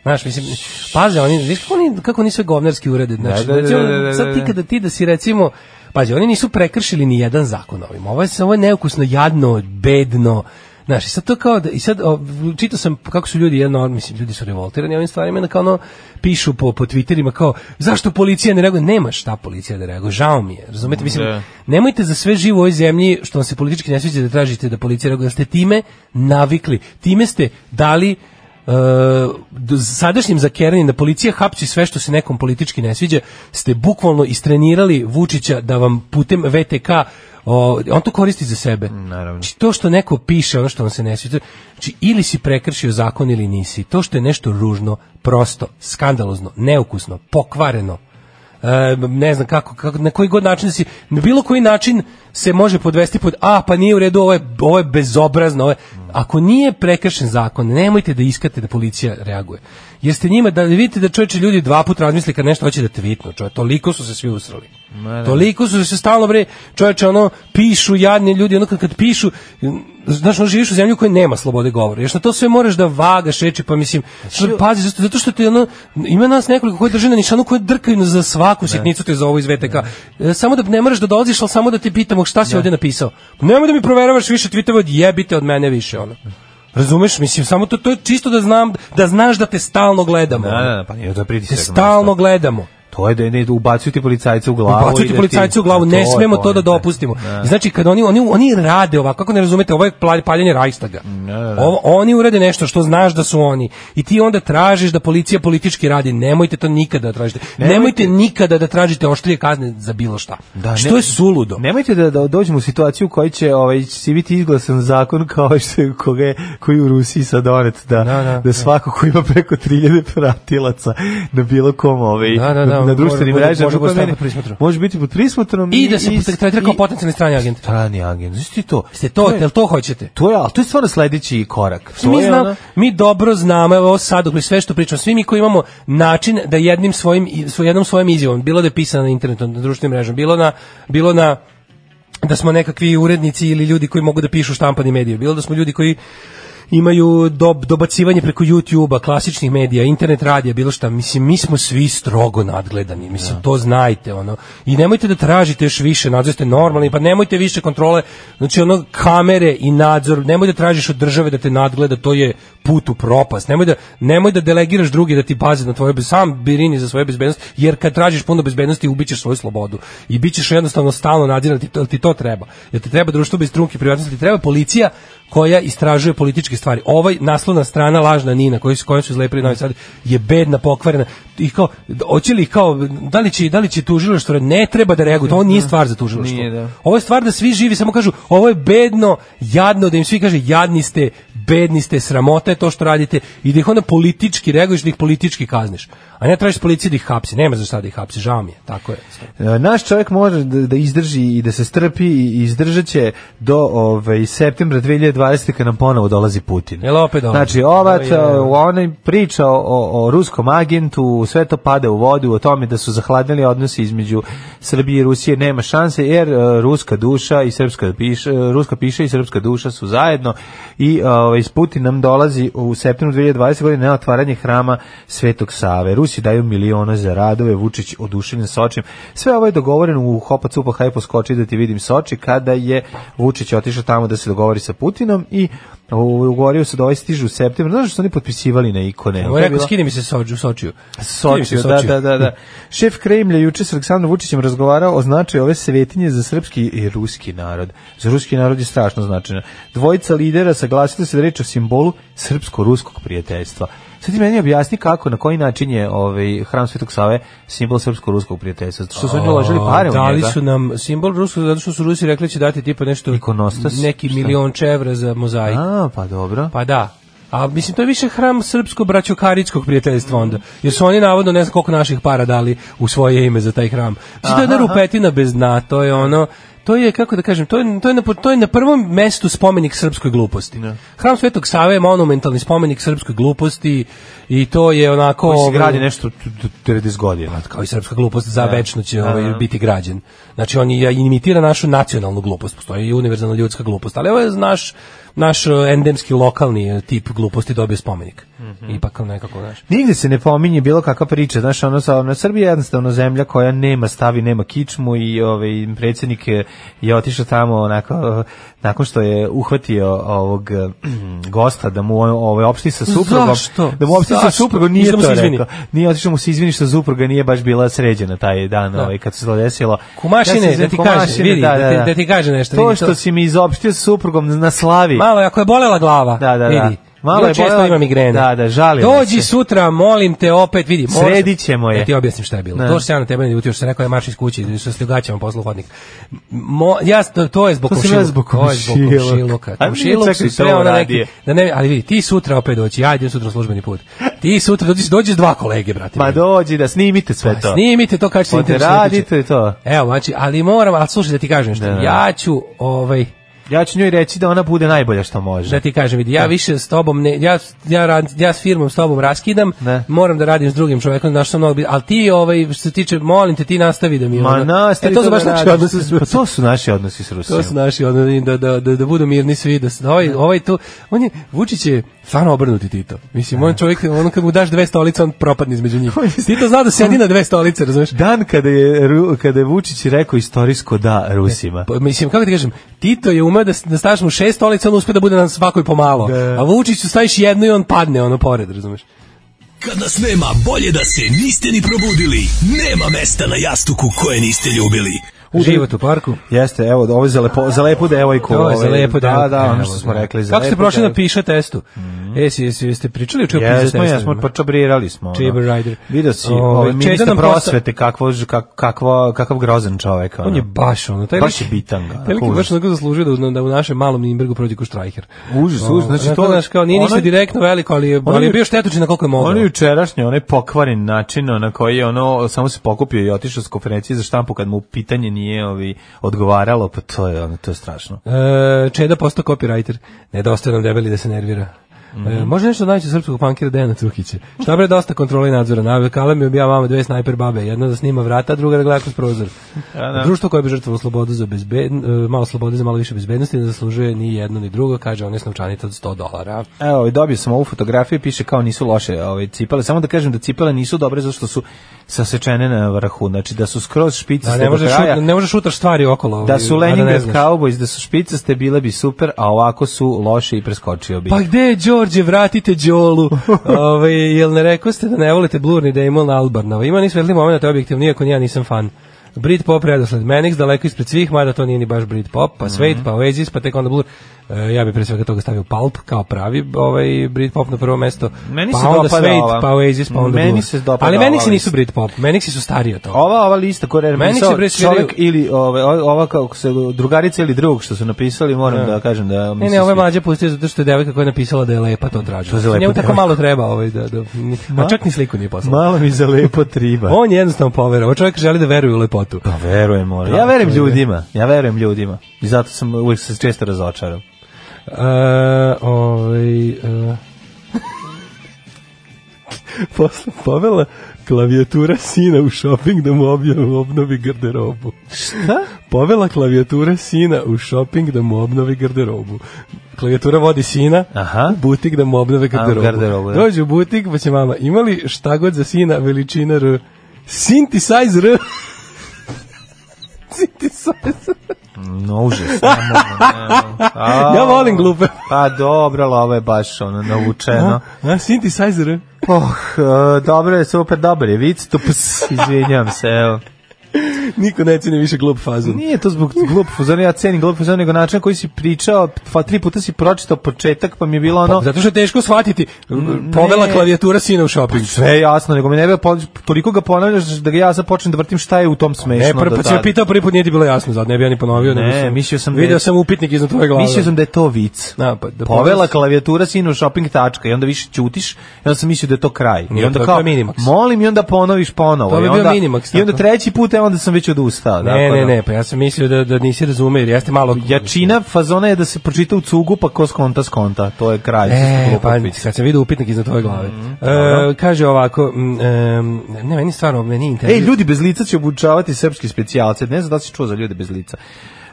S6: Znaš, mislim, pazi, oni, znaš kako oni, kako oni sve govnarski urede, znači,
S5: Da, da,
S6: znači,
S5: da,
S6: ono,
S5: da, da,
S6: sad ti
S5: da.
S6: kada ti da si recimo, pazi, oni nisu prekršili ni jedan zakon ovim, ovo je, ovo je neukusno, jadno, bedno, znaš, i sad to kao, da, i sad, o, čitao sam kako su ljudi, jedno, mislim, ljudi su revoltirani ovim stvarima, i onda kao ono, pišu po, po Twitterima, kao, zašto policija ne reaguje, nema šta policija da reaguje, žao mi je, razumete, mislim,
S5: Da.
S6: Nemojte za sve živo u ovoj zemlji što vam se politički ne sviđa da tražite da policija reaguje, jer ste time navikli. Time ste dali e, do- sadašnjim zakeranim da policija hapći sve što se nekom politički ne sviđa, ste bukvalno istrenirali Vučića da vam putem VTK o, on to koristi za sebe.
S5: Naravno.
S6: Znači, to što neko piše, ono što vam se ne sviđa, znači ili si prekršio zakon ili nisi. To što je nešto ružno, prosto, skandalozno, neukusno, pokvareno, e, ne znam kako, kako, na koji god način si, na bilo koji način se može podvesti pod, a pa nije u redu, ovo je, ovo je bezobrazno, ovo je, ako nije prekršen zakon, nemojte da iskate da policija reaguje. Jer ste njima, da vidite da čovječe ljudi dva puta razmisli kad nešto hoće da tvitnu, čovječe, toliko su se svi usrali. Toliko su se stalno bre, čovječe, ono, pišu jadni ljudi, ono kad, kad pišu, znaš, ono, živiš u zemlju koja nema slobode govora. Još na to sve moraš da vagaš reči, pa mislim, pazi, zato- zato što ti ono, ima nas nekoliko koji drže na nišanu koji drkaju za svaku sitnicu te za ovo iz VTK. E, Samo da ne moraš da dolaziš, ali samo da ti pitamo šta si ovdje napisao. Pa Nemoj da mi proveravaš više tvitova, jebite od mene više, ono. Razumeš, mislim, samo to, to je čisto da znam, da znaš da te stalno gledamo. ono.
S5: Da, da, da, pa nije, to je
S6: Te
S5: pritisak.
S6: stalno gledamo.
S5: To je da ne ubacuju ti policajce u glavu.
S6: Ubacuju ti policajci u glavu, ne smemo to da dopustimo. I znači, kad oni, oni, oni rade ovako, kako ne razumete, ovo je pla- paljenje Rajstaga. Ovo, oni urade nešto što znaš da su oni. I ti onda tražiš da policija politički radi. Nemojte to nikada da tražite. Nemojte, nikada da tražite oštrije kazne za bilo šta.
S5: ne-
S6: što je suludo.
S5: Pa. Nemojte da, da dođemo u situaciju u kojoj će ovaj će biti izglasan zakon kao što je koga je, koji je u Rusiji sad donet da
S6: Da,
S5: da,
S6: da, da.
S5: svako ko ima preko 3000 pratilaca na bilo kom ovaj
S6: Da, da, da,
S5: na,
S6: može-
S5: na društvenim
S6: može-
S5: mrežama
S6: može
S5: kod
S6: postati
S5: mene-
S6: pod prismotrom.
S5: Može biti pod prismotrom
S6: I da se
S5: i-
S6: tretira kao
S5: i-
S6: potencijalni strani agent.
S5: strani agent. Znaš ti to?
S6: Ste to,
S5: To je-
S6: jel to hoćete?
S5: To je, ali to je stvarno sledeći korak. To
S6: mi,
S5: je
S6: znam,
S5: ono-
S6: mi dobro znamo, evo sad, dok mi sve što pričam, svi mi koji imamo način da jednim svojim, i- svoj- jednom svojim izjavom, bilo da je pisano na internetu, na društvenim mrežama, bilo na, bilo na da smo nekakvi urednici ili ljudi koji mogu da pišu štampani medije, bilo da smo ljudi koji imaju dob, dobacivanje preko YouTube-a, klasičnih medija, internet radija, bilo šta. Mislim, mi smo svi strogo nadgledani. Mislim, to znajte, ono. I nemojte da tražite još više nadzor, ste normalni, pa nemojte više kontrole. Znači, ono, kamere i nadzor, nemoj da tražiš od države da te nadgleda, to je put u propast. Nemoj da, nemoj da delegiraš drugi da ti paze na tvoje, bez- sam birini za svoju bezbednost, jer kad tražiš puno bezbednosti, ubićeš svoju slobodu. I bit ćeš jednostavno stalno nadziran, ti, to- ti to treba. Jer ti treba društvo bez trunke privatnosti, ti treba policija koja istražuje političke stvari. Ovaj naslovna strana lažna Nina koju su kojom su izlepili Novi Sad je bedna, pokvarena i kao hoće li kao da li će da li će tužilaštvo ne treba da reaguje. Ovo nije stvar za tužilaštvo.
S5: Nije, da.
S6: Ovo je stvar da svi živi samo kažu ovo je bedno, jadno da im svi kaže jadni ste, bedni ste, sramota je to što radite i da ih onda politički reaguješ, da ih politički kazniš. A ne tražiš policiju da ih hapsi, nema za šta da ih hapsi, žao mi je, tako je.
S5: E, Naš čovjek može da, da izdrži i da se strpi i izdržat će do ovaj, septembra 2020. kad nam ponovo dolazi Putin.
S6: Jel opet dolazi?
S5: Znači,
S6: Ovo
S5: ova,
S6: je-
S5: ona priča o, o, o ruskom agentu, sve to pada u vodu, o tome da su zahladnili odnosi između Srbije i Rusije, nema šanse, jer e, ruska duša i srpska piša, ruska piša i srpska duša su zajedno i ovaj, s Putin nam dolazi u septembru 2020. godine na otvaranje hrama Svetog Save. Rusi daju miliona za radove, Vučić oduševljen Sočim. Sve ovo je dogovoreno u Hopa Cupa Hajpo Skoči da ti vidim Soči kada je Vučić otišao tamo da se dogovori sa Putinom i ovaj, ugovorio se da ovaj stiže u septembru. Znaš što su oni potpisivali na ikone?
S6: Ovo
S5: To
S6: je
S5: je
S6: rekao,
S5: bila-
S6: skini mi se Sođu, Sočiju. Skini mi se
S5: Sočiju, da,
S6: Sočiju.
S5: da, da, da. Šef Kremlja juče s Aleksandrom Vučićem razgovarao o značaju ove svetinje za srpski i ruski narod. Za ruski narod je strašno značajno. Dvojica lidera saglasili se da je reč o simbolu srpsko-ruskog prijateljstva. Sad ti meni objasni kako, na koji način je ovaj hram Svetog Save simbol srpsko-ruskog prijateljstva. Zato što su oni uložili pare u njega.
S6: Dali su nam simbol ruskog, zato što su Rusi rekli će dati tipa nešto,
S5: Ikonostas?
S6: neki
S5: Šta?
S6: milion čevra za mozaik.
S5: A, pa dobro.
S6: Pa da. A mislim to je više hram srpsko braćokaričkog prijateljstva onda. Jer su oni navodno ne znam koliko naših para dali u svoje ime za taj hram. Znači to je jedna rupetina bez dna, to je ono To je kako da kažem, to je to je na to je na prvom mestu spomenik srpskoj gluposti. Hram Svetog Save je monumentalni spomenik srpskoj gluposti i to je onako
S5: Koji se
S6: ovaj,
S5: gradi nešto t- t- 90 godina.
S6: kao i srpska glupost za večno će ovaj,
S5: da.
S6: biti građen. Znači on je- imitira našu nacionalnu glupost, postoji i univerzalna ljudska glupost, ali ovo je naš naš eh, endemski lokalni eh, tip gluposti dobio spomenik.
S5: Mhm.
S6: Ipak nekako, znaš.
S5: Nigde se ne pominje bilo kakva priča, znaš, ono sa ono, Srbija je jednostavno zemlja koja nema stavi, nema kičmu i ovaj predsjednik je, je otišao tamo onako eh, nakon što je uhvatio ovog eh, gosta da mu on- ovaj opšti sa suprugom,
S6: Zašto?
S5: da mu opšti sa
S6: Zašto?
S5: suprugom nije
S6: Ništa mu se
S5: to
S6: izvini.
S5: rekao. Nije otišao mu se izvini što supruga nije baš bila sređena taj dan, ovaj kad se to desilo.
S6: Kumašine,
S5: se izvinim,
S6: da ti kažem,
S5: kumašine,
S6: vidi, da ti- da ti kažem nešto,
S5: To
S6: vidi, to-
S5: što si mi izopštio sa suprugom na slavi.
S6: Malo je, ako je bolela glava,
S5: Da, da, da.
S6: vidi.
S5: Malo
S6: Vrlo
S5: je
S6: često
S5: bolela-
S6: ima migrene.
S5: Da, da, žalila
S6: Dođi
S5: se.
S6: sutra, molim te, opet vidi. moram-
S5: Sredit ćemo je.
S6: Da ti objasnim šta je bilo.
S5: Da.
S6: Došao sam ja na tebe ne ljutio, što sam rekao ja marš iz kuće, da su sljugaćama poslu hodnik. Mo, ja, to, to je zbog
S5: To sam
S6: komšiluka.
S5: ja zbog
S6: To je zbog
S5: komšiluka.
S6: komšiluka.
S5: A mi
S6: Komšiluk
S5: čekaj,
S6: su sve
S5: to
S6: ono
S5: radije.
S6: neki- Da ne, ali vidi, ti sutra opet doći, ja idem sutra u službeni put. Ti sutra dođi, dođi s dva kolege, brate.
S5: Ma dođi da snimite sve to.
S6: Snimite to kad se
S5: Pa da
S6: interesuje.
S5: radite to.
S6: Evo, znači, ali moram, ali slušaj da ti kažem što.
S5: Da.
S6: Ja ću, ovaj,
S5: Ja ću njoj reći da ona bude najbolja što može.
S6: da ti kažem, vidi, ja više s tobom ne, ja, ja, rad- ja s firmom s tobom raskidam,
S5: Ne.
S6: moram da radim s drugim čovekom, znaš što mnogo, bi- ali ti, ovaj, što se tiče, molim te, ti nastavi da mi...
S5: Ma
S6: ono-
S5: nastavi
S6: E, to su
S5: da
S6: baš naši
S5: radiš.
S6: odnosi s
S5: Pa to su naši odnosi s Rusijom.
S6: To su naši, ono, da, da, da, da budu mirni svi, da, se- da ovaj, ovaj tu, on je, Vučić je stvarno obrnuti Tito. Mislim, on čovjek, on kad mu daš dve stolice, on propadne između njih. Tito zna da sedi na dve stolice, razumeš?
S5: Dan kada je, Ru- kada je Vučić rekao istorijsko da Rusima.
S6: Pa, mislim, kako ti kažem, Tito je umeo da, s- da staviš mu šest stolica, on uspe da bude na svakoj pomalo.
S5: Da.
S6: A Vučiću staviš jednu i on padne ono pored, razumeš?
S11: Kad nas nema, bolje da se niste ni probudili. Nema mesta na jastuku koje niste ljubili.
S6: Život u parku.
S5: Jeste, evo, ovo je za, lepo, za lepu devojku.
S6: To je za
S5: ovaj,
S6: lepo
S5: Da,
S6: devojku.
S5: da, ono
S6: Evo,
S5: što smo
S6: da.
S5: rekli. Za
S6: Kako ste
S5: lepu
S6: prošli na
S5: devojku.
S6: piša testu? Jesi, jesi, jeste pričali o čemu piša testu?
S5: Jesmo, jesmo, pa čabrirali smo. ono.
S6: Čaber rider.
S5: Vidio si,
S6: Ovaj,
S5: ovaj
S6: Čeda
S5: ministar
S6: nam posta-
S5: prosvete, kakvo, kak- kakvo, kakav grozan čovek.
S6: On je baš ono, taj
S5: Baš
S6: lik-
S5: je bitanga,
S6: Taj lik je
S5: onako
S6: baš onako zaslužio da, u- da u našem malom Nimbergu prođe ko štrajker.
S5: Užas, užas, znači
S6: Onako,
S5: to-
S6: znaš, kao, nije ništa
S5: ono-
S6: direktno veliko, ali je,
S5: ono
S6: ali je
S5: ju-
S6: bio štetočin na koliko je mogao.
S5: Ono jučerašnje, onaj pokvaren način na koji je ono, samo se pokupio i otišao s konferencije za štampu kad mu pitanje nije ovi, odgovaralo, pa to je, ono, to je strašno.
S6: E, Čeda postao copywriter. Nedostaje nam debeli da se nervira. E,
S5: Mhm.
S6: može nešto najče srpskog punkira Dejana Trukića. Šta bre dosta kontrole i nadzora. Na avekala mi obija mama dve snajper babe. Jedna da snima vrata, a druga da gleda kroz prozor. Društvo koje bi žrtvovalo slobodu za bezbed, e, malo slobode za malo više bezbednosti ne zaslužuje ni jedno ni drugo, kaže on je snovčanica od 100 dolara.
S5: Evo, i dobio sam ovu fotografiju, piše kao nisu loše ove cipele. Samo da kažem da cipele nisu dobre zato što su sasečene na vrhu, znači da su skroz špice
S6: Da, ne,
S5: do
S6: možeš,
S5: kraja.
S6: šut- ne možeš šutaš stvari okolo.
S5: Da su
S6: a ne
S5: Leningrad
S6: znaš.
S5: Cowboys, da su špicaste, bile bi super, a ovako su loše i preskočio bi.
S6: Pa gde je Đorđe, vratite Đolu. Ove, jel ne rekao ste da ne volite Blur ni Damon Albarnova? Ima ni svetli moment objektivno, iako ni ja nisam fan. Britpop redosled Menix, daleko ispred svih, mada to nije ni baš Britpop, pa
S5: Mhm.
S6: Suede, pa Oasis, pa tek onda Blur. E, ja bih pre svega toga stavio Pulp kao pravi ovaj Britpop na prvo mesto.
S5: Meni
S6: pa
S5: se
S6: onda
S5: dopada
S6: Suede,
S5: ova.
S6: pa Oasis, pa onda
S5: Meni
S6: Blur.
S5: se dopada
S6: Ali
S5: ova
S6: Menixi nisu
S5: lista.
S6: Britpop, Menixi su stariji od toga.
S5: Ova ova lista koja je
S6: Meni se
S5: napisao
S6: bre svidio-
S5: čovjek ili ove o- ova kako se drugarica ili drugog što su napisali, moram da kažem da mi
S6: Ne,
S5: se
S6: ne, ovo je
S5: sviđa.
S6: mlađe pustio zato što je devojka koja je napisala da je lepa to traži.
S5: To je za lepu
S6: Njemu tako
S5: devojku.
S6: malo treba ovaj da, da, a čak ni sliku nije poslao.
S5: Malo mi za lepo triba.
S6: On je jednostavno poverovao. Čovjek želi da veruje u lepotu.
S5: Pa verujem, možda. Ja verujem ljudima, ja verujem ljudima. I zato sam uvijek se često razočaram.
S6: E, ovaj, e. Posle povela klavijatura sina u shopping da mu objav- obnovi garderobu. Šta? Povela klavijatura sina u shopping da mu obnovi garderobu. Klavijatura vodi sina
S5: Aha.
S6: u butik da mu obnove garderobu.
S5: garderobu, da.
S6: Dođe u butik pa će mama, imali šta god za sina veličina R? Synthesizer R? Synthesizer.
S5: No, užas. ne mogu, ne mogu. A,
S6: Ja volim glupe.
S5: Pa dobro, ali ovo je baš ono, navučeno.
S6: A, synthesizer R?
S5: Oh, e, dobro je, super, dobro je. Vic, tu ps, izvinjam se, evo.
S6: Niko ne ceni više glup fazon.
S5: Nije to zbog glup fuzona, ja cenim glup fuzona, nego način na koji si pričao, pa tri puta si pročitao početak, pa mi je bilo ono...
S6: Zato što je teško shvatiti. Povela
S5: ne. Pa
S6: klavijatura sina u shopping.
S5: Sve je jasno, nego mi ne bi po- toliko ga ponavljaš da ga ja sad počnem da vrtim šta je u tom smešno.
S6: Ne, prvi
S5: do
S6: put sam
S5: tada.
S6: pa pitao, prvi put nije ti bilo jasno, zato ne bi ja ni ponovio. nego
S5: Ne, mislio sam da je-
S6: Video sam upitnik iznad tvoje glave.
S5: Mislio sam da je to vic.
S6: Da, pa da
S5: Povela
S6: povela-
S5: klavijatura sinu shopping tačka i onda više ćutiš i onda sam mislio da je to kraj. I
S6: Nije,
S5: onda
S6: to-
S5: kao,
S6: to je Minimax.
S5: molim i onda ponoviš ponovo.
S6: To bi
S5: I
S6: bio
S5: onda-
S6: Minimax,
S5: I onda
S6: tako.
S5: treći put, e, onda sam već odustao. da,
S6: Ne,
S5: pa
S6: ne,
S5: da.
S6: ne, pa ja sam mislio da, da nisi razume, jer jeste malo...
S5: Jačina fazona je da se pročita u cugu, pa ko skonta skonta. To je kraj.
S6: E,
S5: Glupo
S6: pa
S5: pić.
S6: sad sam vidio upitnik iznad tvoje glave. e, kaže ovako, mm, em, pa, ne, meni stvarno, meni je
S5: Ej,
S6: intervju...
S5: ljudi bez lica će obučavati srpski specijalce. Ne znam da li si čuo za ljude bez lica.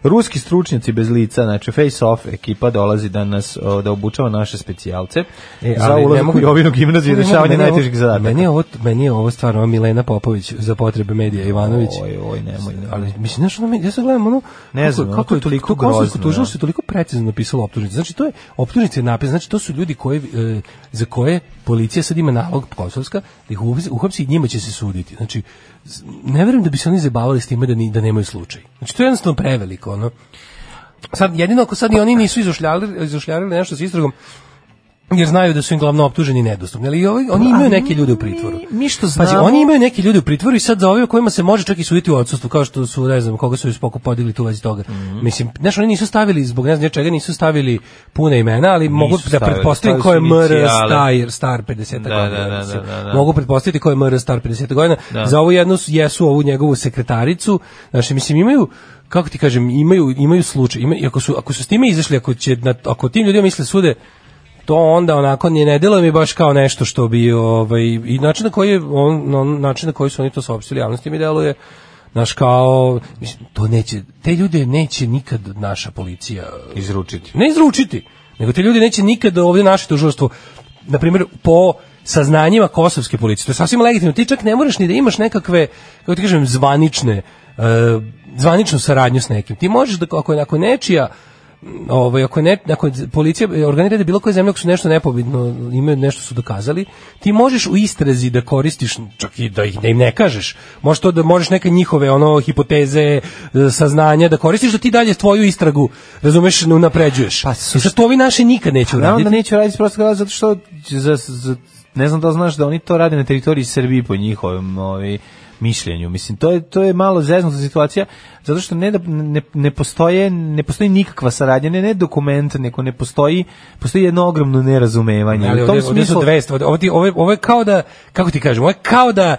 S5: Ruski stručnjaci bez lica, znači Face Off ekipa dolazi da nas o, da obučava naše specijalce
S6: E,
S5: za
S6: ali ne
S5: ulazak
S6: mogu-
S5: u Jovinu gimnaziju i
S6: Ne mogu,
S5: rešavanje
S6: meni je ovo-
S5: najtežih zadataka.
S6: Meni je ovo, meni je ovo stvarno ova Milena Popović za potrebe medija Ivanović.
S5: Oj, oj, nemoj, nemoj.
S6: Ali mislim znaš ono, ja sad gledam ono
S5: Ne znam, ono, to je toliko
S6: kako
S5: grozno,
S6: tužilaštvo je toliko precizno napisalo optužnice. Znači to je optužnice napis, znači to su ljudi koji e, za koje policija sad ima nalog kosovska da ih uhapsi- uhapsi i njima će se suditi. Znači z- ne verujem da bi se oni zabavali s time da ni da nemaju slučaj. Znači to je jednostavno preveliko ono. Sad jedino ako sad i oni nisu izušljali izušljarili nešto s istragom jer znaju da su im glavno optuženi nedostupni, ali i ovi- oni imaju neke ljude u pritvoru.
S5: Mi- mi što
S6: Pazi,
S5: znamo-
S6: oni imaju neke ljude u pritvoru i sad za ove o kojima se može čak i suditi u odsustvu, kao što su, ne znam, koga su iz pokupa podigli tu u vezi toga.
S5: Mhm.
S6: Mislim, znaš, oni nisu stavili, zbog ne znam čega, nisu stavili puna imena, ali mogu da
S5: stavili,
S6: pretpostavim ko je
S5: stavili su
S6: MR
S5: inicijale.
S6: Star, star 50
S5: Da,
S6: godina.
S5: da, da,
S6: mislim.
S5: da, da, da.
S6: Mogu pretpostaviti ko je MR Star 50 godina. Za ovu jednu su- jesu ovu njegovu sekretaricu, znači, mislim, imaju kako ti kažem, imaju imaju slučaj, ima, i ako su ako su s time izašli, ako će na, ako tim ljudima misle sude, to onda onako ni ne deluje mi baš kao nešto što bi ovaj i način na koji je on, on način na koji su oni to saopštili javnosti mi deluje naš kao mislim to neće te ljude neće nikad naša policija
S5: izručiti.
S6: ne izručiti, nego te ljudi neće nikada ovdje naše tužilaštvo, na primjer, po saznanjima kosovske policije, to je sasvim legitimno, ti čak ne moraš ni da imaš nekakve, kako ti kažem, zvanične, e, zvaničnu saradnju s nekim. Ti možeš da, ako je ako je nečija ovaj ako ne ako policija organizira bilo koje zemlje ako su nešto nepobitno imaju nešto su dokazali ti možeš u istrazi da koristiš čak i da ih da im ne kažeš možeš to da možeš neke njihove ono hipoteze e, saznanja da koristiš da ti dalje tvoju istragu razumeš ne unapređuješ pa sa to ovi naši nikad neće
S5: Naravno da
S6: uraditi
S5: neću raditi prosto gledati zato što za, za, ne znam da li znaš da oni to rade na teritoriji Srbije po njihovom ovaj, mišljenju. Mislim, to je, to je malo zeznuta situacija, zato što ne, da, ne, ne, postoje, ne postoji nikakva saradnja, ne, ne dokument, neko ne postoji, postoji jedno ogromno nerazumevanje.
S6: Ali
S5: Ovaj, U tom
S6: ovde, ovde su
S5: smislu,
S6: dve stvari. Ovo, ti, ovo, je- ovo je kao da, kako ti kažem, ovo je kao da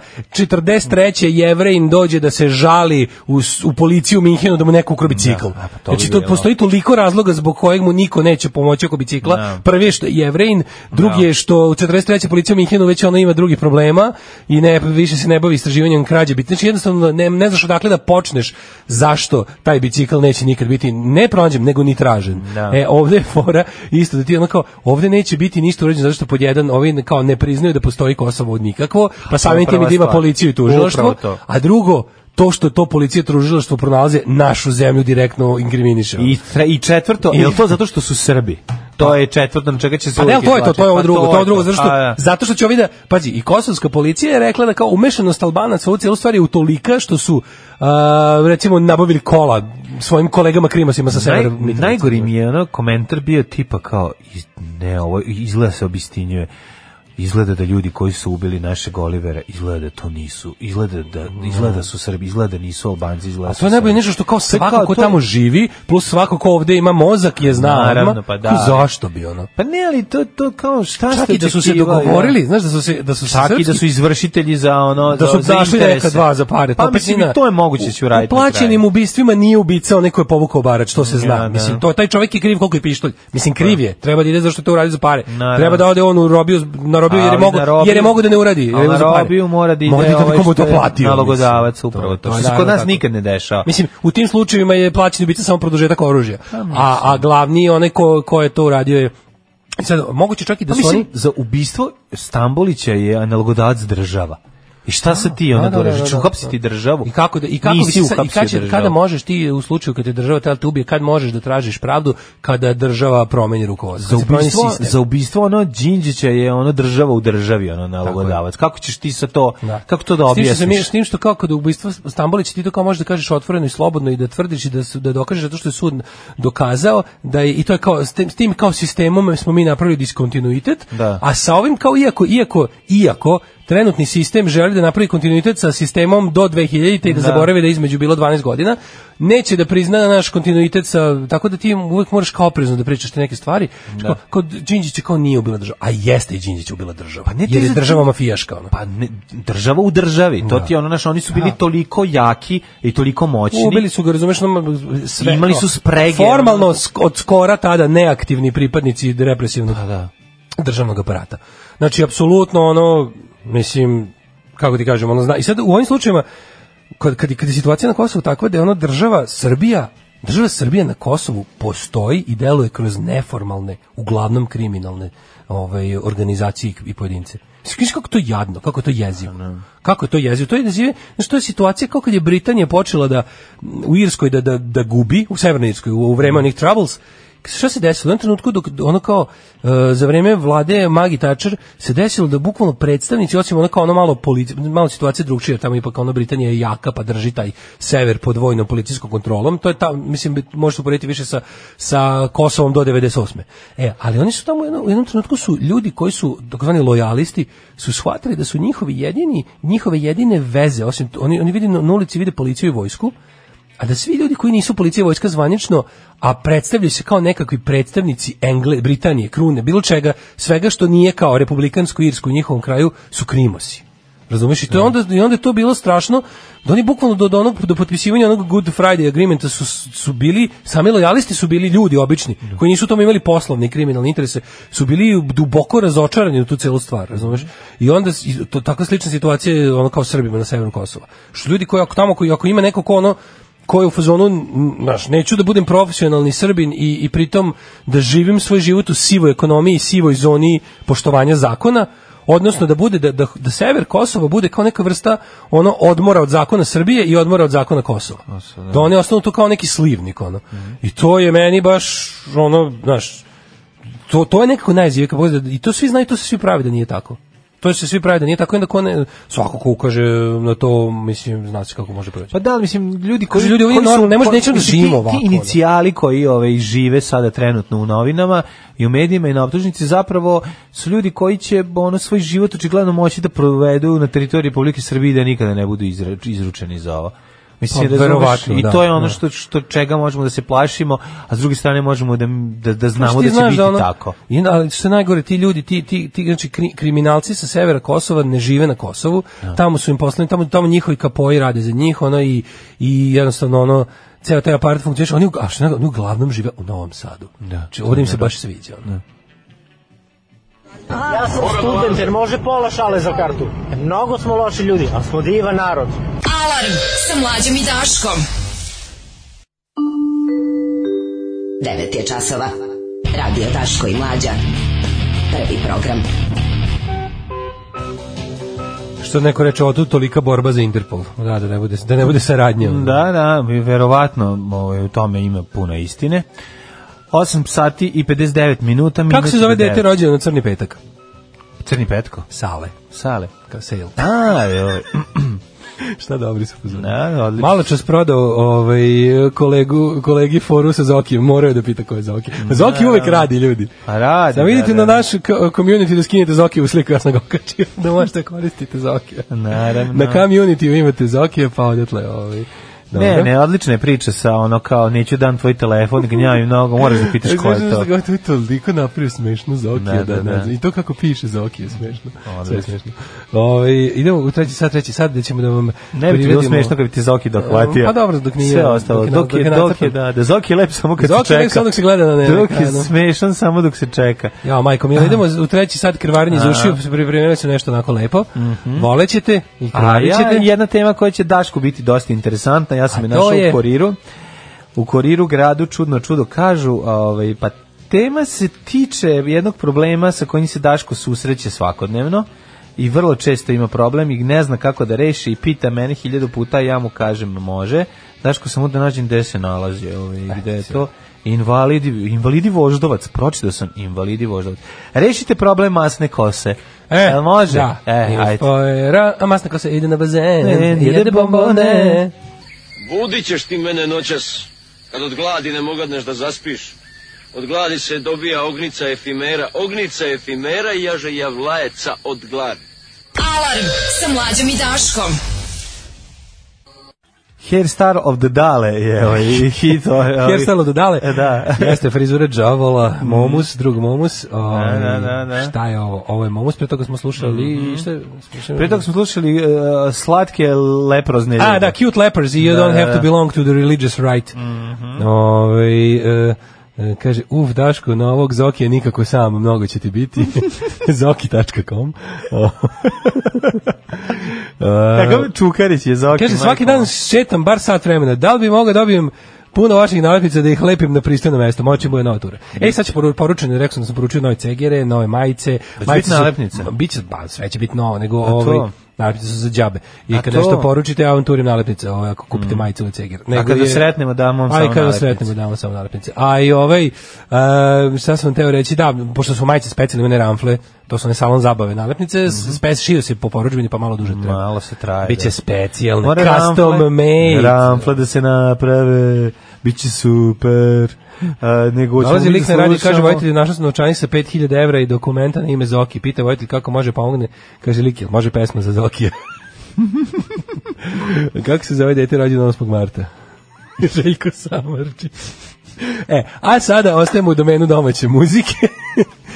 S6: 43. jevrejin dođe da se žali u, s- u policiju u Minhenu da mu neko ukrobi cikl.
S5: a pa to bi
S6: znači, to,
S5: bilo.
S6: postoji toliko razloga zbog kojeg mu niko neće pomoći oko bicikla.
S5: Da.
S6: Prvi je što je jevrejin, drugi je što u 43. policija u Minhenu već ona ima drugi problema i ne, više se ne bavi istraživanjem krađe. Bit- Znači, jednostavno ne, ne znaš odakle da počneš zašto taj bicikl neće nikad biti ne pronađen, nego ni tražen.
S5: Da.
S6: E, ovde je fora isto da ti ono kao ovde neće biti ništa urađeno zato što pod jedan ovi kao ne priznaju da postoji Kosovo od nikakvo, pa samim tim
S5: prva
S6: i da ima
S5: stvar.
S6: policiju i tužilaštvo,
S5: Upravo to.
S6: a drugo to što to policija i tužilaštvo pronalaze našu zemlju direktno inkriminiše.
S5: I, tre- I četvrto, Pa-
S6: I-
S5: je to zato što su Srbi? To je četvrto, na čega će se
S6: Pa ne,
S5: uvijek
S6: ali to je to, to je ovo
S5: izvlačiti.
S6: drugo,
S5: Pa
S6: to je drugo, zato što,
S5: Pa da.
S6: zato što će ovi da, pazi, i kosovska policija je rekla da kao umešanost Albanaca u ovu cijelu stvar je utolika što su, a, recimo, nabavili kola svojim kolegama krimasima sa severa.
S5: Naj,
S6: Mitrovice.
S5: najgori mi je ono komentar bio tipa kao iz, ne ovo izgleda se obistinjuje izgleda da ljudi koji su ubili našeg Olivera izgleda da to nisu izgleda da izgleda da su Srbi izgleda da nisu Albanci izgleda
S6: Mm. A
S5: su
S6: to je najbolje
S5: Srbi.
S6: nešto što kao
S5: To je
S6: svako
S5: kao-
S6: ko
S5: to je-
S6: tamo živi, plus svako ko ovde ima mozak je zna
S5: Naravno,
S6: odmah.
S5: pa da.
S6: Kao, Zašto bi ono?
S5: pa ne ali to to kao šta
S6: Čak
S5: ste
S6: i da su se
S5: očekivali, ono,
S6: dogovorili, znaš da su se da su se
S5: Čak i da
S6: srpski-
S5: su izvršitelji za ono
S6: da su
S5: za, za
S6: zašli
S5: interese.
S6: neka dva za pare.
S5: Pa
S6: opet
S5: mislim
S6: nije
S5: i to je moguće da će
S6: u-
S5: uraditi.
S6: U
S5: na kraju.
S6: plaćenim ubistvima nije ubica onaj ko je povukao barač, to se zna.
S5: Ja, da.
S6: Mislim, to, taj čovjek je kriv koliko je pištolj. Mislim, kriv je. Treba da ide zašto to uradi za pare.
S5: Naravno.
S6: Treba da ode on u robiju, na robiju jer je
S5: Ali
S6: mogu,
S5: na robiju-
S6: jer je mogu da ne uradi. jer
S5: Ali
S6: je
S5: na
S6: za pare.
S5: robiju mora da ide
S6: Mora da
S5: ovaj
S6: komu
S5: što
S6: to
S5: je
S6: platio. mislim.
S5: nalogodavac, upravo to. Što se kod
S6: naravno
S5: nas
S6: tako.
S5: nikad ne dešava.
S6: Mislim, u tim slučajevima je plaćen ubica samo produžetak oružja.
S5: Pa
S6: A, a glavni je onaj ko, ko je to uradio je Sad, moguće čak i da
S5: Pa
S6: su
S5: mislim,
S6: oni...
S5: za ubistvo Stambolića je nalogodavac država. I šta se ti
S6: Da,
S5: onda
S6: da, da,
S5: doražiš?
S6: da, da.
S5: Uhapsiti državu?
S6: I kako da i kako
S5: Nisi
S6: bi se sad- i
S5: uhapsio
S6: kad će-
S5: državu.
S6: kada možeš ti u slučaju kad te država tela te ubije, kad možeš da tražiš pravdu kada država promeni rukovodstvo.
S5: Za
S6: kad se promeni
S5: ubistvo,
S6: sistem.
S5: za ubistvo ono Đinđića je ono država u državi, ono nalogodavac. Kako ćeš ti sa to,
S6: Da.
S5: kako to da
S6: S tim što se mi-
S5: objasniš?
S6: S tim što kao kod ubistva Stambolića ti to kao možeš da kažeš otvoreno i slobodno i da tvrdiš i da, su, da dokažeš zato što je sud dokazao da je, i to je kao, s tim, s tim kao sistemom smo mi napravili diskontinuitet,
S5: Da.
S6: a sa ovim kao iako, iako, iako trenutni sistem želi da napravi kontinuitet sa sistemom do 2000 i da,
S5: Da.
S6: zaboravi da je između bilo 12 godina, neće da prizna naš kontinuitet sa, tako da ti uvek moraš kao oprezno da pričaš te neke stvari. Da. Kod Đinđića kao nije ubila država, a jeste i Đinđić ubila država. Pa
S5: ne, ti
S6: jer je
S5: za-
S6: država mafijaška. Ono.
S5: Pa ne, država u državi, to ti je ono, znaš, oni su bili toliko jaki i toliko moćni.
S6: Ubili su ga, razumeš, ono, sve.
S5: Imali
S6: kao,
S5: su sprege. ono.
S6: Formalno sk- od skora tada neaktivni pripadnici represivnog
S5: da.
S6: državnog aparata. Znači, apsolutno ono, mislim, kako ti kažem, ono zna. I sad u ovim slučajima, kad, kad, kad je situacija na Kosovu takva da je ono država Srbija, država Srbija na Kosovu postoji i deluje kroz neformalne, uglavnom kriminalne ovaj, organizacije i- i pojedince. Skriš kako je to jadno, kako je to jezivo. Kako je to jezivo? To je jezivo, znači to je situacija kao kad je Britanija počela da u Irskoj da, da, da gubi, u Severnoj Irskoj, u, u vreme onih troubles, šta se desilo? U jednom trenutku dok ono kao e, za vreme vlade Magi Tačer se desilo da bukvalno predstavnici osim ono kao ono malo polici, malo situacije drugčije tamo ipak ono Britanija je jaka pa drži taj sever pod vojnom policijskom kontrolom. To je ta mislim bi- možete uporediti više sa sa Kosovom do 98. E, ali oni su tamo u jednom, u jednom trenutku su ljudi koji su takozvani lojalisti su shvatili da su njihovi jedini njihove jedine veze osim oni oni vide na na ulici vide policiju i vojsku a da svi ljudi koji nisu policija i vojska zvanično, a predstavljaju se kao nekakvi predstavnici Engle, Britanije, Krune, bilo čega, svega što nije kao republikansko Irsko u njihovom kraju, su krimosi. Razumeš? I, to je onda, I onda je to bilo strašno da oni bukvalno do, do, onog, do potpisivanja onog Good Friday agreementa su, su bili, sami lojalisti su bili ljudi obični, koji nisu u tome imali poslovne i kriminalne interese, su bili duboko razočarani u tu celu stvar, razumeš? I onda s- i to, takva slična situacija je ono kao Srbima na severu Kosova. Što ljudi koji ako tamo, koji, ako ima neko ko ono, koji je u fazonu, n- znaš, neću da budem profesionalni Srbin i, i pritom da živim svoj život u sivoj ekonomiji, sivoj zoni poštovanja zakona, odnosno da bude da, da, da sever Kosova bude kao neka vrsta ono odmora od zakona Srbije i odmora od zakona Kosova. Da oni ostanu tu kao neki slivnik ono. I to je meni baš ono, znaš, to, to je nekako najzivije kad pogledate, i to svi znaju, to se svi pravi da nije tako. To se svi pravi da nije tako, i onda ko ne, svako ko ukaže na to, mislim, zna se kako može proći.
S5: Pa da, ali mislim, ljudi koji...
S6: Kaže, ljudi, ovo nije
S5: koji su-
S6: normalno, ne može-
S5: koji-
S6: nećemo da
S5: ti-
S6: živimo ovako,
S5: Ti
S6: ono.
S5: inicijali koji ove, žive sada trenutno u novinama i u medijima i na optužnici zapravo su ljudi koji će ono, svoj život očigledno moći da provedu na teritoriji Republike Srbije i da nikada ne budu izra- izručeni za ovo. Mislim,
S6: Pa,
S5: razumeš,
S6: verovatno,
S5: I
S6: da,
S5: to je ono
S6: da.
S5: što, što čega možemo da se plašimo, a s druge strane možemo da, da, da znamo
S6: Ti
S5: da će
S6: znaš
S5: biti
S6: ono-
S5: tako.
S6: I, na- ali što je najgore, ti ljudi, ti, ti, ti znači, kri- kriminalci sa severa Kosova ne žive na Kosovu, tamo su im poslani, tamo, tamo njihovi kapoji rade za njih, ono i, i jednostavno ono, ceo taj aparat funkcioniš, oni, u- a što je najgore, oni uglavnom žive u Novom Sadu. Da, znači, ovdje im se baš sviđa. Ono.
S12: Ja sam student, jer može pola šale za kartu. Mnogo smo loši ljudi, ali smo divan narod.
S9: Alarm sa mlađom i Daškom.
S10: 9 je časova. Radio Daško i Mlađa. Prvi program.
S6: Što neko reče, o tu tolika borba za Interpol. Da, da ne bude, da ne bude saradnja. ono.
S5: Da, da, verovatno ovaj, u tome ima puno istine. 8 sati i 59 minuta.
S6: Kako
S5: minut
S6: se zove
S5: do devet.
S6: dete rođeno na Crni petak?
S5: Crni petko.
S6: Sale.
S5: Sale.
S6: Kao sale.
S5: A, joj.
S6: Šta dobri su pozvali.
S5: Da, odlično.
S6: Malo čas prodao ovaj, kolegu, kolegi foru sa Zokijem, moraju da pita ko je Zoki. Zoki uvek radi, ljudi.
S5: A Pa radi,
S6: Da vidite
S5: da,
S6: na
S5: da.
S6: naš ko- community da skinete Zoki u sliku, ja sam ga okačio, da možete koristiti Zokija.
S5: Naravno.
S6: Na community imate Zokija, pa odatle ovaj. Dobro.
S5: Ne, ne, odlična je priča sa ono kao neću dam tvoj telefon, gnjavim mnogo, moraš da pitaš ko je
S6: Znaš
S5: to.
S6: da ga to je toliko napravio smešno Zokija,
S5: Da,
S6: da,
S5: da,
S6: da,
S5: da.
S6: znam. I to kako piše Zokija je smešno. Sve
S5: Odlično.
S6: je smešno. Ovaj, idemo u treći sat, treći sat, gde ćemo da vam
S5: Ne bi ti bilo
S6: privredimo-
S5: smešno kad bi ti Zoki dohvatio.
S6: Pa dobro, dok nije-
S5: Sve ostalo,
S6: dok je-
S5: dok je,
S6: dok je
S5: dok je,
S6: nacrtan.
S5: da, da, Zoki je lep samo kad se čeka.
S6: Zoki je lep samo dok se gleda na
S5: Dok je
S6: ekranu.
S5: smešan samo dok se čeka.
S6: Ja, majko,
S5: Ah.
S6: mi idemo u treći sat krvarenje iz ušiju, pripremili su nešto onako lepo. Volećete i
S5: Mhm. A ja,
S6: krvarit ćete.
S5: jedna tema koja će Dašku biti dosta interesantna, ja sam
S6: A
S5: je
S6: to
S5: našao u
S6: je-
S5: Koriru. U Koriru gradu čudno čudo kažu, ovaj, pa tema se tiče jednog problema sa kojim se Daško susreće svakodnevno i vrlo često ima problem i ne zna kako da reši i pita mene hiljadu puta, ja mu kažem može. Daško samo da nađem gde se nalazi, ovaj, gde je to. Invalidi, invalidi voždovac, pročitao sam invalidi voždovac. Rešite problem masne kose. Jel može?
S6: E, Da.
S5: E, ajde.
S6: Fojera, a masna se ide na bazen,
S5: Ne, jede
S6: jede bombone.
S13: Budit ćeš ti mene noćas, kad od gladi ne mogadneš da zaspiš. Od gladi se dobija ognica efimera, ognica efimera i jaže javlajeca od gladi.
S9: Alarm sa mlađom i Daškom.
S5: Hairstar of the Dale je ovaj hit. ovaj-
S6: Hairstyle od dale.
S5: E, da. Mhm.
S6: Jeste frizura Džavola, Momus, drug Momus. O,
S5: Da, da, da, da.
S6: Šta je ovo? Ovo je Momus, pre toga smo slušali... Šta je, slušali-
S5: Pre toga smo slušali e, slatke leprozne.
S6: A, da, Cute Lepers i You
S5: Da,
S6: Don't
S5: da,
S6: Have
S5: da. Mhm.
S6: to Belong to the Religious Right. Ovaj, e, e, kaže, uf, Daško, na ovog Zokija nikako sam, mnogo će ti biti. Zoki.com O. E,
S5: Kakav Čukarić je za
S6: Kaže, svaki dan šetam bar sat vremena. Da li bi mogao dobijem puno vaših nalepnica da ih lepim na pristojno mesto. Moći bude nova tura. Ej, E, sad ću poru- poručen, rekao sam da sam poručio nove cegere, nove majice.
S5: biti
S6: majice su-
S5: nalepnice?
S6: Ma, Biće, ba, sve će biti novo, nego
S5: to?
S6: ovaj, nalepnice su za džabe. I
S5: A
S6: kad
S5: to? Mm.
S6: nešto poručite, ja vam turim nalepnice, ovaj, ako kupite majice ili cegere. Nego
S5: kada sretnemo, damo vam
S6: A i
S5: samo
S6: kada
S5: nalepnice.
S6: sretnemo, damo vam samo nalepnice. A i ovaj, e, šta sam vam teo reći, da, pošto su majice specijalne, ne ramfle, to su ne salon zabave nalepnice,
S5: Mhm.
S6: mm šio se po poručbini, pa malo duže treba.
S5: Malo se traje.
S6: Biće
S5: da.
S6: specijalne,
S5: Mora
S6: custom
S5: ramfle-
S6: made.
S5: Ramfle da se naprave, bit će super. A, nego ćemo
S6: Dolazi
S5: mi
S6: lik
S5: da
S6: na radio, kaže,
S5: slušamo.
S6: vojitelj, našao sam novčanik sa 5000 evra i dokumenta na ime Zoki. Pita vojitelj kako može pomogne. Kaže, lik, jel može pesma za Zokija? kako se zove dete rođeno 8. marta? Željko Samarčić. E, a sada ostajemo u domenu domaće muzike.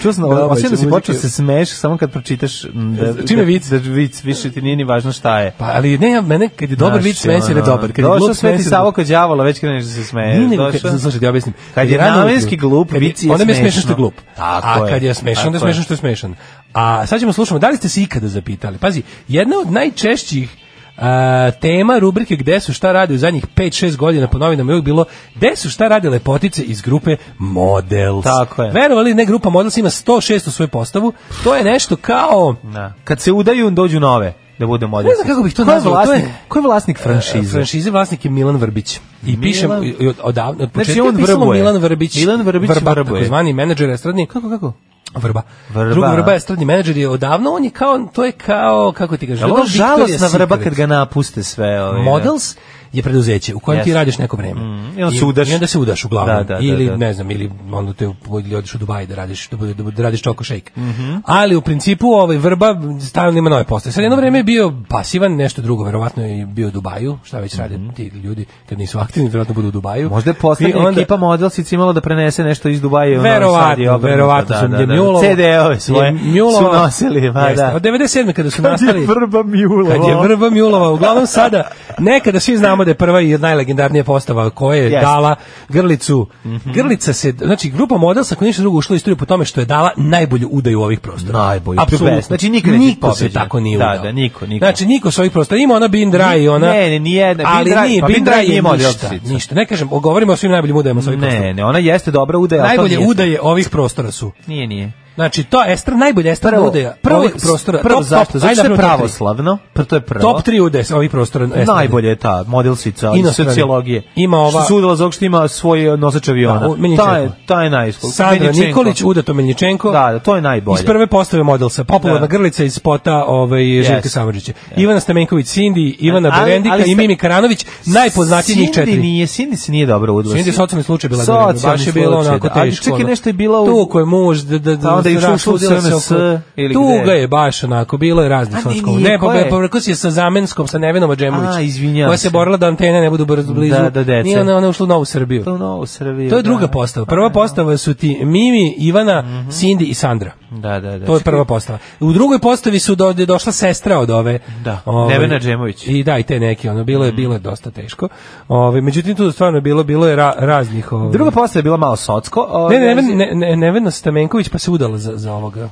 S5: Čuo sam,
S6: Domaće
S5: osjećam da si
S6: muzike.
S5: počeo da se smeješ samo kad pročitaš m, da,
S6: Čime
S5: da-
S6: vic?
S5: Da, vic, više ti nije ni vačno šta je.
S6: Pa, ali ne, ja- mene, kad je dobar
S5: Znaš,
S6: vic, meni se
S5: ono,
S6: ne dobar. Kad je
S5: Došao
S6: glup, meni
S5: Sveti
S6: se-
S5: Savo kod đavola, već kreneš da se smeješ.
S6: Nije nego
S5: Došao-
S6: kad, slušaj, ti objasnim.
S5: Kad je
S6: rano
S5: namenski
S6: ujutru,
S5: glup,
S6: kad je-
S5: vic je
S6: Onda mi je
S5: smešno.
S6: smešno što je glup.
S5: Tako
S6: A
S5: je.
S6: kad je smešan, onda je
S5: Tako je.
S6: smešan što je smešan. A sad ćemo slušamo, da li ste se ikada zapitali? Pazi, jedna od najčešćih e, A, tema rubrike gde su šta rade u zadnjih 5-6 godina po novinama je uvijek bilo gde su šta rade lepotice iz grupe Models.
S5: Tako je.
S6: Verovali ili ne, grupa Models ima 106 u svojoj postavu. To je nešto kao...
S5: Da. Kad se udaju, dođu nove da bude model.
S6: Ne znam kako bih to
S5: Ko je
S6: nazvao, to
S5: Vlasnik,
S6: je- E,
S5: ko je vlasnik franšize?
S6: Franšize vlasnik je Milan Vrbić. I
S5: Milan-
S6: piše i od, od, davno- od
S5: Znači,
S6: početka
S5: on
S6: je pisalo
S5: vrbuje.
S6: Milan Vrbić.
S5: Milan Vrbić
S6: Vrba,
S5: vrbuje.
S6: takozvani menadžer estradni. Kako, kako? Vrba.
S5: Vrba,
S6: Drugi
S5: a?
S6: vrba je estradni menadžer i odavno on je kao, to je kao, kako ti kažeš,
S5: Je li
S6: to
S5: on
S6: je Victoria's
S5: žalosna vrba
S6: Secret.
S5: kad ga napuste sve? ovaj, Ove,
S6: Models je preduzeće u kojem ti
S5: Jeste.
S6: radiš neko vreme.
S5: Mm, i onda se udaš.
S6: I onda se udaš uglavnom.
S5: Da, da, da,
S6: ili
S5: da.
S6: ne znam, ili onda te ili odeš u Dubai da radiš da, bude- da radiš čoko shake.
S5: Mhm.
S6: Ali u principu ovaj vrba stalno ima nove postaje. Sad jedno vreme je bio pasivan, nešto drugo verovatno je bio u Dubaju, šta već rade ti ljudi kad nisu aktivni, verovatno budu u Dubaju.
S5: Mhm. Možda je
S6: I
S5: poslednja
S6: onda-
S5: ekipa modelsica imala da prenese nešto iz Dubaja u Novi Sad i
S6: Verovatno,
S5: obrnuto,
S6: verovatno su da, Mjulovo.
S5: CD-ove svoje
S6: je Mjulova-
S5: su nosili, ma
S6: Jeste,
S5: da.
S6: Od 97. kada su nastali...
S5: vrba Mjulova.
S6: Kad je vrba Mjulova, uglavnom sada, nekada svi znamo da je prva i najlegendarnija postava koja je
S5: Jeste. Mhm.
S6: dala Grlicu. Grlica se, znači grupa model sa ništa drugo ušla u istoriju po tome što je dala najbolju udaju ovih prostora.
S5: Najbolju, the best. Znači, nikad neće
S6: niko se
S5: pobeđen.
S6: tako nije
S5: Da,
S6: udao.
S5: da, niko, niko.
S6: Znači niko sa ovih prostora. Ima ona Bindra i ona...
S5: Ne, ne, nijedna.
S6: Ali
S5: Bindra-
S6: nije,
S5: pa
S6: Bindra
S5: Bindra nije
S6: je ništa.
S5: modelsica.
S6: Ništa. Ne kažem, govorimo o svim najboljim udajama sa ovih prostora.
S5: Ne, ne, ona jeste dobra udaja. ali to
S6: Najbolje
S5: nije-
S6: udaje ovih prostora su.
S5: Nije, nije.
S6: Znači, to je estra, najbolja estra
S5: Prvo,
S6: udaja.
S5: prvo,
S6: Ovih prostora.
S5: prvo
S6: top, Top,
S5: zašto? Zato
S6: ajde
S5: što je
S6: napravimo tri.
S5: pravoslavno, pr- to je prvo.
S6: Top 3 udaje sa ovih prostora. e, estrade.
S5: Najbolje je ta modelsica iz
S6: Inostrani.
S5: sociologije.
S6: Ima ova-
S5: Što su udala zbog što ima svoj e, nosač aviona.
S6: Da, u- Miljenčenko.
S5: ta je, ta je najbolja.
S6: Sandra Nikolić, Udato Meljičenko.
S5: Da, da, to je najbolje.
S6: Iz prve postave modelsa, popularna
S5: Da.
S6: grlica iz spota ovaj, Željka Samarđića. Ivana Stamenković, Cindy, Ivana
S5: Ali-
S6: Berendika
S5: ali
S6: i
S5: ste-
S6: Mimi Karanović, najpoznatiji njih četiri.
S5: Cindy nije, Cindy se nije dobro udala.
S6: Cindy je socijalni slučaj bila
S5: Socijalni
S6: Gorana, baš je bilo
S5: slučaj,
S6: onako
S5: da. Ali
S6: teško.
S5: čekaj,
S6: ono.
S5: nešto je bila u-
S6: Tu ko je muž, da, da,
S5: Pa onda je išla u
S6: rasudila se
S5: SNS
S6: oko-
S5: ili
S6: Tuga
S5: gde?
S6: je baš onako, bilo je raznih
S5: A nije,
S6: slatskog.
S5: nije,
S6: Ne,
S5: ko
S6: pa
S5: je?
S6: povrko si je sa Zamenskom, sa Nevenom Adžemović.
S5: A, izvinjavam
S6: Koja se
S5: se.
S6: borila da antene ne budu brzo blizu.
S5: Da, da, dece.
S6: Nije ona, ona ušla u Novu Srbiju.
S5: To je novo Srbije.
S6: To je druga
S5: da.
S6: postava. Prva postava su ti Mimi, Ivana, Cindy i Sandra.
S5: Da, da, da.
S6: To je prva postava. U drugoj postavi su do, je došla sestra od ove.
S5: Da,
S6: ovaj,
S5: Nevena Mhm. Džemović.
S6: I da, i te neke, ono, bilo je, bilo je dosta teško. Ove, međutim, tu stvarno je bilo, bilo je ra- raznih... Ove,
S5: Druga postava je bila malo socko. ovaj,
S6: ne, ne, Neven- ne, ne, Nevena Stamenković pa se udala za, za ovoga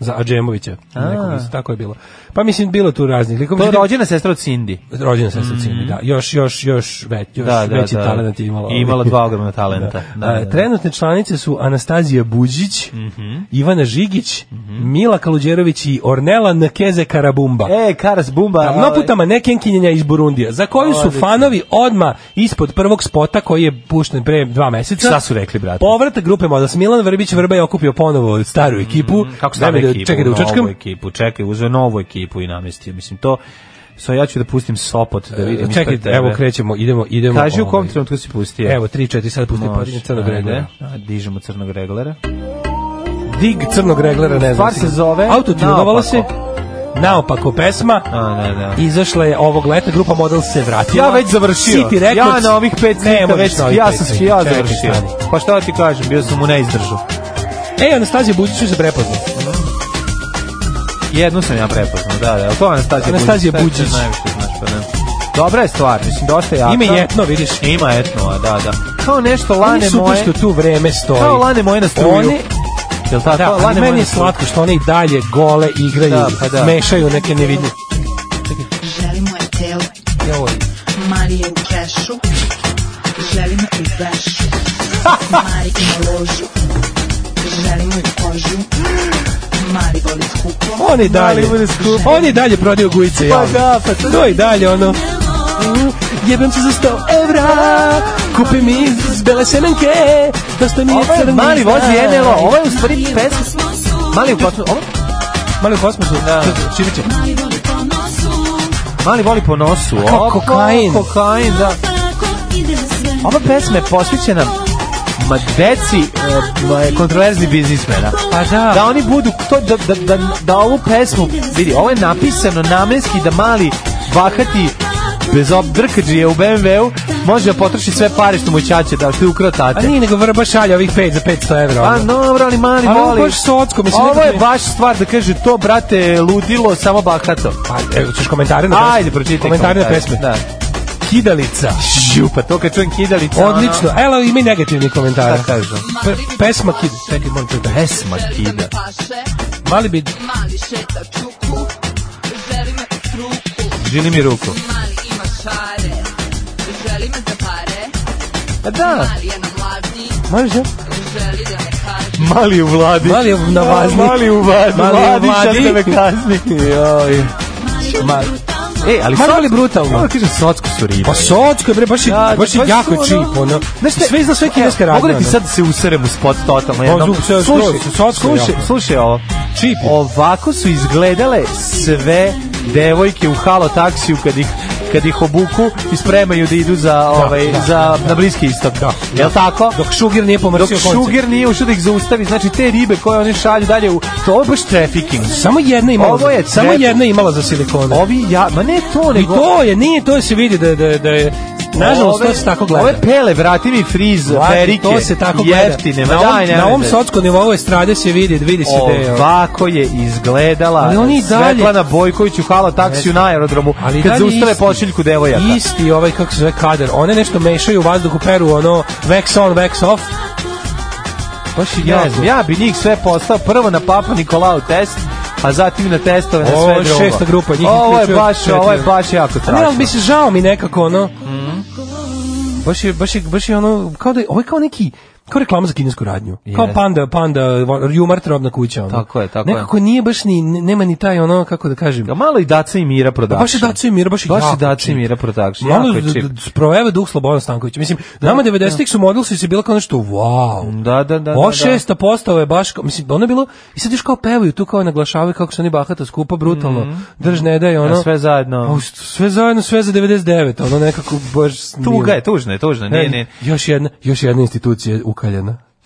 S6: za Adžemovića, nekog, iz- tako je bilo. Pa mislim, bilo je tu raznih likova.
S5: To je
S6: Međutim,
S5: rođena sestra od Cindy.
S6: rođena sestra Cine, da. Još, još, još, već, još
S5: Mhm. Da, da,
S6: veći
S5: da.
S6: talent je imala. ovaj.
S5: I imala dva ogromna talenta.
S6: Da.
S5: Da,
S6: A,
S5: da, Mhm. da.
S6: Trenutne članice su Anastazija Buđić, Ivana Žigić, Mila Kaludjerović i Ornela Nkeze Karabumba.
S5: Mhm. E, Karas Bumba.
S6: Da,
S5: ovaj,
S6: Noputama nekenkinjenja iz Burundija, za koju su
S5: Odlično.
S6: fanovi odma ispod prvog spota koji je pušten pre dva meseca.
S5: Šta su rekli, brate?
S6: Povratak grupe Models Milan Vrbić Vrba je okupio ponovo staru ekipu.
S5: Mhm. Kako
S6: Daj
S5: stavio
S6: mi da-
S5: ekipu?
S6: Čekaj da učačkam.
S5: Novu ekipu, čekaj, uzeo novu ekipu i namestio. Mislim, to... So, ja ću da pustim Sopot da vidim.
S6: Čekaj,
S5: ispred tebe.
S6: evo krećemo, idemo, idemo.
S5: Kaži u kom
S6: ovaj.
S5: trenutku si pustio.
S6: Evo, 3-4 sad pusti
S5: Može,
S6: podinje crnog
S5: ajde.
S6: reglera.
S5: A, Dižemo crnog reglera.
S6: Dig crnog reglera, ne znam.
S5: Stvar se zove
S6: Autotunovala
S5: Naopako.
S6: se. Naopako pesma.
S5: A, da, da.
S6: Izašla je ovog leta, grupa Model se vratila.
S5: Ja već završio.
S6: City Records.
S5: Ja na ovih pet
S6: Ne
S5: cita
S6: možeš
S5: već,
S6: na ovih
S5: ja
S6: pet
S5: sam
S6: cita.
S5: ja
S6: Čekaj,
S5: završio.
S6: stani.
S5: Pa šta ti kažem, bio sam u neizdržu.
S6: Ej, Anastasija Buđiću se prepoznao.
S5: Jednu sam ja prepoznao, da, da. ali To je Anastasija Buđić.
S6: Anastasija
S5: to je
S6: Buđić.
S5: najviše znaš, pa ne. Dobra je stvar, mislim, dosta je jaka.
S6: Ima i etno, vidiš.
S5: Ima etno, a da, da. Kao nešto
S6: Oni
S5: lane
S6: super
S5: moje.
S6: što tu vreme stoji.
S5: Kao lane moje na struju.
S6: One,
S5: Jel tako?
S6: da, ali
S5: lane
S6: meni
S5: moje
S6: je
S5: na struju.
S6: slatko što one i dalje gole igraju,
S5: Da, pa da.
S6: mešaju neke nevidljive.
S14: Želimo je telo,
S6: Joj.
S14: Marije u kešu, želimo i vešu, Marijinu ložu, želimo i kožu, Mari voli skupo,
S6: On i dalje,
S5: Mali bude skup.
S6: on i dalje prodaju gujice.
S5: Pa
S6: javno.
S5: da, pa to-
S6: to i dalje ono. Mm, Jebem se za 100 evra, kupi mi iz bele semenke, dosta mi je
S5: Ovo je
S6: crni
S5: Mali vozi
S6: znaj.
S5: NLO, ovo je u stvari pesma. Mali u kosmosu, ovo?
S6: Mali u kosmosu, da. Šibiće.
S5: Mali voli po nosu.
S6: Kao
S5: o,
S6: kokain.
S5: Kokain, da. Ova pesma je posvećena ma deci e, ma- kontroverzni biznismena.
S6: Pa da.
S5: Da oni budu to da da da, da ovu pesmu vidi, ovo je napisano namenski da mali bahati bez obdrkađije u BMW-u može da potroši sve pare što mu ćaće da što je ukrao
S6: A
S5: tate.
S6: nije nego vrba šalja ovih 5 za 500 evra.
S5: Pa
S6: ono.
S5: dobro, ali mali
S6: Ali ovo
S5: voli.
S6: baš socko, mislim,
S5: Ovo je
S6: nekako-
S5: baš stvar da kaže to, brate, ludilo, samo bahato.
S6: Pa, evo, ćeš komentare na pesmu?
S5: Ajde, pročitaj
S6: komentare na pesme.
S5: Da.
S6: Kidalica.
S5: Župa, pa to kad čujem kidalica. ono-
S6: Odlično. Evo i mi negativni komentari.
S5: Šta kažu?
S6: Pe- pesma kida. Čekaj, molim te da.
S5: Pesma kida.
S6: Mali bi...
S9: Mali šeta čuku, želi me truku.
S5: žili mi ruku.
S14: Mali ima šare, želi me za pare.
S5: Pa
S6: A da.
S14: Mali je na mladni,
S6: Može?
S14: želi da me kaže.
S5: Mali u vladi.
S6: Mali u- na vazni.
S5: Mali u vladi.
S6: Mali u
S5: Mladić,
S6: vladi.
S5: sad me kazni.
S6: Joj. Ma,
S5: E,
S6: Mali
S5: ali Soc-
S6: ali brutalno.
S5: Moram da kažem, socko su ribe.
S6: Pa socko je bre baš je,
S5: Da,
S6: baš je
S5: baš
S6: jako
S5: su,
S6: čip
S5: ono-
S6: ono.
S5: Znaš šta,
S6: sve za sve kineske radnje.
S5: Mogu da ti
S6: ono.
S5: sad se userem u spot totalno jednom?
S6: Pa, sve-
S5: Slušaj,
S6: sve- socko je
S5: slušaj,
S6: jako.
S5: slušaj ovo. Ovako su izgledale sve devojke u halo taksiju kad ih kad ih obuku i spremaju da idu za ovaj
S6: da,
S5: za na bliski istok. Jel tako?
S6: Dok Šugir nije pomrsio
S5: Dok
S6: koncept.
S5: šuger nije ušao da ih zaustavi, znači te ribe koje oni šalju dalje u to ovo je baš trafficking.
S6: Samo jedna imala.
S5: Ovo je
S6: za- samo
S5: trep-
S6: jedna imala za silikone.
S5: Ovi ja, ma ne to
S6: I
S5: nego
S6: to je, nije, to se vidi da da da je Nažalost, to se tako gleda.
S5: Ove pele, vrati mi friz,
S6: Mladi,
S5: perike,
S6: to se tako gleda.
S5: jeftine, ma
S6: na ovom,
S5: daj, ne
S6: na ovom sockom nivou estrade se vidi, vidi se da je. ono.
S5: Ovako je izgledala
S6: Ali oni i dalje-
S5: Svetlana Bojković u hala taksiju na aerodromu
S6: i
S5: kad
S6: dalje
S5: zaustave
S6: isti.
S5: pošiljku devojaka.
S6: Isti ovaj, kako se zove, kader. One nešto mešaju u vazduhu, peru, ono, wax on, wax off. Baš je
S5: Ja,
S6: jako.
S5: znam, ja bi njih sve postao prvo na Papa Nikolao test, a zatim na testove na sve
S6: Ovo
S5: drugo.
S6: je šesta grupa, njih
S5: Ovo je
S6: uključuje
S5: baš,
S6: četiri.
S5: ovo je baš jako
S6: A ne,
S5: strašno.
S6: ali mi se žao mi nekako, ono. Baš je, baš je, baš je ono, kao da je, ovo je kao neki, kao reklama za kinesku radnju. Kao
S5: Jeste.
S6: panda, panda, von- jumar trobna kuća. Ono.
S5: Tako je, tako je.
S6: Nekako nije baš ni, ne- nema ni taj ono, kako da kažem. Pa
S5: A malo i Daca i Mira production.
S6: Baš je Daca i Mira, baš je
S5: Baš je
S6: jako
S5: Daca i
S6: čip. Ono
S5: Mira production.
S6: Malo
S5: Jako je čip.
S6: sprojeva duh Slobodan Stanković. Mislim, nama 90-ih su model su se bilo kao nešto, wow.
S5: Da, da, da.
S6: Ovo
S5: da, da.
S6: šesta postava je baš, kao- mislim, ono je bilo, i sad još kao pevaju tu, kao naglašavaju kako su oni bahata skupa, brutalno, drž ne daj, ono.
S5: Mhm. A sve zajedno.
S6: A u st- sve zajedno, sve za 99, ono nekako baš... E,
S5: Tuga je, tužno je, tužno. je. Ne, ne,
S6: Još jedna, još jedna institucija je ukaljena.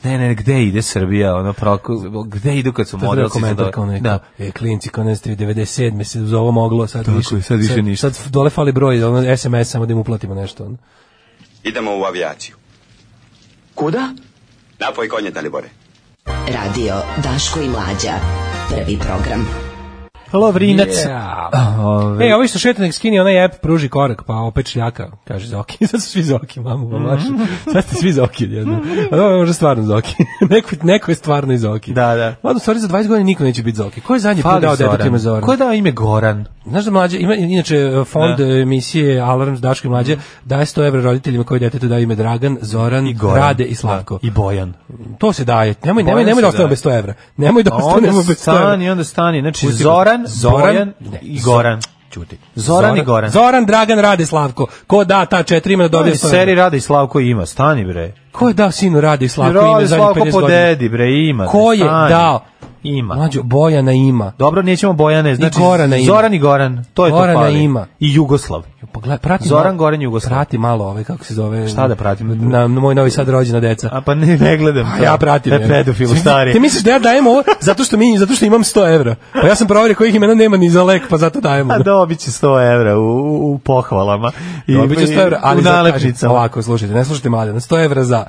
S5: ne, ne, gde ide Srbija, ono, prako, gde idu kad su
S6: To je treba
S5: modelci?
S6: komentar kao neko.
S5: Da.
S6: E, klinci, kao ne ste 97. se uz ovo moglo, sad
S5: Tako
S6: više.
S5: je, sad više ništa.
S6: Sad dole fali broj, ono, SMS samo da im uplatimo nešto. Ono.
S15: Idemo u avijaciju. Kuda? Napoj konje, Dalibore.
S10: Radio Daško i Mlađa. Prvi program.
S5: Lovrinac.
S6: Ove. E, ovi što šeta nek skini onaj app pruži korak, pa opet šljaka, kaže Zoki. Sad su svi Zoki, mamu, mamašu.
S5: Mhm.
S6: Sad ste svi Zoki jedno. A ovo je možda stvarno Zoki. neko, neko je stvarno i Zoki.
S5: Da, da.
S6: Mada, u stvari, za 20 godina niko neće biti Zoki. Ko je zadnji put
S5: Fali
S6: dao
S5: Zoran.
S6: detetima Zoran?
S5: Ko je dao ime Goran?
S6: Znaš da mlađe, ima inače e, fond
S5: Da. Mhm.
S6: da. emisije Alarm s Daškom i mlađe, daje 100 evra roditeljima koji detetu daju ime Dragan, Zoran,
S5: Goran.
S6: Rade i Slavko.
S5: I Bojan.
S6: To se daje. Nemoj,
S5: Bojan
S6: nemoj, nemoj
S5: se
S6: da ostanemo
S5: daje.
S6: bez 100 evra. Nemoj da
S5: A
S6: ostanemo
S5: onda
S6: Pa bez 100 evra.
S5: stani, onda stani. Znači,
S6: Pusti ga.
S5: Zoran,
S6: Zoran,
S5: Bojan
S6: ne,
S5: i Goran.
S6: Ćuti.
S5: Zoran i Goran.
S6: Zoran, Dragan, Rade, Slavko. Ko da ta četiri imena dobije
S5: Dobio
S6: sto
S5: seri
S6: evra?
S5: Rada i Slavko ima, stani bre.
S6: Ko je dao sinu Rade i Slavko
S5: Jer
S6: ime
S5: Rade
S6: za
S5: Slavko
S6: 50
S5: po
S6: godina?
S5: dedi bre, ima.
S6: Ko je
S5: stani.
S6: dao?
S5: Ima.
S6: Mlađo, Bojana ima.
S5: Dobro, nećemo Bojane, znači
S6: Gorana ima.
S5: Zoran i Goran, to je
S6: Gorana
S5: to fali.
S6: ima.
S5: I Jugoslav.
S6: Pogled, prati
S5: Zoran,
S6: malo-
S5: Goran, Jugoslav.
S6: Prati malo ove, kako se zove.
S5: Šta da pratim?
S6: Na, na moj novi sad rođena deca.
S5: A pa ne, ne gledam
S6: A
S5: to.
S6: ja pratim.
S5: To je
S6: evo.
S5: pedofilu stari.
S6: Ti misliš da ja dajem ovo zato što, mi, zato što imam 100 evra? Pa ja sam proverio kojih imena nema ni za lek, pa zato dajem.
S5: A dobit će 100 evra u, u, u pohvalama. I,
S6: Dobit će 100 evra, ali
S5: u
S6: za-
S5: nalepnicama.
S6: kažem, Ovako, slušajte, ne slušajte mlade, 100 evra za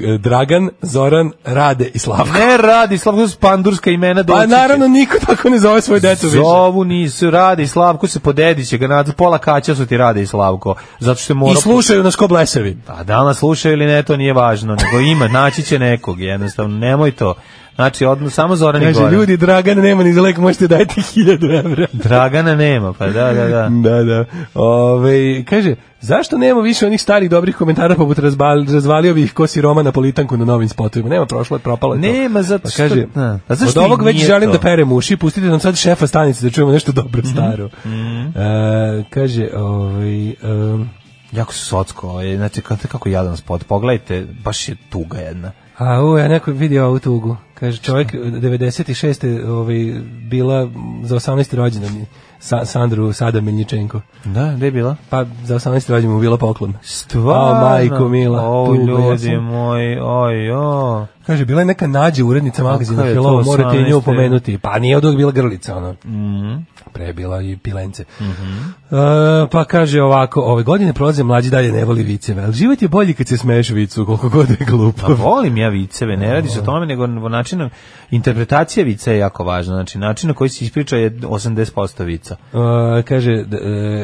S6: e, Dragan, Zoran, Rade i Slavko.
S5: Ne radi, Slavko, to su pandurska imena.
S6: Pa
S5: devojčice.
S6: naravno niko tako ne zove svoje decu više.
S5: Zovu nisu, radi i Slavko se podediće ga nadzor, pola kaća su ti radi i Slavko, zato što je
S6: I
S5: morao...
S6: slušaju nas ko blesevi.
S5: A da li nas slušaju ili ne, to nije važno, nego ima, naći će nekog, jednostavno, nemoj to. Znači, odno, samo Zoran i
S6: Kaže,
S5: Goran.
S6: ljudi, Dragan, nema ni za lek, možete dajte 1000 evra.
S5: Dragana nema, pa da, da, da.
S6: Da, da. Ove, kaže, zašto nema više onih starih dobrih komentara poput razbal, razvalio bi ih ko siroma na politanku na novim spotovima? Nema, prošlo je, propalo je to.
S5: Nema, zato
S6: pa
S5: što-
S6: kaže,
S5: da. A
S6: od
S5: zašto
S6: ovog
S5: i
S6: već
S5: nije
S6: želim
S5: to?
S6: da perem uši, pustite nam sad šefa stanice da čujemo nešto dobro staro. E, kaže, ovaj, em,
S5: Jako su socko, ovaj, znači, kako, kako jadan spot, pogledajte, baš je tuga jedna.
S6: A, u, ja neko je vidio ovu tugu. Kaže, čovjek 96. Ovaj, bila za 18. rođena mi, Sa, Sandru Sada Miljničenko.
S5: Da, gde je bila?
S6: Pa za 18. rođena mu bila poklon.
S5: Stvarno.
S6: A, majko mila,
S5: O,
S6: tuga, ja
S5: ljudi
S6: sam-
S5: moji, oj, o.
S6: Kaže, bila je neka nađe urednica magazina
S5: Kako je
S6: Hello,
S5: to Mm.
S6: morate i nju
S5: 18.?
S6: pomenuti. Pa nije od uvijek bila grlica, ono.
S5: Mhm.
S6: Pre je bila i pilence. E, pa kaže ovako, ove godine prolaze mlađi dalje ne voli viceve, ali život je bolji kad se smeješ vicu, koliko god je
S5: Pa
S6: glupo.
S5: volim ja viceve, ne radi se o tome, nego način, interpretacija vica je jako važna, znači način na koji se ispriča je 80% vica.
S6: Uh, kaže d-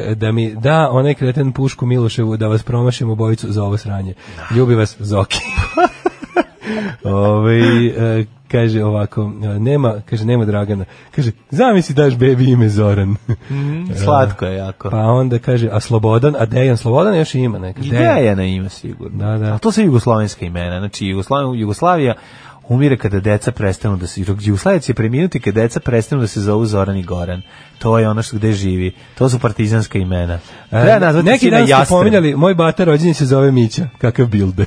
S6: e, da mi da onaj kreten pušku Miloševu da vas promašim u bojicu za ovo sranje. Ljubi vas Zoki. Ovaj e, kaže ovako, e, nema, kaže nema Dragana. Kaže, zamisli daš bebi ime Zoran. Mhm.
S5: slatko je jako.
S6: Pa onda kaže, a Slobodan, a Dejan Slobodan još ima neka.
S5: Ideja je na ime sigurno.
S6: Da, da.
S5: Ali to su jugoslovenska imena. Znači, Jugoslavija, Jugoslavija umire kada deca prestanu da se Jugoslavija će preminuti kada deca prestanu da se zovu Zoran i Goran. To je ono što gde živi. To su partizanska imena. Treba nazvati
S6: E, Neki
S5: sina
S6: dan ste
S5: Jastreb.
S6: pominjali, moj bata rođeni se zove Mića. Kakav bilde.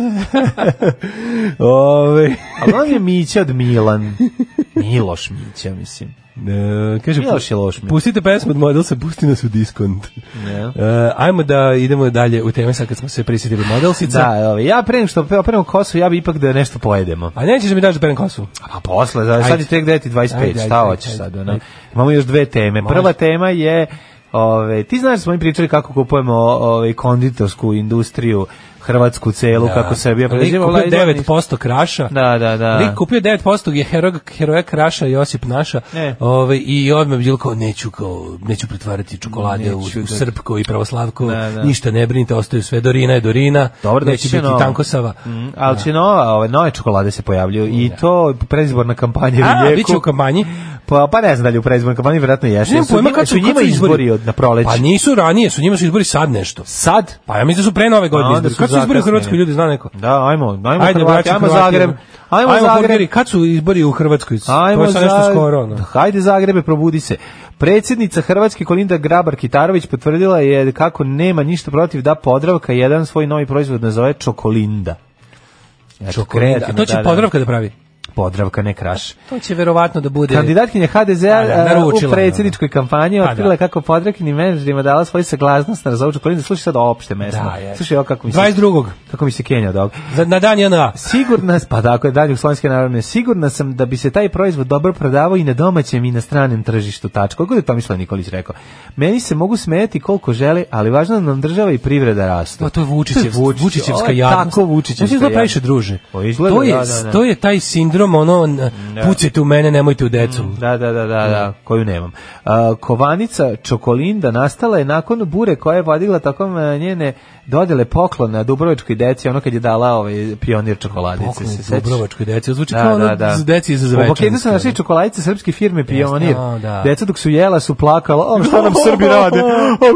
S6: Ove,
S5: Ali on je Mića od Milan. Miloš Mića, mislim.
S6: e, kaže,
S5: Miloš je loš Mića.
S6: pustite pesmu od model se, pusti nas u diskont.
S5: Ne.
S6: E, ajmo da idemo dalje u teme sad kad smo se prisjetili modelsica.
S5: Da, evo, ja pre nego što pe- operem kosu, ja bi ipak da nešto pojedemo.
S6: A nećeš da mi daš da perem kosu?
S5: Pa posle, da, sad
S6: Ajde.
S5: je tek deti 25,
S6: Ajde, ajde,
S5: šta
S6: ajde,
S5: hoćeš
S6: ajde,
S5: sad? ono?
S6: ajde.
S5: Imamo još dve teme.
S6: Može.
S5: Prva tema je, ove, ti znaš da smo mi pričali kako kupujemo ove, konditorsku industriju, hrvatsku celu, kako Srbija
S6: Lik
S5: preživjela.
S6: kupio 9% kraša.
S5: Da, da, da.
S6: Lik kupio 9% je herog, heroja kraša Josip Naša.
S5: E.
S6: Ovaj I odmah je bilo kao, neću, kao, neću pretvarati čokolade u,
S5: Neću
S6: u
S5: da-
S6: srpko i pravoslavko.
S5: Da, da.
S6: Ništa ne brinite, ostaju sve Dorina je Dorina.
S5: Dobro, doći
S6: neće
S5: će
S6: biti
S5: novo.
S6: tankosava.
S5: Mm, ali će nova, ove, nove čokolade se pojavljuju i to predizborna kampanja
S6: A,
S5: u jeku.
S6: bit će u kampanji.
S5: Pa, pa ne znam da li u predizbornoj kampanji, vjerojatno jesu.
S6: Nemam
S5: Jer su
S6: pojma
S5: njima-
S6: kad su-
S5: su
S6: kad
S5: njima
S6: su
S5: izbori
S6: izbori?
S5: od, na proleće.
S6: Pa nisu ranije, su njima su izbori sad nešto.
S5: Sad?
S6: Pa ja mislim da su pre nove godine
S5: A, onda
S6: izbori.
S5: su
S6: Kad su izbori u
S5: zakasnili.
S6: Hrvatskoj, ljudi zna neko.
S5: Da, ajmo, ajmo,
S6: Ajde,
S5: Hrvati,
S6: braćo
S5: ajmo
S6: Hrvati,
S5: Zagreb. Ajmo, Zagreb.
S6: burgeri. Kad su izbori u Hrvatskoj? to je sad nešto
S5: Zag-
S6: skoro. ono.
S5: Hajde Zagrebe, probudi se. Predsjednica Hrvatske Kolinda Grabar-Kitarović potvrdila je kako nema ništa protiv da Podravka jedan svoj novi proizvod nazove Čokolinda. Eto,
S6: Čokolada. A
S5: kreativno,
S6: to će
S5: da, da.
S6: Podravka da pravi.
S5: Podravka, ne kraš.
S6: To će verovatno da bude...
S5: Kandidatkinja HDZ-a
S6: A, da,
S5: e, u
S6: naručila,
S5: predsjedničkoj kampanji
S6: A, da.
S5: otkrila je kako podravkinim menadžerima dala svoju saglasnost na razvoju čokolinde. Slušaj sad opšte mesto.
S6: Da, je.
S5: Slušaj ovo kako mi se...
S6: 22.
S5: Kako mi se Kenja od ovog.
S6: Za, na dan JNA.
S5: Sigurna, pa tako je dalje Slovenske narodne, sigurna sam da bi se taj proizvod dobro prodavao i na domaćem i na stranem tržištu tačka. Kako je Tomislav Nikolić rekao? Meni se mogu smejati koliko žele, ali važno je da nam država i privreda rastu.
S6: Pa to je Vučićevska,
S5: Vučić- ovo
S6: Vučićevska
S5: je
S6: jadnost.
S5: Tako Vučićevska
S6: Znači, izgleda previše
S5: jadnost.
S6: druže.
S5: O, izgleda,
S6: to, je,
S5: da, da, da.
S6: to je taj sindrom, ono, n- pucajte u mene, nemojte u decu.
S5: Da, da, da, da, da, koju nemam. A, kovanica Čokolinda nastala je nakon bure koja je vodila tokom e, njene dodele poklona Dubrovačkoj deci, ono kad je dala ovaj pionir čokoladice.
S6: Poklon
S5: se sećaš?
S6: Dubrovačkoj deci. Zvuči kao ono za deci za
S5: U paketu su našli čokoladice srpske firme Pionir.
S6: a, da.
S5: Deca dok su jela su plakala, o šta nam Srbi rade,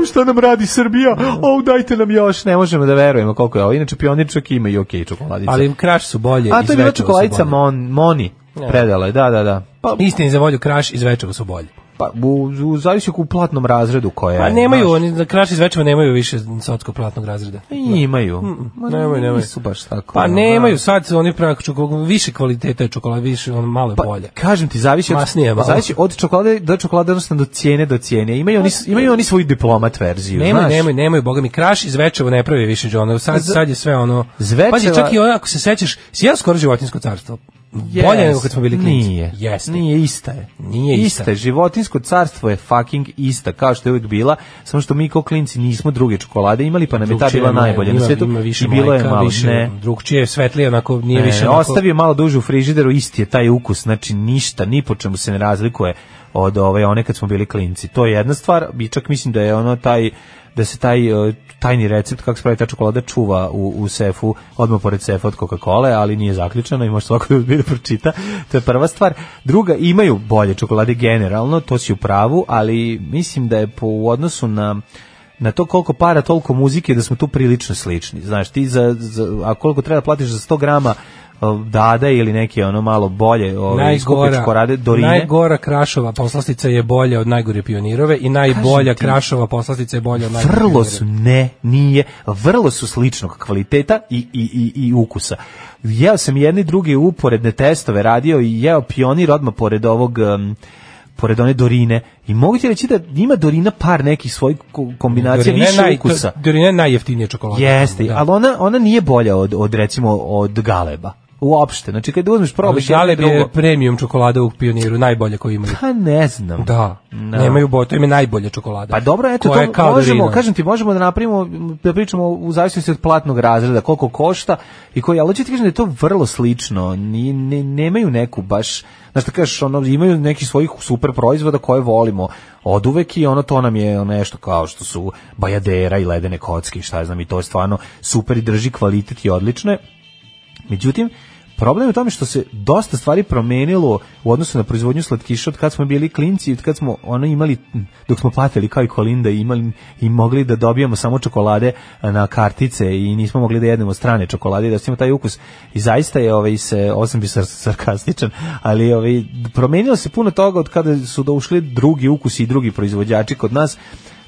S5: o šta nam radi Srbija, o dajte nam još. Ne možemo da verujemo koliko je ovo. Inače Pionir čak ima i okej čokoladice.
S6: Ali kraš su bolje.
S5: a to je
S6: izvečeva
S5: bila
S6: su
S5: čokoladica
S6: bolje.
S5: Mon, Moni. Predala je, da, da, da. Pa,
S6: Istini za volju, kraš iz večeva su bolje.
S5: pa u, u, zavisi u platnom razredu koje je.
S6: Pa nemaju,
S5: E, znaš.
S6: oni, za kraš iz večeva nemaju više sotsko platnog razreda.
S5: I imaju. Ma
S6: nemaju, nemaju.
S5: Nisu baš tako.
S6: Pa
S5: ono,
S6: nemaju, sad su oni pravi čokolad, više kvalitete čokolade, više, ono, malo je
S5: Pa,
S6: bolje.
S5: kažem ti, zavisi od,
S6: Masnije malo.
S5: zavisi od čokolade do čokolade, odnosno do cijene do cijene. Imaju oni, imaju oni svoju diplomat verziju,
S6: Nemoj,
S5: znaš.
S6: nemoj, nemoj, boga mi, kraš iz Zvečeva ne pravi više Johna, sad, sad je sve ono...
S5: Zvečeva-
S6: Pazi, čak i ono, ako se sećaš, si jeo skoro životinsko carstvo. Bolje nego kad smo bili klinci.
S5: Nije.
S6: Jeste.
S5: Nije ista je.
S6: Nije ista.
S5: je. Životinsko carstvo je fucking ista, kao što je uvijek bila, samo što mi kao klinci nismo druge čokolade imali, pa nam je ta
S6: Drugčije
S5: bila
S6: ima-
S5: najbolja na
S6: ima-
S5: svetu.
S6: Ima više
S5: I bilo je
S6: mleka,
S5: malo.
S6: više,
S5: ne.
S6: Drugčije je svetlije, onako, nije
S5: Ne,
S6: više...
S5: ne,
S6: onako-
S5: ostavi je malo duže u frižideru, isti je taj ukus, znači ništa, ni po čemu se ne razlikuje od ove one kad smo bili klinci. To je jedna stvar, i čak mislim da je ono taj da se taj e, tajni recept kako se pravi ta čokolada čuva u, u sefu, odmah pored sefa od Coca-Cola, ali nije zaključeno i može svako da bi da pročita. To je prva stvar. Druga, imaju bolje čokolade generalno, to si u pravu, ali mislim da je po u odnosu na na to koliko para, toliko muzike, da smo tu prilično slični. Znaš, ti za, za a koliko treba platiš za 100 grama e, dada ili neke ono malo bolje ovaj, skupe čokolade, dorine.
S6: najgora krašova poslastica je bolja od najgore pionirove i najbolja krašova poslastica je bolja od najgore
S5: vrlo
S6: pionirove.
S5: su ne nije vrlo su sličnog kvaliteta i, i, i, i ukusa jeo sam jedni i drugi uporedne testove radio i jeo pionir odmah pored ovog em, pored one dorine i mogu ti reći da ima dorina par nekih svojih ko- kombinacija
S6: Dorina je
S5: više
S6: naj-
S5: ukusa
S6: to- Dorina je najjeftinija čokolada.
S5: jeste
S6: Da.
S5: ali ona, ona nije bolja od, od recimo od galeba uopšte znači kad uzmeš probaš jedno i
S6: Žaleb je
S5: drugo,
S6: premium čokolada u pioniru, najbolje koju imaju.
S5: pa ne znam
S6: Da,
S5: No.
S6: nemaju boje, to im je najbolja čokolada.
S5: Pa dobro, eto
S6: Koja je
S5: to
S6: kao
S5: možemo,
S6: Dorina.
S5: kažem ti, možemo da napravimo da pričamo u zavisnosti od platnog razreda, koliko košta i koji, ali hoću ti kažem da je to vrlo slično. Ni ne, nemaju neku baš Znaš šta kažeš, ono, imaju neki svojih super proizvoda koje volimo od uvek i ono to nam je nešto kao što su bajadera i ledene kocke i šta ja znam i to je stvarno super i drži kvalitet i odlično je. Međutim, Problem je u tome što se dosta stvari promenilo u odnosu na proizvodnju slatkiša od kad smo bili klinci, od kad smo ono imali dok smo platili kao i Kolinda i imali i mogli da dobijamo samo čokolade na kartice i nismo mogli da jedemo strane čokolade i da smo taj ukus. I zaista je ovaj se osam bi sar- sarkastičan, ali ovaj promenilo se puno toga od kada su došli drugi ukusi i drugi proizvođači kod nas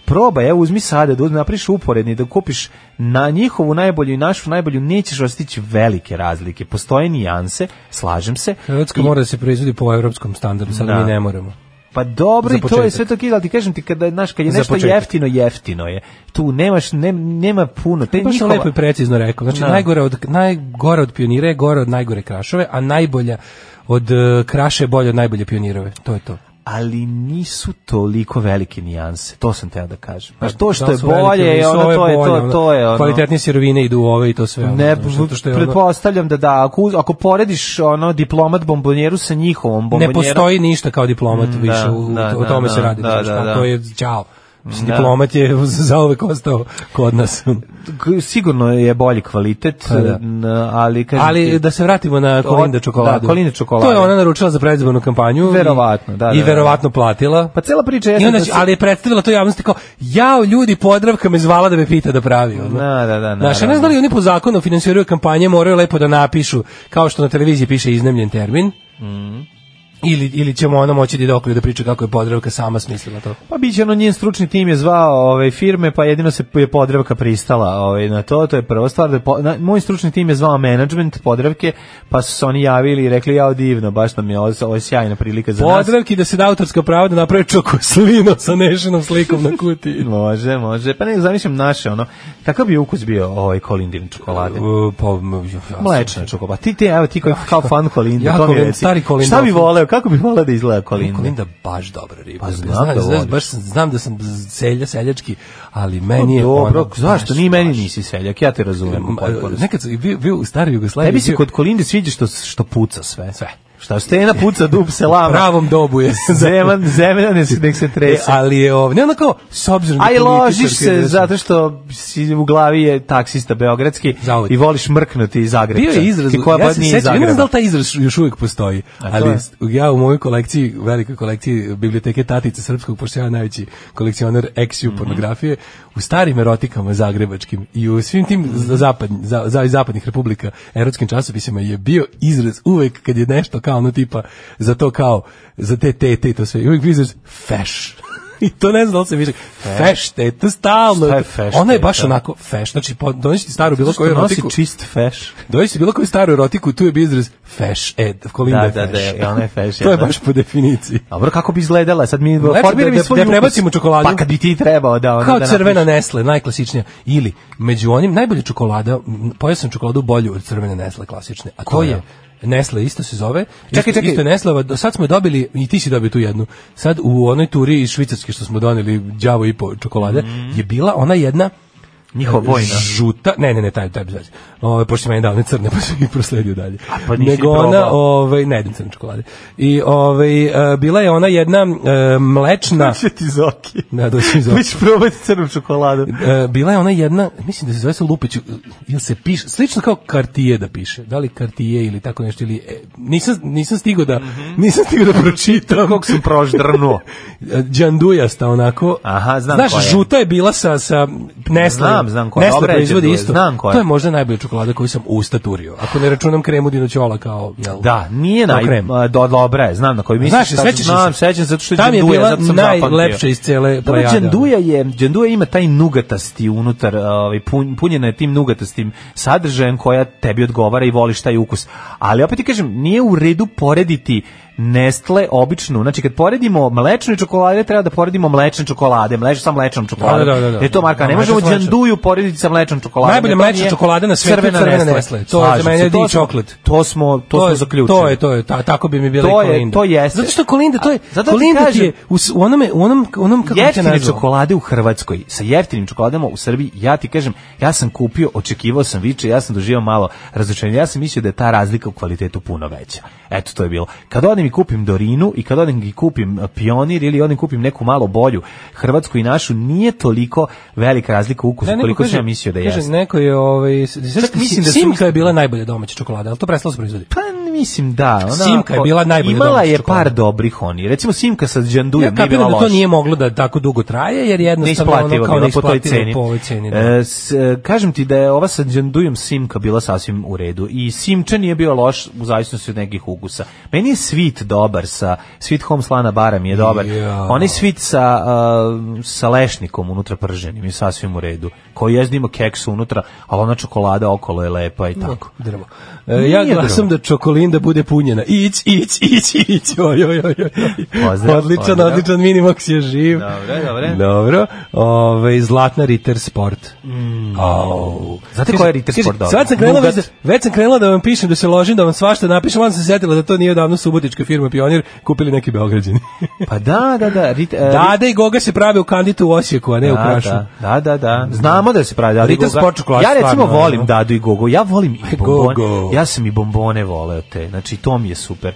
S5: probaj, evo uzmi sada, da uzmi, napriš uporedni, da kupiš na njihovu najbolju i našu najbolju, nećeš ostići velike razlike. Postoje nijanse, slažem se.
S6: Hrvatska
S5: I-
S6: mora da se proizvodi po evropskom standardu, sad
S5: Da.
S6: mi ne moramo.
S5: Pa dobro,
S6: Za
S5: i to je
S6: početak.
S5: sve to kidal, ti kažem ti kada znaš kad je
S6: Za
S5: nešto
S6: početak.
S5: jeftino, jeftino je. Tu nemaš ne- nema puno,
S6: Baš
S5: te
S6: sam
S5: E, njihova.
S6: lepo i precizno rekao. Znači,
S5: Da.
S6: najgore, od, najgore od pionire je gore od najgore krašove, a najbolja od e, kraše je bolje od najbolje pionirove. To je to.
S5: ali nisu toliko velike nijanse. To sam teo da kažem. Znaš, to što
S6: Pa Da
S5: je
S6: li su velike ili
S5: bolje,
S6: nisu,
S5: ono,
S6: ovo je
S5: to je
S6: bolje,
S5: to,
S6: ono.
S5: to je ono.
S6: Kvalitetnije sirovine idu u ove i to sve. ono,
S5: Ne,
S6: znaš, zato što je ono-
S5: pretpostavljam da da, ako, uz- ako porediš ono diplomat bombonjeru sa njihovom
S6: ne
S5: bombonjerom...
S6: postoji ništa kao diplomat
S5: Mm,
S6: više,
S5: da,
S6: u,
S5: da,
S6: o
S5: da,
S6: tome se
S5: da,
S6: radi.
S5: da,
S6: znaš,
S5: da,
S6: pa
S5: da.
S6: To je, čao. Mislim,
S5: Da.
S6: Diplomat je zauvek ostao kod nas.
S5: K- Sigurno je bolji kvalitet,
S6: Pa da.
S5: n- ali... kažem
S6: Ali
S5: ti-
S6: da se vratimo na
S5: To-
S6: Kolinda čokoladu.
S5: Da, Kolinda čokoladu.
S6: To je ona naručila za predizbornu kampanju. i-
S5: Verovatno, da,
S6: I
S5: da, da.
S6: verovatno platila.
S5: Pa cela priča
S6: I
S5: jeste
S6: onda,
S5: da
S6: će-
S5: se-
S6: ali je predstavila to javnosti kao, jao ljudi, Podravka me zvala da me pita da pravi. ono.
S5: Da, da, da.
S6: Znaš, ja ne znam da li oni po zakonu finansiraju kampanje, moraju lepo da napišu, kao što na televiziji piše iznemljen termin,
S5: Mhm.
S6: ili, ili ćemo ona moći da ide okolo i da priča kako je Podravka sama smislila to.
S5: Pa biće ono njen stručni tim je zvao ove firme, pa jedino se je Podravka pristala ovaj na to, to je prva stvar. Da je po- na- moj stručni tim je zvao menadžment Podravke, pa su se oni javili i rekli jao divno, baš nam je ovo, ovo je sjajna prilika za nas.
S6: Podravki da se da autorska prava da napravi čokoslino sa nešenom slikom na kutiji.
S5: Može, može. Pa ne, zamišljam naše ono. Kakav bi ukus bio ovaj kolindin čokolade? Mlečna čokolada. Ti te, evo ti koji kao fan kolinda,
S6: Ja
S5: to mi
S6: Kolin-
S5: reci.
S6: stari Kolinda.
S5: Šta bi voleo? Kako bi voleo da izgleda kolinda?
S6: Kolinda baš dobra riba.
S5: Pa znam
S6: znam,
S5: da
S6: znam,
S5: voliš.
S6: baš sam- znam da sam selja, seljački, ali
S5: E,
S6: meni je
S5: Pa dobro,
S6: ono,
S5: zašto?
S6: baš-
S5: Ni meni nisi seljak, ja te razumem. u potpunosti.
S6: e, Nekad sam bio, bio u staroj Jugoslaviji.
S5: Tebi se
S6: bio-
S5: kod Kolinde sviđa što, što puca sve. Sve. Šta stena puca, dub se lama.
S6: pravom dobu je.
S5: Zeman, zemlja ne, se- nek se
S6: E,
S5: trese.
S6: ali je ovo, ne ono kao, s obzirom
S5: A i ložiš
S6: političarke,
S5: se
S6: znaš,
S5: zato što si u glavi je taksista beogradski
S6: Zauvek.
S5: i voliš mrknuti iz Zagreba.
S6: Bio je izraz,
S5: Ti koja
S6: ja
S5: ja
S6: se
S5: nije iz
S6: sećam, ja ne znam da
S5: Zagreba.
S6: li taj izraz još uvijek postoji,
S5: A to
S6: ali
S5: je?
S6: s- ja u mojoj kolekciji, velikoj kolekciji biblioteke Tatice Srpskog, pošto ja najveći kolekcionar eksiju
S5: Mhm.
S6: pornografije, u starim erotikama zagrebačkim i u svim tim
S5: Mhm.
S6: za zapad, za, za, iz zapadnih republika erotskim časopisima je bio izraz uvek kad je nešto kao ono tipa za to kao, za te tete i to sve, i uvijek bio izraz feš. I to ne znam da li se više. Feš teta, stalno.
S5: Šta je feš
S6: Ona je baš
S5: teta?
S6: onako feš. Znači, po- donesi ti staru bilo
S5: Zato
S6: koju
S5: što nosi
S6: erotiku.
S5: čist feš.
S6: Dođi si bilo koju staru erotiku, tu je bio izraz feš ed, kolinda
S5: Da,
S6: je
S5: da, da,
S6: feš.
S5: i ona je feš,
S6: to je
S5: jedna.
S6: baš po definiciji.
S5: Dobro, kako bi izgledala? Sad mi
S6: Lepo da-
S5: formiraj mi
S6: da-
S5: svoj
S6: da
S5: Znači, ukus.
S6: prebacimo čokoladu.
S5: Pa kad bi ti trebao da... Ono,
S6: Kao
S5: da
S6: crvena nesle, najklasičnija. Ili, među onim, najbolja čokolada, m, pojeo sam čokoladu bolju od crvene nesle klasične, a to
S5: Koja?
S6: je Nesle isto se zove.
S5: Čekaj,
S6: isto,
S5: čekaj.
S6: Isto je Nesleva. Do sad smo je dobili, i ti si dobio tu jednu, sad u onoj turi iz Švicarske što smo doneli đavo i po čokolade,
S5: Mm.
S6: je bila ona jedna
S5: Njihova vojna.
S6: Žuta, ne, ne, ne, taj, taj bez veze. Ove, pošto meni davne crne, pa sam ih prosledio dalje.
S5: pa nisi
S6: Nego
S5: probao.
S6: ona, ovaj, ne jedem crne čokolade. I ovaj, e, bila je ona jedna e, mlečna...
S5: Više ti zoki.
S6: Da, da si
S5: Mi ću probati Znači, crnu čokoladu.
S6: E, bila je ona jedna, mislim da se zove se Lupić, ili se piše, slično kao Cartier da piše, da li Cartier ili tako nešto, ili, e, nisam, nisam stigao da,
S5: Mhm.
S6: nisam stigao da pročitam.
S5: Koliko sam proždrnuo.
S6: E, Đandujasta onako.
S5: Aha, znam
S6: Znaš,
S5: koja je.
S6: žuta je bila sa, sa Nestle.
S5: Znam, znam koja je.
S6: Nestle
S5: Dobra je
S6: proizvodi
S5: Đanduja,
S6: isto.
S5: znam koja je.
S6: To je možda najbolja čokolada koju sam ustaturio. Ako ne računam kremu dinoćola kao, jel?
S5: Da, nije
S6: kao
S5: naj
S6: krem.
S5: a, do, dobra je, znam na koji misliš.
S6: Znaš, je,
S5: tačno,
S6: sećaš se?
S5: Znam, sećam se zato što je
S6: Tam je
S5: Đanduja,
S6: bila
S5: zato sam zapamtio.
S6: najlepša iz cele
S5: Dobro,
S6: plejade. ono.
S5: Đanduja je, Đanduja ima taj nugatasti unutar, ovaj pun, punjena je tim nugatastim sadržajem koja tebi odgovara i voliš taj ukus. Ali opet ti kažem, nije u redu porediti Nestle običnu. Znači kad poredimo mlečne čokolade, treba da poredimo mlečne čokolade, mlečne sa mlečnom čokoladom.
S6: Da, da, da, da.
S5: Jer to marka,
S6: Da,
S5: ne
S6: mlečna
S5: možemo
S6: sa mlečnom.
S5: Đanduju porediti sa mlečnom čokoladom.
S6: Najbolja
S5: jer to
S6: mlečna
S5: nije
S6: čokolada na svetu je
S5: crvena
S6: crvena
S5: Nestle.
S6: Nestle. To je za
S5: Slažem se,
S6: mene
S5: to
S6: di
S5: smo-
S6: čoklet.
S5: To smo to,
S6: to
S5: smo
S6: je,
S5: zaključili.
S6: To je, to je, ta, tako bi mi bila
S5: To
S6: i
S5: je-
S6: Kolinda.
S5: to jeste.
S6: Zato što Kolinda, to je,
S5: A, zato ti
S6: Kolinda ti
S5: kažem-
S6: je u, s- u onome, u onom, u onom, kako bi te
S5: jeftine
S6: nazvao?
S5: čokolade u Hrvatskoj sa jeftinim čokoladama u Srbiji ja ti kažem ja sam kupio očekivao sam više ja sam doživio malo razočarenja ja sam mislio da je ta razlika u kvalitetu puno veća eto to je bilo kad odim odem i kupim Dorinu i kad odem i kupim e, Pionir ili odem kupim neku malo bolju hrvatsku i našu, nije toliko velika razlika u ukusu
S6: neko
S5: koliko
S6: kaže-
S5: sam ja mislio da
S6: kaže,
S5: jeste.
S6: neko je ovaj s- s-
S5: Čak mislim da su-
S6: Simka je bila najbolja domaća čokolada, al to prestalo se proizvodi.
S5: Pa mislim da, ona
S6: Simka je bila najbolja
S5: Imala
S6: domaća
S5: je
S6: čokolada.
S5: par dobrih oni. Recimo Simka sa Đandujem
S6: Ja
S5: nije
S6: kapiram
S5: bila
S6: da to
S5: loša.
S6: nije moglo da tako dugo traje, jer jednostavno
S5: Neisplativo
S6: ono kao
S5: bilo po toj
S6: neisplativo
S5: ceni.
S6: po ovoj ceni. Da.
S5: E, s- e, kažem ti da je ova sa Đandujom Simka bila sasvim u redu i Simča nije bio loš u zavisnosti od nekih ukusa. Meni je Sweet dobar sa Sweet Home Slana Bara mi je dobar.
S6: Ja.
S5: Onaj Sweet sa, e, sa lešnikom unutra prženim je sasvim u redu. Koji jezda ima keks unutra, ali ona čokolada okolo je lepa i tako.
S6: Drvo. E, ja
S5: Nije
S6: glasam da čokolinda bude punjena. Ić, ić, ić, ić. Oj, oj, oj, oj.
S5: Pozdrav,
S6: odličan,
S5: pozdrav.
S6: odličan Minimax je živ.
S5: Dobre, dobre.
S6: Dobro. Ove, zlatna Ritter Sport. Au.
S5: Znate
S6: Kaže-
S5: koja je Ritter
S6: kaže,
S5: Sport dobra?
S6: Sad sam krenula, već,
S5: Nougat.
S6: da- već sam krenula da vam pišem, da se ložim, da vam svašta napišem, onda sam se sjetila da to nije davno subotička firma Pionir, kupili neki Beograđani.
S5: pa da, da, da. Rit, e,
S6: Dada i Goga se prave u kanditu u Osijeku, a ne u
S5: Da,
S6: Krašu.
S5: da, Da, da, da. Znamo da se pravi Dadu i
S6: Ritter
S5: Goga.
S6: Sport čokolada,
S5: Ja recimo
S6: stvarno,
S5: volim
S6: ono.
S5: Dadu i Gogu. Ja volim i bombone.
S6: Gogo.
S5: Ja sam i bombone voleo te. Znači, to mi je super.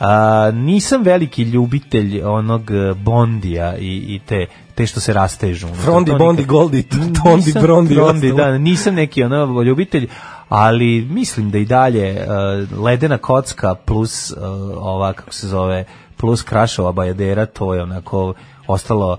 S5: A, nisam veliki ljubitelj onog eh, Bondija i, i te te što se rastežu. Ono,
S6: Frondi,
S5: To nikad-
S6: Bondi, Goldi, Tondi,
S5: Nisam
S6: Brondi. i
S5: Brondi,
S6: ostalo.
S5: da, nisam neki ono ljubitelj, ali mislim da i dalje eh, ledena kocka plus eh, ova kako se zove plus Krašova bajadera, to je onako ostalo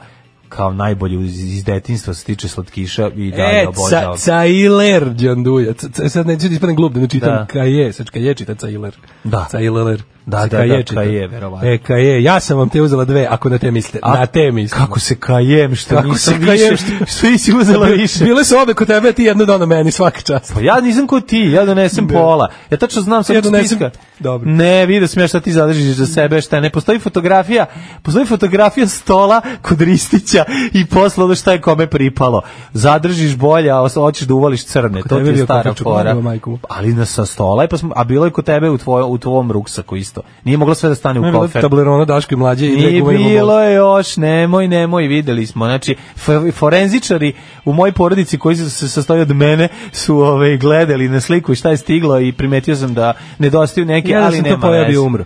S5: kao najbolje iz, iz detinjstva što se tiče slatkiša i dalje
S6: E, ca,
S5: obožavam.
S6: Cailer Đanduja. C- c- Sad neću da ispadnem glup da ne čitam
S5: Da.
S6: Kaje, sad Kaje čita E Cailer.
S5: Da.
S6: Cailer.
S5: Da,
S6: Se
S5: da,
S6: Kaje
S5: da,
S6: čita.
S5: Kaje, verovatno.
S6: E, Kaje, ja sam vam te uzela dve, ako na te mislite.
S5: A-
S6: na te mislite.
S5: Kako se kajem što
S6: Kako
S5: nisam
S6: se kajem,
S5: više, što, nisi uzela
S6: Bil-
S5: više.
S6: Bile su obe kod tebe, a ti jednu dono meni svaka čast.
S5: Pa ja nisam ko ti, ja donesem pola. Ja tačno znam sad
S6: Ja donesem-
S5: spiska.
S6: Dobro.
S5: Ne, vidio sam ja šta ti zadržiš za sebe, šta ne. Postoji fotografija, postoji fotografija stola kod Ristića i posle ono šta je kome pripalo. Zadržiš bolje, a os- hoćeš da uvališ crne.
S6: Kod
S5: to
S6: tebe
S5: ti je
S6: bio
S5: stara
S6: kokaču,
S5: fora.
S6: kod majku mu.
S5: Ali na sa stola, i pa smo, a bilo je kod tebe u, tvoj, u tvom ruksaku isto. Nije moglo sve da stane u
S6: Ne, bila
S5: kofer.
S6: Tablerona Daško i mlađe i dve
S5: Nije
S6: gume i bombone.
S5: bilo je još, nemoj, nemoj, videli smo. Znači, f- forenzičari u mojoj porodici koji su se sastoji od mene su ove, gledali na sliku i šta je stiglo i primetio sam da nedostaju neke,
S6: Ja da
S5: ali
S6: sam
S5: nema
S6: to pojeo
S5: veze.
S6: bi umro.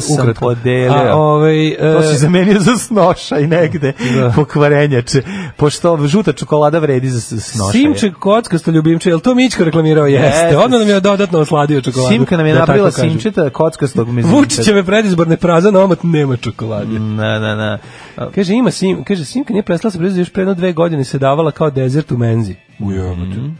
S6: Samo
S5: sam
S6: ukratko.
S5: podelio.
S6: A, ovaj, e,
S5: To si zamenio za snoša i negde
S6: Da.
S5: pokvarenjače. Pošto žuta čokolada vredi za s- snoša.
S6: Simček kockasto ljubimče, jel to Mićko reklamirao? Jeste.
S5: Jeste.
S6: Odmah nam je dodatno osladio čokoladu.
S5: Simka nam je
S6: da tako
S5: napravila
S6: kažem.
S5: simčeta kockastog mezinčeta.
S6: Vučićeve predizborne praza na omot nema čokolade.
S5: Na, na, na.
S6: Kaže ima sim, kaže simka nije prestala se proizvodi još pre jedno dve godine se davala kao dezert u menzi. Ujebote.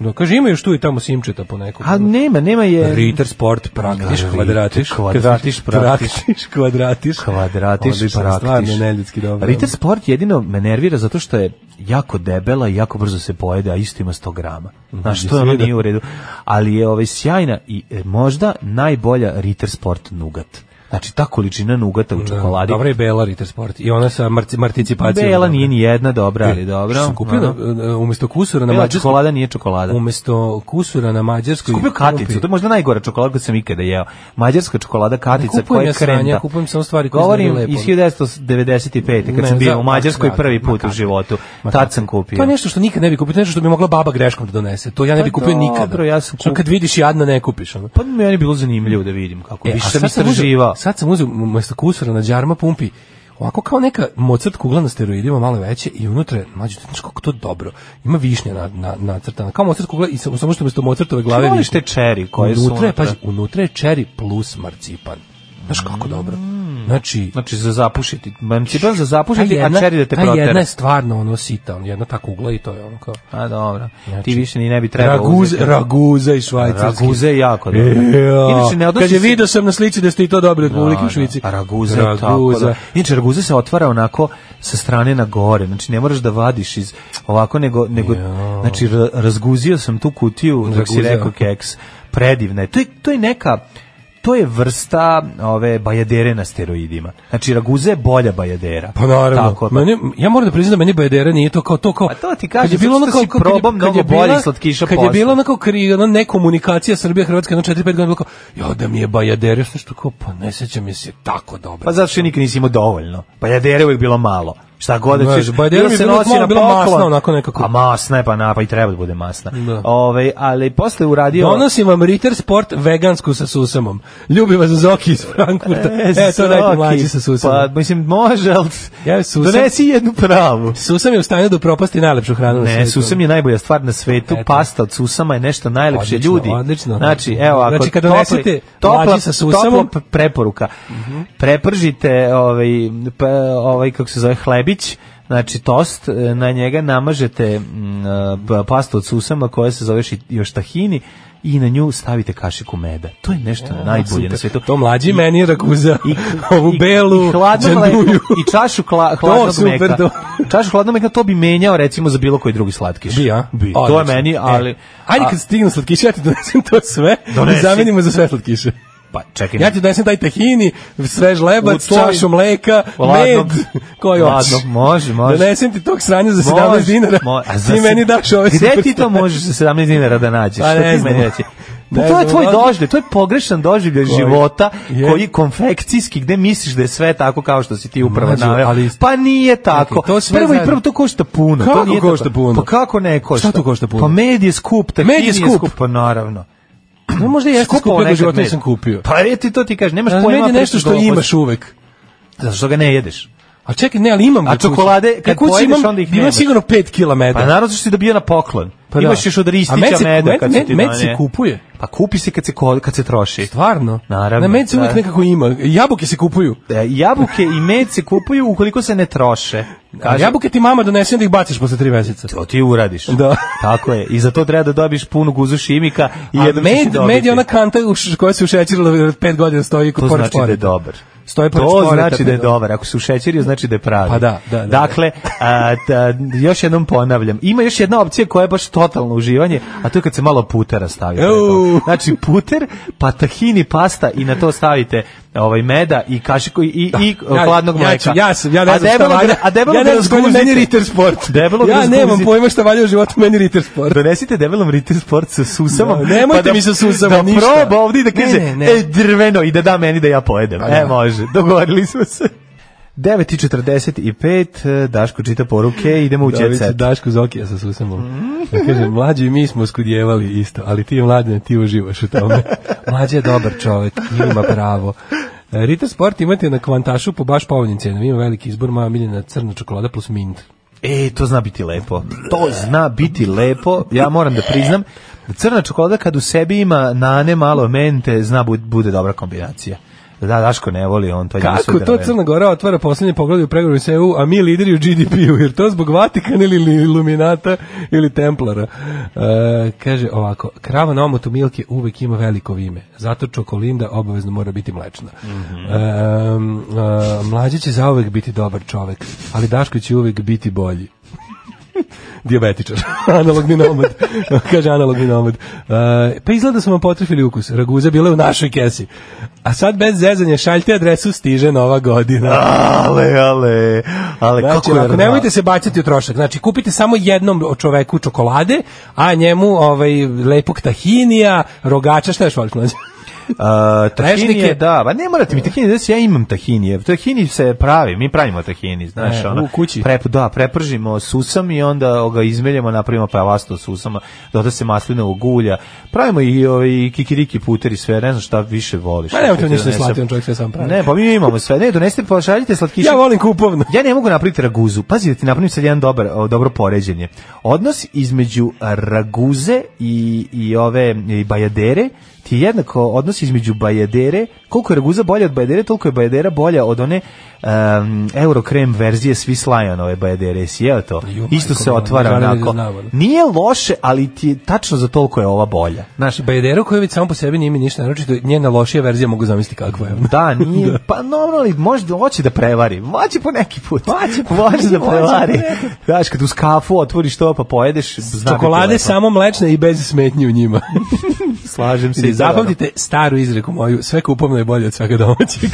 S6: Da, kaže ima još tu i tamo simčeta po nekom. ono,
S5: A nema, nema je...
S6: Ritter Sport praktiš,
S5: Ritter,
S6: kvadratiš,
S5: kvadratiš, praktiš.
S6: praktiš, kvadratiš,
S5: kvadratiš,
S6: Odlično,
S5: praktiš.
S6: Stvarno neljudski dobro.
S5: Ritter Sport jedino me nervira zato što je jako debela i jako brzo se pojede, a isto ima 100 grama.
S6: Mhm,
S5: Znaš, to je ono
S6: Svi da-
S5: nije u redu. Ali je ovaj sjajna i e, možda najbolja Ritter Sport nugat. Znači, ta količina nugata u čokoladi.
S6: Dobra je bela Ritter Sport i ona sa marci, marticipacijom.
S5: Bela nije ni jedna dobra, ali dobro.
S6: Što sam kupio
S5: Ono.
S6: na- umesto kusura na
S5: Bela
S6: mađarskoj
S5: čokolada nije čokolada.
S6: umesto kusura na mađarskoj
S5: Kupio katicu, to je možda najgora čokolada koju sam ikada jeo. Mađarska čokolada katica
S6: kupujem
S5: koja
S6: ja
S5: je
S6: sranja,
S5: krenda.
S6: kupujem samo stvari koje
S5: Govorim
S6: izgledaju lepo.
S5: iz 1995. kad
S6: Ne,
S5: sam
S6: za-
S5: bio u Mađarskoj
S6: ma kako,
S5: prvi
S6: ma
S5: put u
S6: kako.
S5: životu.
S6: Ma kako.
S5: Tad sam kupio.
S6: To je nešto što nikad ne bi kupio, to je nešto što bi mogla baba greškom da donese. To ja ne bi
S5: Pa
S6: kupio nikada.
S5: dobro, ja sam
S6: Što
S5: kup-
S6: kad vidiš jadno ne kupiš ono.
S5: Pa meni je bilo zanimljivo da vidim kako.
S6: E,
S5: Više
S6: a
S5: sam
S6: sad sam uzeo-
S5: istraživao.
S6: Sad sam uzeo umesto kusura na džarma pumpi ovako kao neka mocrt kugla na steroidima malo veće i unutra je, mlađe, znaš kako to dobro ima višnja na, na, nacrtana kao mocrt kugla i sa- samo što umesto mocrtove glave
S5: Ti voliš
S6: višnje.
S5: te čeri koje su
S6: unutra, je,
S5: unutra? Mm.
S6: pazi, unutra je čeri plus marcipan znaš kako dobro znači
S5: Znači za zapušiti. Mancipan za zapušiti,
S6: ta
S5: a čeri da te
S6: ta jedna
S5: protera.
S6: je stvarno ono sita, ono, jedna ta kugla i to je ono kao...
S5: A dobro.
S6: Znači,
S5: Ti više ni ne bi trebao
S6: Raguze,
S5: uzeti.
S6: raguza i švajcarski. E,
S5: Raguze je jako dobro.
S6: Ja.
S5: Inače, ne odnosi
S6: Kaže,
S5: se-
S6: video sam na slici da ste i to dobili od publike u Švici.
S5: A raguza, je tako
S6: Raguza.
S5: da. Inače, raguza se otvara onako sa strane na gore. Znači, ne moraš da vadiš iz ovako, nego, nego znači, ra- razguzio sam tu kutiju, dok si
S6: Raguza.
S5: rekao keks. Predivna je. To je, to je neka to je vrsta ove bajadere na steroidima. Znači, raguza je bolja bajadera.
S6: Pa naravno.
S5: Tako, je.
S6: meni, ja moram da priznam da meni Bajdera nije to kao to kao.
S5: A to ti kažem,
S6: kad je bilo
S5: zato
S6: ono
S5: što
S6: kao
S5: si
S6: kad je-
S5: probao
S6: kad je
S5: mnogo
S6: bila-
S5: boljih slatkiša
S6: Kad je
S5: posle.
S6: bilo onako kri, ono nekomunikacija Srbija Hrvatska jedno 4-5 godina bilo kao ja da mi je Bajdera što kao pa ne sećam je se tako dobro.
S5: Pa zato što nikad nisi imao dovoljno. Bajadere je uvijek bilo malo. Šta god da
S6: Znaš,
S5: ćeš.
S6: Bajdera
S5: ili
S6: mi je
S5: se
S6: bilo
S5: nosi
S6: malo
S5: na
S6: bila
S5: poklon.
S6: masna, onako nekako.
S5: A masna je pa napa i treba da bude masna.
S6: Da.
S5: Ovaj, ali posle je uradio...
S6: Donosim vam Ritter Sport vegansku sa susamom. Ljubi vas Zoki iz Frankfurta. E, to
S5: Zoki,
S6: rekao mlađi sa susamom.
S5: Pa, mislim, može, ali...
S6: Ja, susam,
S5: Donesi jednu pravu.
S6: Susam je u stanju da upropasti najlepšu hranu na
S5: Ne,
S6: svijetu.
S5: susam je najbolja stvar na svetu.
S6: Eto.
S5: Pasta od susama je nešto najlepše
S6: Odlično,
S5: ljudi.
S6: odlično.
S5: Znači, evo, ako
S6: Znači, kad
S5: topli-
S6: donesete
S5: topla,
S6: mlađi sa susamom- Mhm.
S5: topla preporuka. Prepržite ovaj pa, ovaj kako se zove hlebić, znači tost, e, na njega namažete mm, e, pa- pastu od susama koja se zove ši- još tahini i na nju stavite kašiku meda. To je nešto najbolje na
S6: super.
S5: svetu.
S6: To mlađi meni je rakuza. Ovu belu,
S5: i hladno
S6: džanduju.
S5: mleko i čašu kla, hladnog
S6: To super,
S5: meka.
S6: to.
S5: čašu hladnog meka to bi menjao recimo za bilo koji drugi slatkiš.
S6: Bi, a?
S5: Bi. To je
S6: Odlično.
S5: meni, ali...
S6: E, ajde kad stignu slatkiše, ja ti donesem to sve.
S5: Donesi.
S6: Zamenimo za sve slatkiše.
S5: Pa čekaj.
S6: Ja ti donesem taj tahini, svež lebac,
S5: U toj-
S6: čašu mleka,
S5: Ladno.
S6: med, koji hoćeš.
S5: Ladno, može, može.
S6: Donesem ti tog sranja za
S5: Može,
S6: 17 dinara.
S5: mo- a za
S6: Ti
S5: se-
S6: meni daš ove
S5: Gde
S6: super
S5: ti to
S6: stvari.
S5: možeš za 17 dinara da nađeš?
S6: Pa
S5: Što
S6: ne
S5: ti
S6: znam.
S5: meni reći? Pa
S6: Ne
S5: to je
S6: znam,
S5: tvoj
S6: ali-
S5: doživljaj, to je pogrešan doživljaj
S6: Koji?
S5: života
S6: Je.
S5: koji konfekcijski, gde misliš da je sve tako kao što si ti upravo
S6: Mlađo,
S5: naveo.
S6: ali-
S5: Pa nije tako.
S6: Čekaj, to sve
S5: Prvo i
S6: zajedno-
S5: prvo to košta puno. to
S6: Kako
S5: nije
S6: košta
S5: tako.
S6: puno?
S5: Pa kako ne košta?
S6: Šta to košta puno?
S5: Pa med je skup, tako
S6: Med je skup.
S5: pa naravno.
S6: No, možda Pa jeste
S5: Skupo
S6: skupio, nego
S5: nekad
S6: života
S5: med.
S6: nisam kupio.
S5: Pa je ti to ti kažeš, nemaš
S6: A,
S5: pojma.
S6: med je
S5: priča
S6: nešto što
S5: gluposti.
S6: imaš uvek.
S5: Zato što ga ne jedeš.
S6: A čekaj, ne, ali imam
S5: A
S6: ga kući.
S5: čokolade, kad
S6: Ja kući
S5: pojedeš,
S6: imam-
S5: onda ih
S6: Imam
S5: nemaš.
S6: sigurno 5 kila meda.
S5: Pa naravno što si dobio na poklon.
S6: Pa da.
S5: Imaš još od
S6: A
S5: ristića
S6: med se-
S5: meda
S6: med-
S5: kad se
S6: med-
S5: ti
S6: med
S5: donese.
S6: se kupuje.
S5: Pa kupi se kad se, ko- kad se troši.
S6: Stvarno?
S5: Naravno,
S6: Na med se
S5: da.
S6: uvijek nekako ima. Jabuke se kupuju.
S5: E, Jabuke i med se kupuju ukoliko se ne troše.
S6: A
S5: Kažem,
S6: jabuke ti mama donese, onda ih baciš posle tri meseca.
S5: to ti uradiš.
S6: Da.
S5: Tako je. I za to treba da dobiješ punu guzu šimika i
S6: A
S5: jednom ćeš i
S6: med,
S5: dobiti.
S6: med je ona kanta u š- koja se ušećirila pet godina stoji kod
S5: To
S6: pored
S5: znači da je
S6: čvoreta.
S5: dobar.
S6: Stoji pored
S5: To
S6: čvoreta,
S5: znači da je
S6: pet
S5: dobar. Ako su šećeri, znači da je pravi.
S6: Pa da, da, da.
S5: Dakle, a, ta, još jednom ponavljam. Ima još jedna opcija koja je baš totalno uživanje, a to je kad se malo putera stavi. pored toga.
S6: Au.
S5: Znači, puter, pa tahini, pasta i na to stavite ovaj meda i kašiku i, i, i
S6: Ja-
S5: hladnog
S6: ja
S5: mleka.
S6: ću- ja sam- ja ne
S5: a
S6: znam šta
S5: debelo,
S6: valja.
S5: gra- a debelo
S6: Ja ne znam šta valja, meni
S5: razguzite.
S6: Ritter Sport.
S5: Debelo
S6: Ja
S5: razguzite.
S6: nemam pojma šta valja u životu, meni Ritter Sport.
S5: Donesite debelom Ritter Sport sa susamom. pa
S6: Da, nemojte
S5: da-
S6: mi sa susama,
S5: Da
S6: ništa.
S5: proba ovdje i da
S6: Ne,
S5: kaže,
S6: ne, ne.
S5: e, drveno, i da da meni da ja pojedem.
S6: Pa
S5: E,
S6: da.
S5: može, dogovorili smo se. 9.45, Daško čita poruke, idemo u
S6: Dobit
S5: jet
S6: ću
S5: set.
S6: Dašku Zokija sa susamom. Ja kažem, mlađi i mi smo skudjevali isto, ali ti mladine, ti uživaš u tome. Mlađi je dobar čovek, ima pravo. E, Ritter Sport imate na kvantašu po baš povoljnim cenama. Ima veliki izbor, moja miljena crna čokolada plus mint.
S5: E, to zna biti lepo. To zna biti lepo. Ja moram da priznam, da crna čokolada kad u sebi ima nane, malo mente, zna bu- bude dobra kombinacija. Da, Daško ne voli, on to je
S6: Kako to Crna Gora otvara poslednje poglede u pregovoru sa EU, a mi lideri u GDP-u, jer to zbog Vatikana ili ili Iluminata ili Templara. E, kaže ovako, krava na omotu Milke uvek ima veliko vime, zato čokolinda obavezno mora biti mlečna. e, e, mlađe će zauvek biti dobar čovek, ali Daško će uvek biti bolji. Diabetičar. analogni nomad. Kaže analogni nomad. E, pa izgleda da smo vam potrefili ukus. Raguza bila je u našoj kesi. A sad bez zezanja šaljte adresu stiže nova godina.
S5: Ale, ale, ale,
S6: Znači,
S5: kako je
S6: ako
S5: rna-
S6: nemojte se bacati u trošak. Znači, kupite samo jednom čoveku čokolade, a njemu ovaj, lepog tahinija, rogača, šta još voliš mlađe?
S5: A, tahinije,
S6: Lešnike.
S5: da, ba ne morate mi tahinije, da ja imam tahinije. Tahini se pravi, mi pravimo tahini, znaš,
S6: E,
S5: ono.
S6: u kući.
S5: Prep, da, prepržimo susam i onda ga izmeljemo, napravimo pavasto od susama, doda se maslinovog ulja. Pravimo i ovaj kikiriki puter i sve, ne znam šta više voliš.
S6: Ma nemojte
S5: Šta ti
S6: Pa ništa da
S5: donesem.
S6: slati, on čovjek sve sam pravi.
S5: Ne, pa mi imamo sve. Ne, donesite, pošaljite slatkiše.
S6: Ja volim kupovno.
S5: Ja ne mogu napraviti raguzu. Pazi da ti napravim sad jedan dobar, o, dobro poređenje. Odnos između raguze i, i ove i bajadere ti je jednako odnos između bajadere, koliko je raguza bolja od bajadere, toliko je bajadera bolja od one um, eurokrem verzije svi slajanove bajadere. Jesi jeo to?
S6: Ju,
S5: Isto
S6: majko
S5: se
S6: moja,
S5: otvara
S6: želim da
S5: onako.
S6: znam, ono.
S5: Nije loše, ali ti je tačno za toliko je ova bolja. Znaš,
S6: Bajedero koji već samo po sebi nije mi ništa naročito, njena lošija verzija mogu zamisliti kakva je.
S5: Da, nije, pa normalno, ali možda hoće da prevari. Hoće po neki put. Hoće, hoće da prevari. Znaš, kad uz kafu otvoriš to pa pojedeš, zna
S6: Čokolade samo mlečne i bez smetnje u njima.
S5: slažem se.
S6: I zapamtite staru izreku moju, sve kupovno je bolje od svega domaćeg.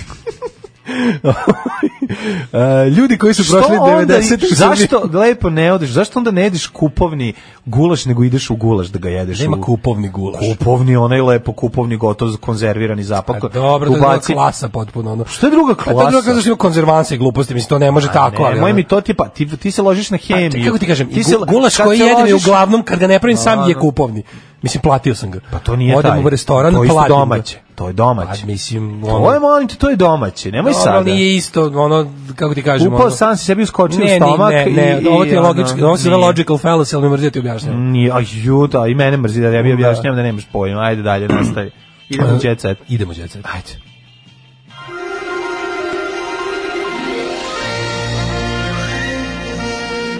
S6: Uh, ljudi koji su prošli 90 u Srbiji-
S5: Zašto lepo ne odeš? Zašto onda ne jedeš kupovni gulaš, nego ideš u gulaš da ga jedeš?
S6: Nema
S5: u-
S6: kupovni gulaš.
S5: Kupovni, onaj lepo kupovni, gotov, konzervirani zapak.
S6: A pa dobro, to je druga klasa potpuno. Ono. Šta je druga Pa to je druga
S5: klasa?
S6: klasa što ima konzervanse i gluposti, mislim, to ne može tako. ali,
S5: Moj
S6: ono-
S5: mi to ti pa ti, ti se ložiš na hemiju.
S6: Pa, kako ti kažem,
S5: se-
S6: gu- gulaš
S5: kad
S6: koji
S5: se
S6: jedem je
S5: ložiš-
S6: uglavnom, kad ga ne pravim sam, je
S5: Naravno.
S6: kupovni. Mislim, platio sam ga. Pa
S5: To nije
S6: Odem
S5: taj.
S6: u restoran,
S5: to je isto
S6: platim ga.
S5: domaće. To je domaće.
S6: Pa, mislim, ono-
S5: to je, molim te, to je domaće. Nemoj
S6: Dobro,
S5: sada.
S6: ali nije isto, ono, kako ti kažem,
S5: Upao
S6: ono-
S5: sam si sebi uskočio
S6: Ne,
S5: u
S6: ni-
S5: stomak
S6: ne, ne,
S5: i-
S6: ovo ti je
S5: i ono,
S6: logički, ovo se zove
S5: nije. Mhm.
S6: logical fallacy, ali ne mrzio ti objašnjam.
S5: Nije, a ju, da, i mene mrzi da ja bi objašnjam da nemaš pojma. Ajde dalje, nastavi. Idemo u
S6: E,
S5: jet set.
S6: Idemo u jet set.
S5: Ajde.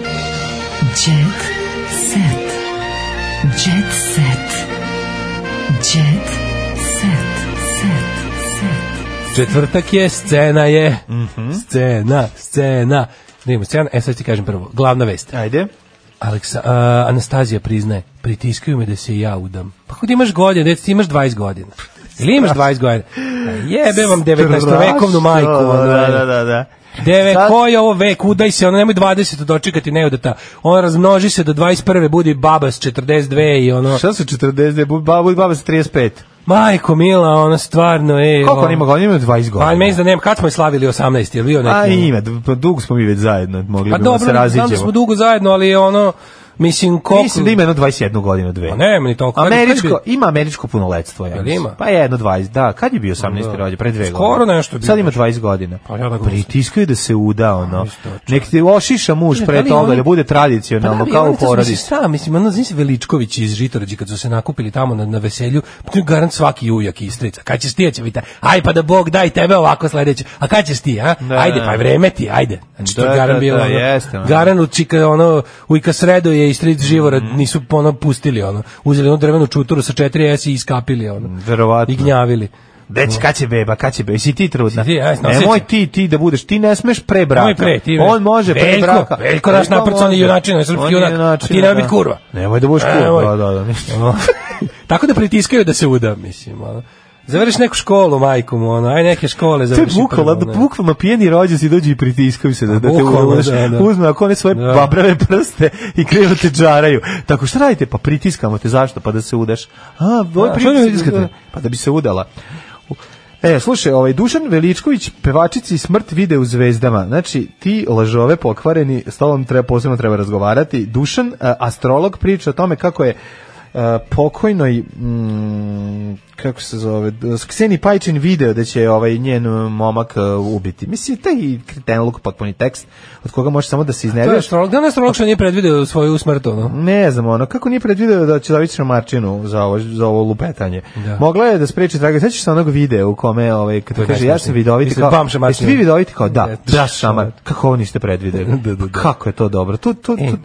S4: Jet set. Jet set. Jet set. Set. Set.
S6: Četvrtak je, scena je,
S5: Mhm.
S6: scena, scena. Da imamo scena, e sad ti kažem prvo, glavna vest.
S5: Ajde.
S6: Aleksa, a, Anastazija priznaje, pritiskaju me da se i ja udam. Pa kod imaš godine, dec, ti imaš 20 godina. Ili imaš 20 godina? Pa Jebe vam 19-vekovnu majku. ono,
S5: Da, da, da, da.
S6: Deve,
S5: Sad-
S6: ko je ovo vek, udaj se, ono nemoj 20 dočekati neudata. On razmnoži se do 21. budi baba s 42 i ono...
S5: Šta su 42? Bu- ba- Budi baba sa 35.
S6: Majko mila, ono stvarno, ej...
S5: Koliko
S6: ono-
S5: on ima godina? Ima 20
S6: Pa
S5: godina.
S6: meni da nemam, kad smo je slavili 18, je li bio neki? ono?
S5: A ima, d- pa dugo smo mi već zajedno, mogli
S6: Pa
S5: bi da se
S6: dobro, znam da smo
S5: raziđemo.
S6: dugo zajedno, ali ono, mislim, koliko...
S5: Mislim da ima jedno 21 godinu, dve.
S6: Pa ne, meni toliko. Kad- kad je
S5: Američko,
S6: bio?
S5: ima američko punoletstvo, ja
S6: Jel
S5: mislim.
S6: ima? Pa
S5: Pa jedno 20, da. Kad je bio 18.
S6: Da.
S5: rođe? Pre dve
S6: Skoro
S5: godine.
S6: nešto je bio,
S5: Sad ima 20 godina.
S6: Pa ja tako mislim.
S5: Pritiskaju da se uda, ono.
S6: isto,
S5: Nek ti ošiša muž
S6: Ne, da
S5: pre
S6: li
S5: toga,
S6: oni-
S5: da bude
S6: Pa da,
S5: tradicionalno,
S6: ali
S5: kao
S6: ono,
S5: u
S6: to su, Mislim,
S5: porodici.
S6: šta, mislim, ono, znaš se Veličković iz Žitorađe, kad su se nakupili tamo na, na veselju, pa tu je garant svaki ujak i istrica. Kad ćeš ti, ja će biti, aj pa da Bog daj tebe ovako sledeće. A kad ćeš ti, a? ajde, pa je vreme ti, ajde. Znači, to
S5: Da,
S6: je garan
S5: da,
S6: bilo,
S5: da,
S6: ono,
S5: jeste, ono. Mhm.
S6: garan u čika, ono, ujka sredo je i stric živora, nisu, ono, pustili, ono, uzeli onu drvenu čuturu sa 4S i iskapili, ono,
S5: Verovatno.
S6: i gnjavili.
S5: Deć, kad će beba, kad će beba, si ti trudna.
S6: Si ti, aj, snosit
S5: Nemoj
S6: će.
S5: ti, ti da budeš, ti ne smeš pre braka.
S6: Nemoj pre, ti ne.
S5: On može pre
S6: Veljko,
S5: braka.
S6: Veljko naš naprcani
S5: može.
S6: junačina, srpski
S5: On je
S6: junak, a ti
S5: junačina,
S6: nemoj bit
S5: da.
S6: kurva.
S5: Nemoj da budeš
S6: Nemoj.
S5: kurva, da, da, da.
S6: Tako da pritiskaju da se uda, mislim, ono. Završiš neku školu, majku mu, ono, aj neke škole
S5: To je
S6: završi.
S5: bukvalno,
S6: prvo, ne.
S5: da bukvalno pijeni rođaci dođu i pritiskaju se da, da te
S6: Bukvalno,
S5: uvodaš,
S6: da, da.
S5: uzme ako one svoje
S6: Da.
S5: babrave prste i krenu te džaraju. Tako šta radite? Pa pritiskamo te, zašto? Pa da se udaš. A, ovo
S6: Da, što ne
S5: pritiskate?
S6: pritiskate?
S5: Pa da bi se udala. U- E, slušaj, ovaj Dušan Veličković pevačici smrt vide u zvezdama. Znači, ti lažove pokvareni, s tobom treba posebno treba razgovarati. Dušan, a, astrolog, priča o tome kako je a, pokojnoj mm, kako se zove d- Kseni Pajčin video da će ovaj njen e, momak e, ubiti. Mislim taj kretenluk potpuni tekst od koga može samo da se
S6: To je
S5: iznerviraš.
S6: astrolog, da je astrolog što nije predvideo svoju smrt, ono.
S5: Ne znam, ono, kako nije predvideo da će dobiti Marčinu za ovo, za ovo lupetanje.
S6: Da.
S5: Mogla je da spreči Dragan, sećaš se onog videa u kome, ovaj, kad
S6: To je
S5: kaže, ja sam
S6: najsmešnije.
S5: vidoviti
S6: Mislim,
S5: kao,
S6: Bamša Marčin.
S5: jeste vi vidoviti kao, da,
S6: Ne,
S5: da,
S6: da,
S5: šamar,
S6: šamar.
S5: kako ovo niste predvideli. Pa
S6: Da, E. da, da.
S5: Kako je to dobro. Tu, tu, tu.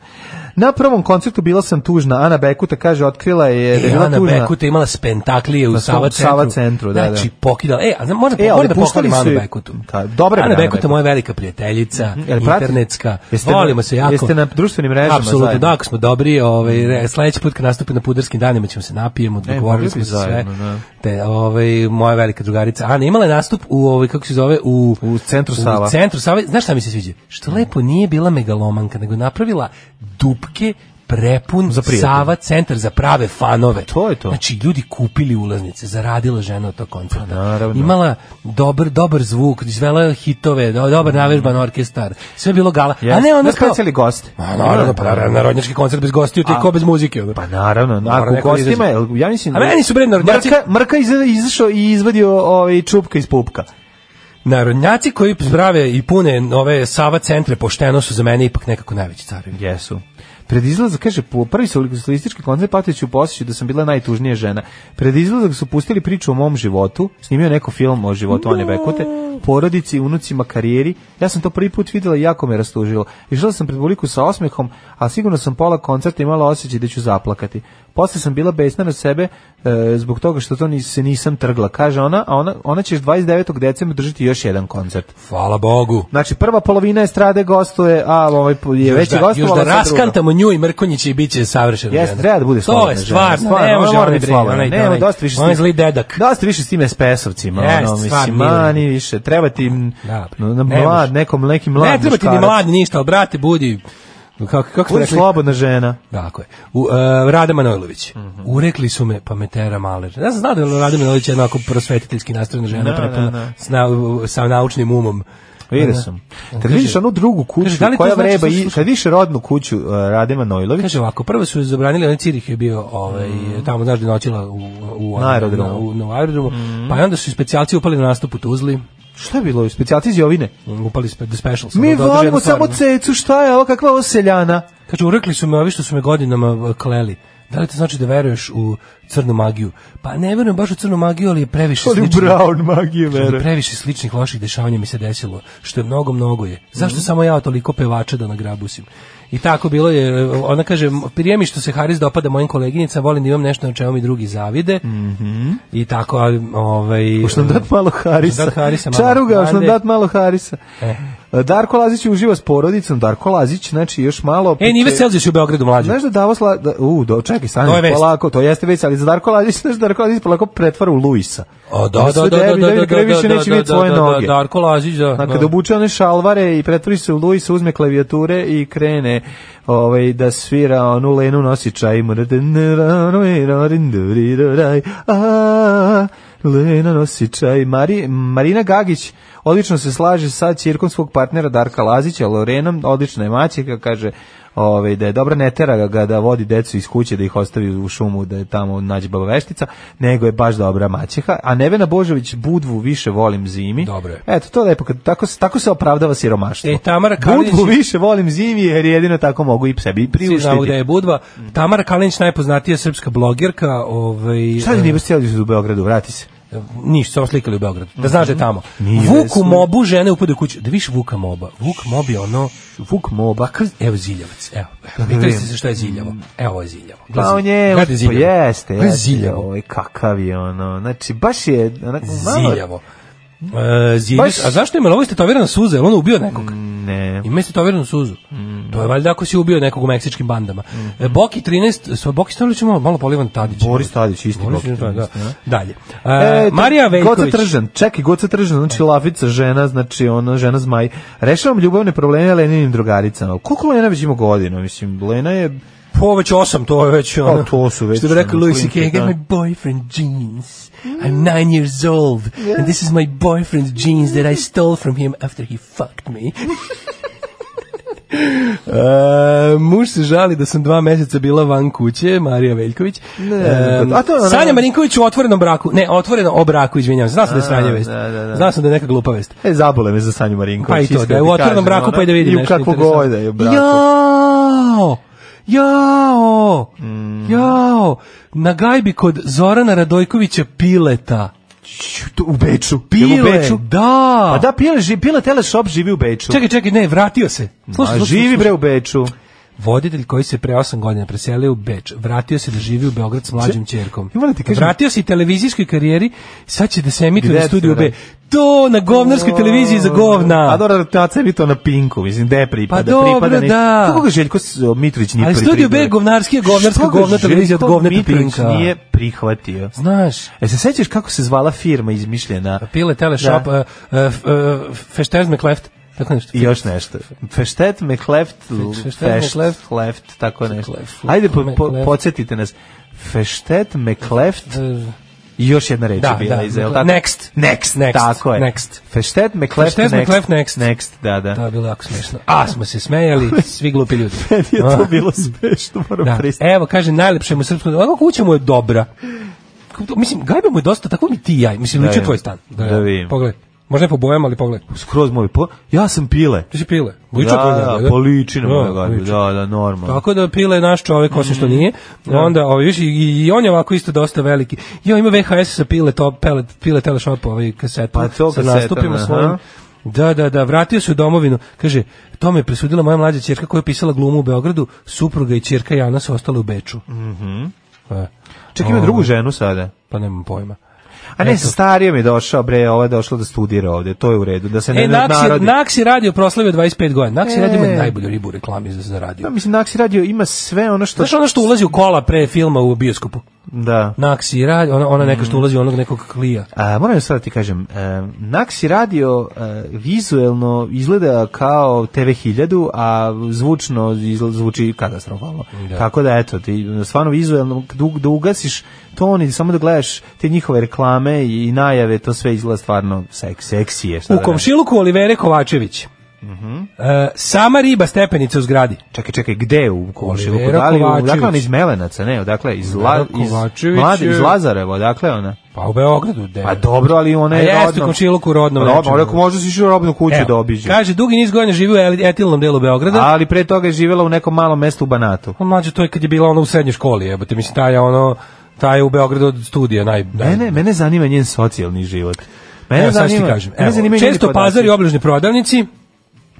S5: Na prvom koncertu bila sam tužna, Ana Bekuta kaže, otkrila je da je
S6: E,
S5: bila
S6: Ana
S5: tužna.
S6: Bekuta imala spentaklije u
S5: Na svom
S6: Sava centru.
S5: Sava centru, da, da.
S6: Znači, pokidala. E, a znam, moram,
S5: E, ali
S6: moram da
S5: puštali
S6: pohvalim
S5: su
S6: Anu
S5: je-
S6: Bekutu.
S5: Da, dobra je
S6: Ana
S5: Ana
S6: Bekuta,
S5: Bekuta.
S6: moja velika prijateljica,
S5: Jel pratite?
S6: internetska.
S5: Jeste na-
S6: Volimo se jako.
S5: jeste na društvenim mrežama
S6: Apsolutno,
S5: zajedno? Mm-hmm.
S6: da, ako smo dobri, ovaj, re- sledeći put kad nastupi na pudarskim danima ćemo se napijemo,
S5: E, mogli
S6: dogovorili
S5: bi
S6: smo se sve.
S5: zajedno, da.
S6: Te, ovaj, moja velika drugarica Ana imala je nastup u, ovaj, kako se zove, u,
S5: U centru Sava.
S6: u centru Save, znaš šta mi se sviđa? Što lepo nije bila megalomanka, nego je napravila dupke prepun
S5: Za prijatelje. Pa
S6: Sava centar za prave fanove.
S5: to je to.
S6: Znači, ljudi kupili ulaznice, zaradila žena od tog koncerta.
S5: Pa naravno.
S6: Imala dobar, dobar zvuk, izvela je hitove, do- dobar navežban orkestar, sve je bilo gala. A
S5: Jeste.
S6: ne, onda
S5: Znaš kada cijeli gost?
S6: Ma, naravno, pa naravno, narodnjački koncert bez gostiju, ti
S5: A-
S6: ko bez muzike. ono.
S5: Pa naravno,
S6: Mora
S5: ako u
S6: neko da izađe.
S5: gostima, je, ja mislim...
S6: A meni su, bre, narodnjaci-
S5: Mrka, Mrka iza- izašao i izvadio ovaj, čupka iz pupka.
S6: Narodnjaci koji zbrave i pune ove Sava centre pošteno su za mene ipak nekako najveći carevi.
S5: Jesu. Pred izlazak, kaže, po prvi solistički koncert Patović u posjeću da sam bila najtužnija žena. Pred izlazak su pustili priču o mom životu, snimio je neko film o životu Ane Bekute, porodici, unucima, karijeri. Ja sam to prvi put videla i jako me rastužilo. Išla sam pred publiku sa osmehom, a sigurno sam pola koncerta imala osjećaj da ću zaplakati. Posle sam bila besna na sebe e, zbog toga što to nis, se nisam trgla, kaže ona, a ona, ona će 29. decembra držati još jedan koncert.
S6: Hvala Bogu.
S5: Znači, prva polovina estrade gostuje, a ovaj je
S6: Još
S5: već
S6: da, još da raskantamo nju i Mrkonjić i biće savršeno.
S5: Jes, treba da bude
S6: To je
S5: slobodna žena.
S6: stvarno,
S5: Stvarno,
S6: ne
S5: ona
S6: može
S5: mora
S6: ona
S5: biti
S6: biti
S5: slobodna.
S6: slobodna.
S5: Nema, dosta više s
S6: On je
S5: tim-
S6: zli dedak.
S5: Dosta više s tim SPS-ovcima,
S6: Jes,
S5: ono, mislim,
S6: stvarno,
S5: mani više, treba ti m, no, na
S6: ne
S5: mlad,
S6: može.
S5: nekom, neki mlad
S6: Ne treba ti ni
S5: muškarac.
S6: mlad ni ništa, ali brate, budi... Kako, kako smo
S5: Budi
S6: rekli?
S5: slobodna žena.
S6: Tako je. U, uh, Rada Manojlović. Urekli su me pametera maler. Ja sam znao da je Rada Manojlović jedna onako prosvetiteljski nastrojena žena,
S5: Da,
S6: prepuna
S5: da, da.
S6: s na- sa naučnim umom.
S5: Vidio
S6: Da.
S5: sam.
S6: On
S5: Kad
S6: kaže-
S5: vidiš onu drugu kuću
S6: Kaže, da li to
S5: koja
S6: znači
S5: vreba,
S6: da su
S5: i, kad vidiš rodnu kuću uh, Radima Nojlovića,
S6: Kaže ovako, prvo su zabranili, onaj Cirih je bio ovaj, tamo, znaš, da je noćila u, u,
S5: Mm. Na aerodromu. Mm.
S6: na- u, na aerodromu, pa i onda su i specijalci upali na nastup u Tuzli,
S5: šta je bilo, specijalci iz Jovine?
S6: upali spe, The Specials.
S5: Mi
S6: Ono, da održe
S5: volimo
S6: jednu stvar,
S5: samo
S6: ono.
S5: cecu, šta je ovo, kakva ovo seljana?
S6: Kaže, urekli su me ovi što su me godinama eh, kleli. Da li to znači da veruješ u crnu magiju? Pa ne verujem baš u crnu magiju, ali je previše
S5: Ali u
S6: sličnih-
S5: brown magiju
S6: Kaže,
S5: verujem.
S6: Previše sličnih loših dešavanja mi se desilo, što je mnogo, mnogo je. Zašto
S5: Mhm.
S6: samo ja toliko pevača da nagrabusim? I tako bilo je, eh, ona kaže, "M- prije mi što se Haris dopada mojim koleginica, volim da imam nešto na čemu mi drugi zavide.
S5: Mhm.
S6: I tako, ali, ovaj...
S5: Hoš nam dat malo Harisa.
S6: Dat Harisa malo.
S5: Čaruga, hoš nam
S6: Ajde. E.
S5: dat malo Harisa. E, Darko Lazić uživa s porodicom. Darko Lazić, znači još malo...
S6: E, Nive Selzius je u Beogradu mlađe.
S5: Znaš da Davos... La... Da, u, do, čekaj, stani,
S6: To je vest.
S5: polako, to jeste već, ali za Darko Lazić, znaš da Darko Lazić polako pretvara u Luisa.
S6: O, da, da,
S5: Ono sve
S6: da, da,
S5: debi,
S6: da,
S5: debi, na
S6: da,
S5: kraju
S6: da,
S5: više
S6: da,
S5: neće
S6: da,
S5: vidjeti
S6: da,
S5: svoje
S6: da, da,
S5: noge.
S6: Darko Lazić, da,
S5: Znači,
S6: da.
S5: kada obuče one šalvare i pretvori se u Luisa, uzme klavijature i krene ovaj, da svira onu Lenu Nosića i A, Lena Nosića i Mari, Marina Gagić odlično se slaže sa cirkom svog partnera Darka Lazića, Lorenom, odlična je maćika, kaže ovaj, da je dobra ne tera ga da vodi decu iz kuće, da ih ostavi u šumu, da je tamo nađe baba veštica, nego je baš dobra maćeha. A Nevena Božović Budvu više volim zimi.
S6: Dobro je.
S5: Eto, to je lepo, kad, tako, se- tako se opravdava siromaštvo.
S6: E, Tamara Kalinić-
S5: Budvu više volim zimi, jer jedino tako mogu i sebi
S6: Svi znamo da
S5: priuštiti.
S6: je Budva.
S5: Mm.
S6: Tamara Kalinić najpoznatija srpska blogirka, ovaj eh,
S5: Šta li nije cijeli u Beogradu, vrati se.
S6: ništa, samo slikali u Beogradu. Da znaš da je tamo.
S5: Mhm. Nije
S6: Vuku
S5: vesno.
S6: mobu žene upade u kuću. Da viš Vuka moba. Vuk mob je ono
S5: Vuk moba, krz...
S6: Evo ziljavac, evo. evo.
S5: Da
S6: Pitali ste
S5: vidim. Mm.
S6: se šta je ziljavo. Evo ovo je ziljavo. Gle,
S5: Pa on je,
S6: gledaj
S5: pa
S6: ziljavo.
S5: jeste,
S6: Gledaj
S5: jeste,
S6: ziljavo.
S5: ovaj, kakav je ono, znači baš je onako malo-
S6: Ziljavo. E, ziljus-
S5: Baš-
S6: a zašto ima ovo istetovirana suza? Jel on ubio nekog?
S5: Ne,
S6: Ima istetoviranu suzu.
S5: Mm.
S6: To je valjda ako si ubio nekog u meksičkim bandama. E, Boki 13, s- Boki Stolić je malo, malo polivan Tadić.
S5: Boris Tadić, isti
S6: Boris
S5: Boris
S6: Tadić,
S5: Tadić, ne?
S6: da. Dalje.
S5: E,
S6: E,
S5: to-
S6: Marija
S5: Goca
S6: Veljković. E.
S5: Tržan, čekaj, Goca Tržan, znači lafica, žena, znači ona, žena zmaj. Rešavam ljubavne probleme Leninim drugaricama. Koliko Lena već ima godina? Mislim, Lena je...
S6: Po već osam, to je već ono.
S5: Pa, to su već,
S6: Što bi rekao
S5: ono,
S6: Louis C.K. I
S5: klinke,
S6: got
S5: da.
S6: my boyfriend jeans. I'm nine years old. And this is my boyfriend's jeans that I stole from him after he fucked me. E, muž se žali da sam dva meseca bila van kuće, Marija Veljković. E,
S5: pa, a to je ono- ona-
S6: Sanja Marinković u otvorenom braku. Ne, otvoreno o braku, izvinjavam se. Znao sam da je sranje
S5: A,
S6: vest.
S5: da, da, da.
S6: Znao sam da je neka glupa vest.
S5: E, zabole me za Sanju Marinković.
S6: Pa i to,
S5: iskreno
S6: da je u
S5: ti
S6: otvorenom
S5: kažem, ono,
S6: braku,
S5: ona,
S6: pa i da vidim
S5: I u
S6: nešto
S5: kakvu
S6: interesantno.
S5: god da je u braku.
S6: Jao! Jao!
S5: Mm.
S6: Jao! Na gajbi kod Zorana Radojkovića Pileta.
S5: Ću, to U Beču. Jel
S6: Pile,
S5: u Beču?
S6: da!
S5: Pa da, Pile, ži, Pile Teleshop živi u Beču.
S6: Čekaj, čekaj, ne, vratio se. Slušaj,
S5: A
S6: slušaj,
S5: živi
S6: slušaj.
S5: bre u Beču.
S6: Voditelj koji se pre 8 godina preselio u Beč, vratio se da živi u Beograd s mlađim ćerkom.
S5: Ja moram ti kažem-
S6: Vratio se i televizijskoj karijeri, sad će da se emituje
S5: Gde
S6: na
S5: se
S6: studiju B.
S5: vrati?
S6: To na govnarskoj televiziji za govna.
S5: A dobro, ta cevi to na Pinku, mislim, gde pripada?
S6: Pa dobro,
S5: pripada ne-
S6: da.
S5: Kako ga Željko S- Mitrović nije
S6: Ali
S5: prihvatio?
S6: Studio B je govnarski, je govnarska,
S5: Što ga
S6: govna televizija od
S5: Željko
S6: govneta
S5: Mitrović
S6: Pinka?
S5: nije prihvatio.
S6: Znaš,
S5: E se sećaš kako se zvala firma izmišljena?
S6: Pile Teleshop,
S5: Da.
S6: da. uh, uh, Feštez McLeft, tako nešto.
S5: I još nešto. Feštet McLeft,
S6: Feštet
S5: Feštet
S6: McLeft.
S5: left, left, tako nešto.
S6: Left,
S5: Ajde, po, po,
S6: McLeft.
S5: podsjetite nas. Feštet McLeft i još jedna reč
S6: Eh, Da,
S5: je bila
S6: da,
S5: iz, je li
S6: McLe-
S5: tako?
S6: Next.
S5: Next,
S6: Next,
S5: tako je.
S6: Next.
S5: Feštet McLeft,
S6: Feštet
S5: next.
S6: McLeft, Next.
S5: Next, da, da.
S6: To je bilo jako smešno. A, smo se smejali, svi glupi ljudi.
S5: Meni je to
S6: A,
S5: bilo smešno, moram
S6: da.
S5: pristati.
S6: Evo, kaže, najlepše mu srpsko... Ovo kuća mu je dobra. Kako to- Mislim, gajba mu je dosta, tako mi ti i ja. Mislim,
S5: Da
S6: liče
S5: je.
S6: tvoj stan.
S5: Da vidim.
S6: Pogledaj. Možda je po bojama, ali pogledaj.
S5: Skroz moj po... Ja sam pile.
S6: E. Ti si pile.
S5: Da,
S6: Liče tvoj
S5: da,
S6: gajba,
S5: po ličinu moja gajba,
S6: liči.
S5: da, da, normalno.
S6: Tako da Pile je naš čovek, osim
S5: Mhm.
S6: što nije. Onda, ovaj, viš, i, i on je ovako isto dosta veliki. Jo, ima VHS sa Pile, to, pele, Pile Teleshop, ovaj kaset.
S5: Pa to
S6: sa
S5: kasetom,
S6: nastupima
S5: aha.
S6: svojim. Da, da, da, vratio se u domovinu. Kaže, to me je presudila moja mlađa ćerka koja je pisala glumu u Beogradu, supruga i ćerka Jana su ostale u Beču. Mhm. Ovaj.
S5: Čekaj, ima drugu ženu sada.
S6: Pa nemam pojma.
S5: A ne, starije mi je došao, bre, ova je došla da studira ovde, to je u redu, da se ne
S6: E, Naksi,
S5: narodi.
S6: Naksi radio proslavio 25 godina. Naksi
S5: E.
S6: radio ima najbolju ribu u reklami za, za radio.
S5: Pa, mislim, Naksi radio ima sve ono što...
S6: Znaš ono što ulazi u kola pre filma u bioskopu?
S5: Da.
S6: Naksi radio, ona, ona
S5: Mhm.
S6: neka što ulazi u onog nekog klija.
S5: A, moram sad da ti kažem, e, Naxi radio e, vizuelno izgleda kao TV 1000, a zvučno izgl- zvuči katastrofalno.
S6: Da.
S5: Tako da, eto, ti stvarno vizuelno, da, u- da ugasiš ton i samo da gledaš te njihove reklame i, najave, to sve izgleda stvarno seks, seksije. šta
S6: U
S5: da
S6: komšiluku Olivere Kovačević. E, sama riba stepenica u zgradi.
S5: Čekaj, čekaj, gde u komšiluku?
S6: Olivera
S5: Da li,
S6: Kovačević.
S5: odakle ona iz Melenaca, ne, odakle, iz, La,
S6: Olivera
S5: iz,
S6: Kovačević
S5: mlade, iz
S6: je-
S5: Lazareva, odakle ona?
S6: Pa u Beogradu. De.
S5: Pa dobro, ali ona je
S6: A jeste,
S5: rodna.
S6: u komšiluku rodno
S5: Rodno, Pa
S6: venčano.
S5: rekao, možda si išao u robnu kuću
S6: Evo,
S5: da obiđe.
S6: Kaže, dugi niz godina živi u el- etilnom delu Beograda.
S5: Ali pre toga je živjela u nekom malom mestu u Banatu.
S6: Pa mlađe, to je kad je bila ona u srednjoj školi, jebote, mislim, taj je ono, taj je u Beogradu od studija, naj... naj-
S5: Mene, mene zanima njen socijalni život. Mene
S6: Evo, sad ću ti
S5: zanima,
S6: kažem.
S5: mene
S6: Evo,
S5: zanimaju njeni
S6: često
S5: podaci.
S6: pazari i obližni prodavnici,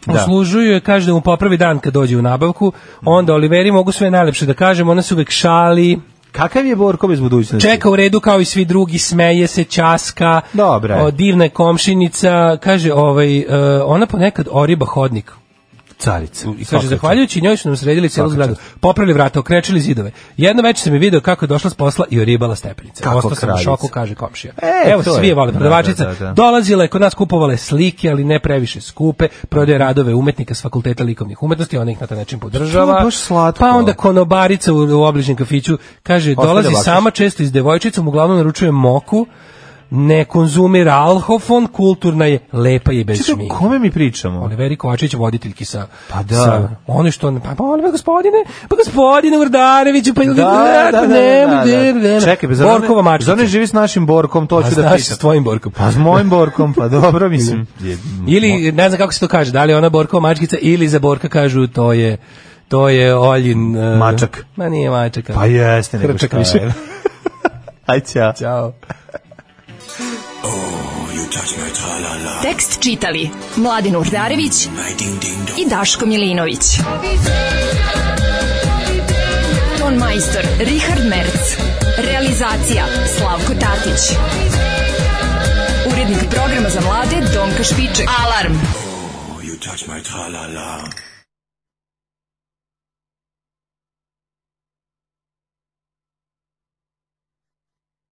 S5: Da.
S6: uslužuju je, kaže da mu popravi dan kad dođe u nabavku, onda Oliveri mogu sve najlepše da kažem, ona se uvek šali,
S5: Kakav je Borko bez budućnosti?
S6: čeka u redu kao i svi drugi, smeje se, časka,
S5: Dobra je.
S6: o, divna je komšinica, kaže, ovaj, e, ona ponekad oriba hodnik,
S5: Carica.
S6: I kaže, zahvaljujući njoj su nam sredili celu
S5: Svaka
S6: zgradu. Popravili vrata, okrečili zidove. Jedno večer sam je video kako je došla s posla i oribala stepenice.
S5: Kako
S6: Ostao sam u
S5: kraljica.
S6: šoku, kaže komšija.
S5: E,
S6: Evo,
S5: to
S6: svi
S5: je.
S6: je vole,
S5: Da,
S6: prodavačica.
S5: da, da, da.
S6: Dolazila je kod nas, kupovala je slike, ali ne previše skupe. Prodaje radove umetnika s fakulteta likovnih umetnosti, ona ih na taj način podržava.
S5: To je baš slatko.
S6: Pa onda konobarica u, u obližnjem kafiću, kaže,
S5: Ostavlja
S6: dolazi
S5: bakšiš.
S6: sama često i s devojčicom, uglavnom naručuje moku, ne konzumira alhofon, kulturna je, lepa je i bez
S5: Čekaj,
S6: šminke.
S5: o kome mi pričamo?
S6: Oliveri Kovačić vodeljki sa
S5: Pa da.
S6: sa ono što pa pa Oliver gospodine pa gospodine Urdareviću pa ne, ne, ne, ne.
S5: Čekaj, pa zar one-
S6: Borkova mačica
S5: Zar ne živi s našim Borkom, to
S6: A
S5: ću da
S6: znaš,
S5: pitam.
S6: s tvojim Borkom.
S5: Pa s mojim Borkom, pa dobro, mislim. je-
S6: ili ne znam kako se to kaže da li je ona Borkova mačkica ili za Borka kažu to je to je Oljin e,
S5: Mačak.
S6: ma nije mačak ali
S5: Pa jeste, nego
S6: Hrčak
S5: šta
S6: više.
S5: je. Aj, ćao.
S6: Ćao.
S4: Tekst čitali Mladin Urdarević i Daško Milinović. Ton majstor Richard Merc. Realizacija Slavko Tatić. Urednik programa za mlade Donka Špiček. Alarm!
S11: You touch my tra-la-la.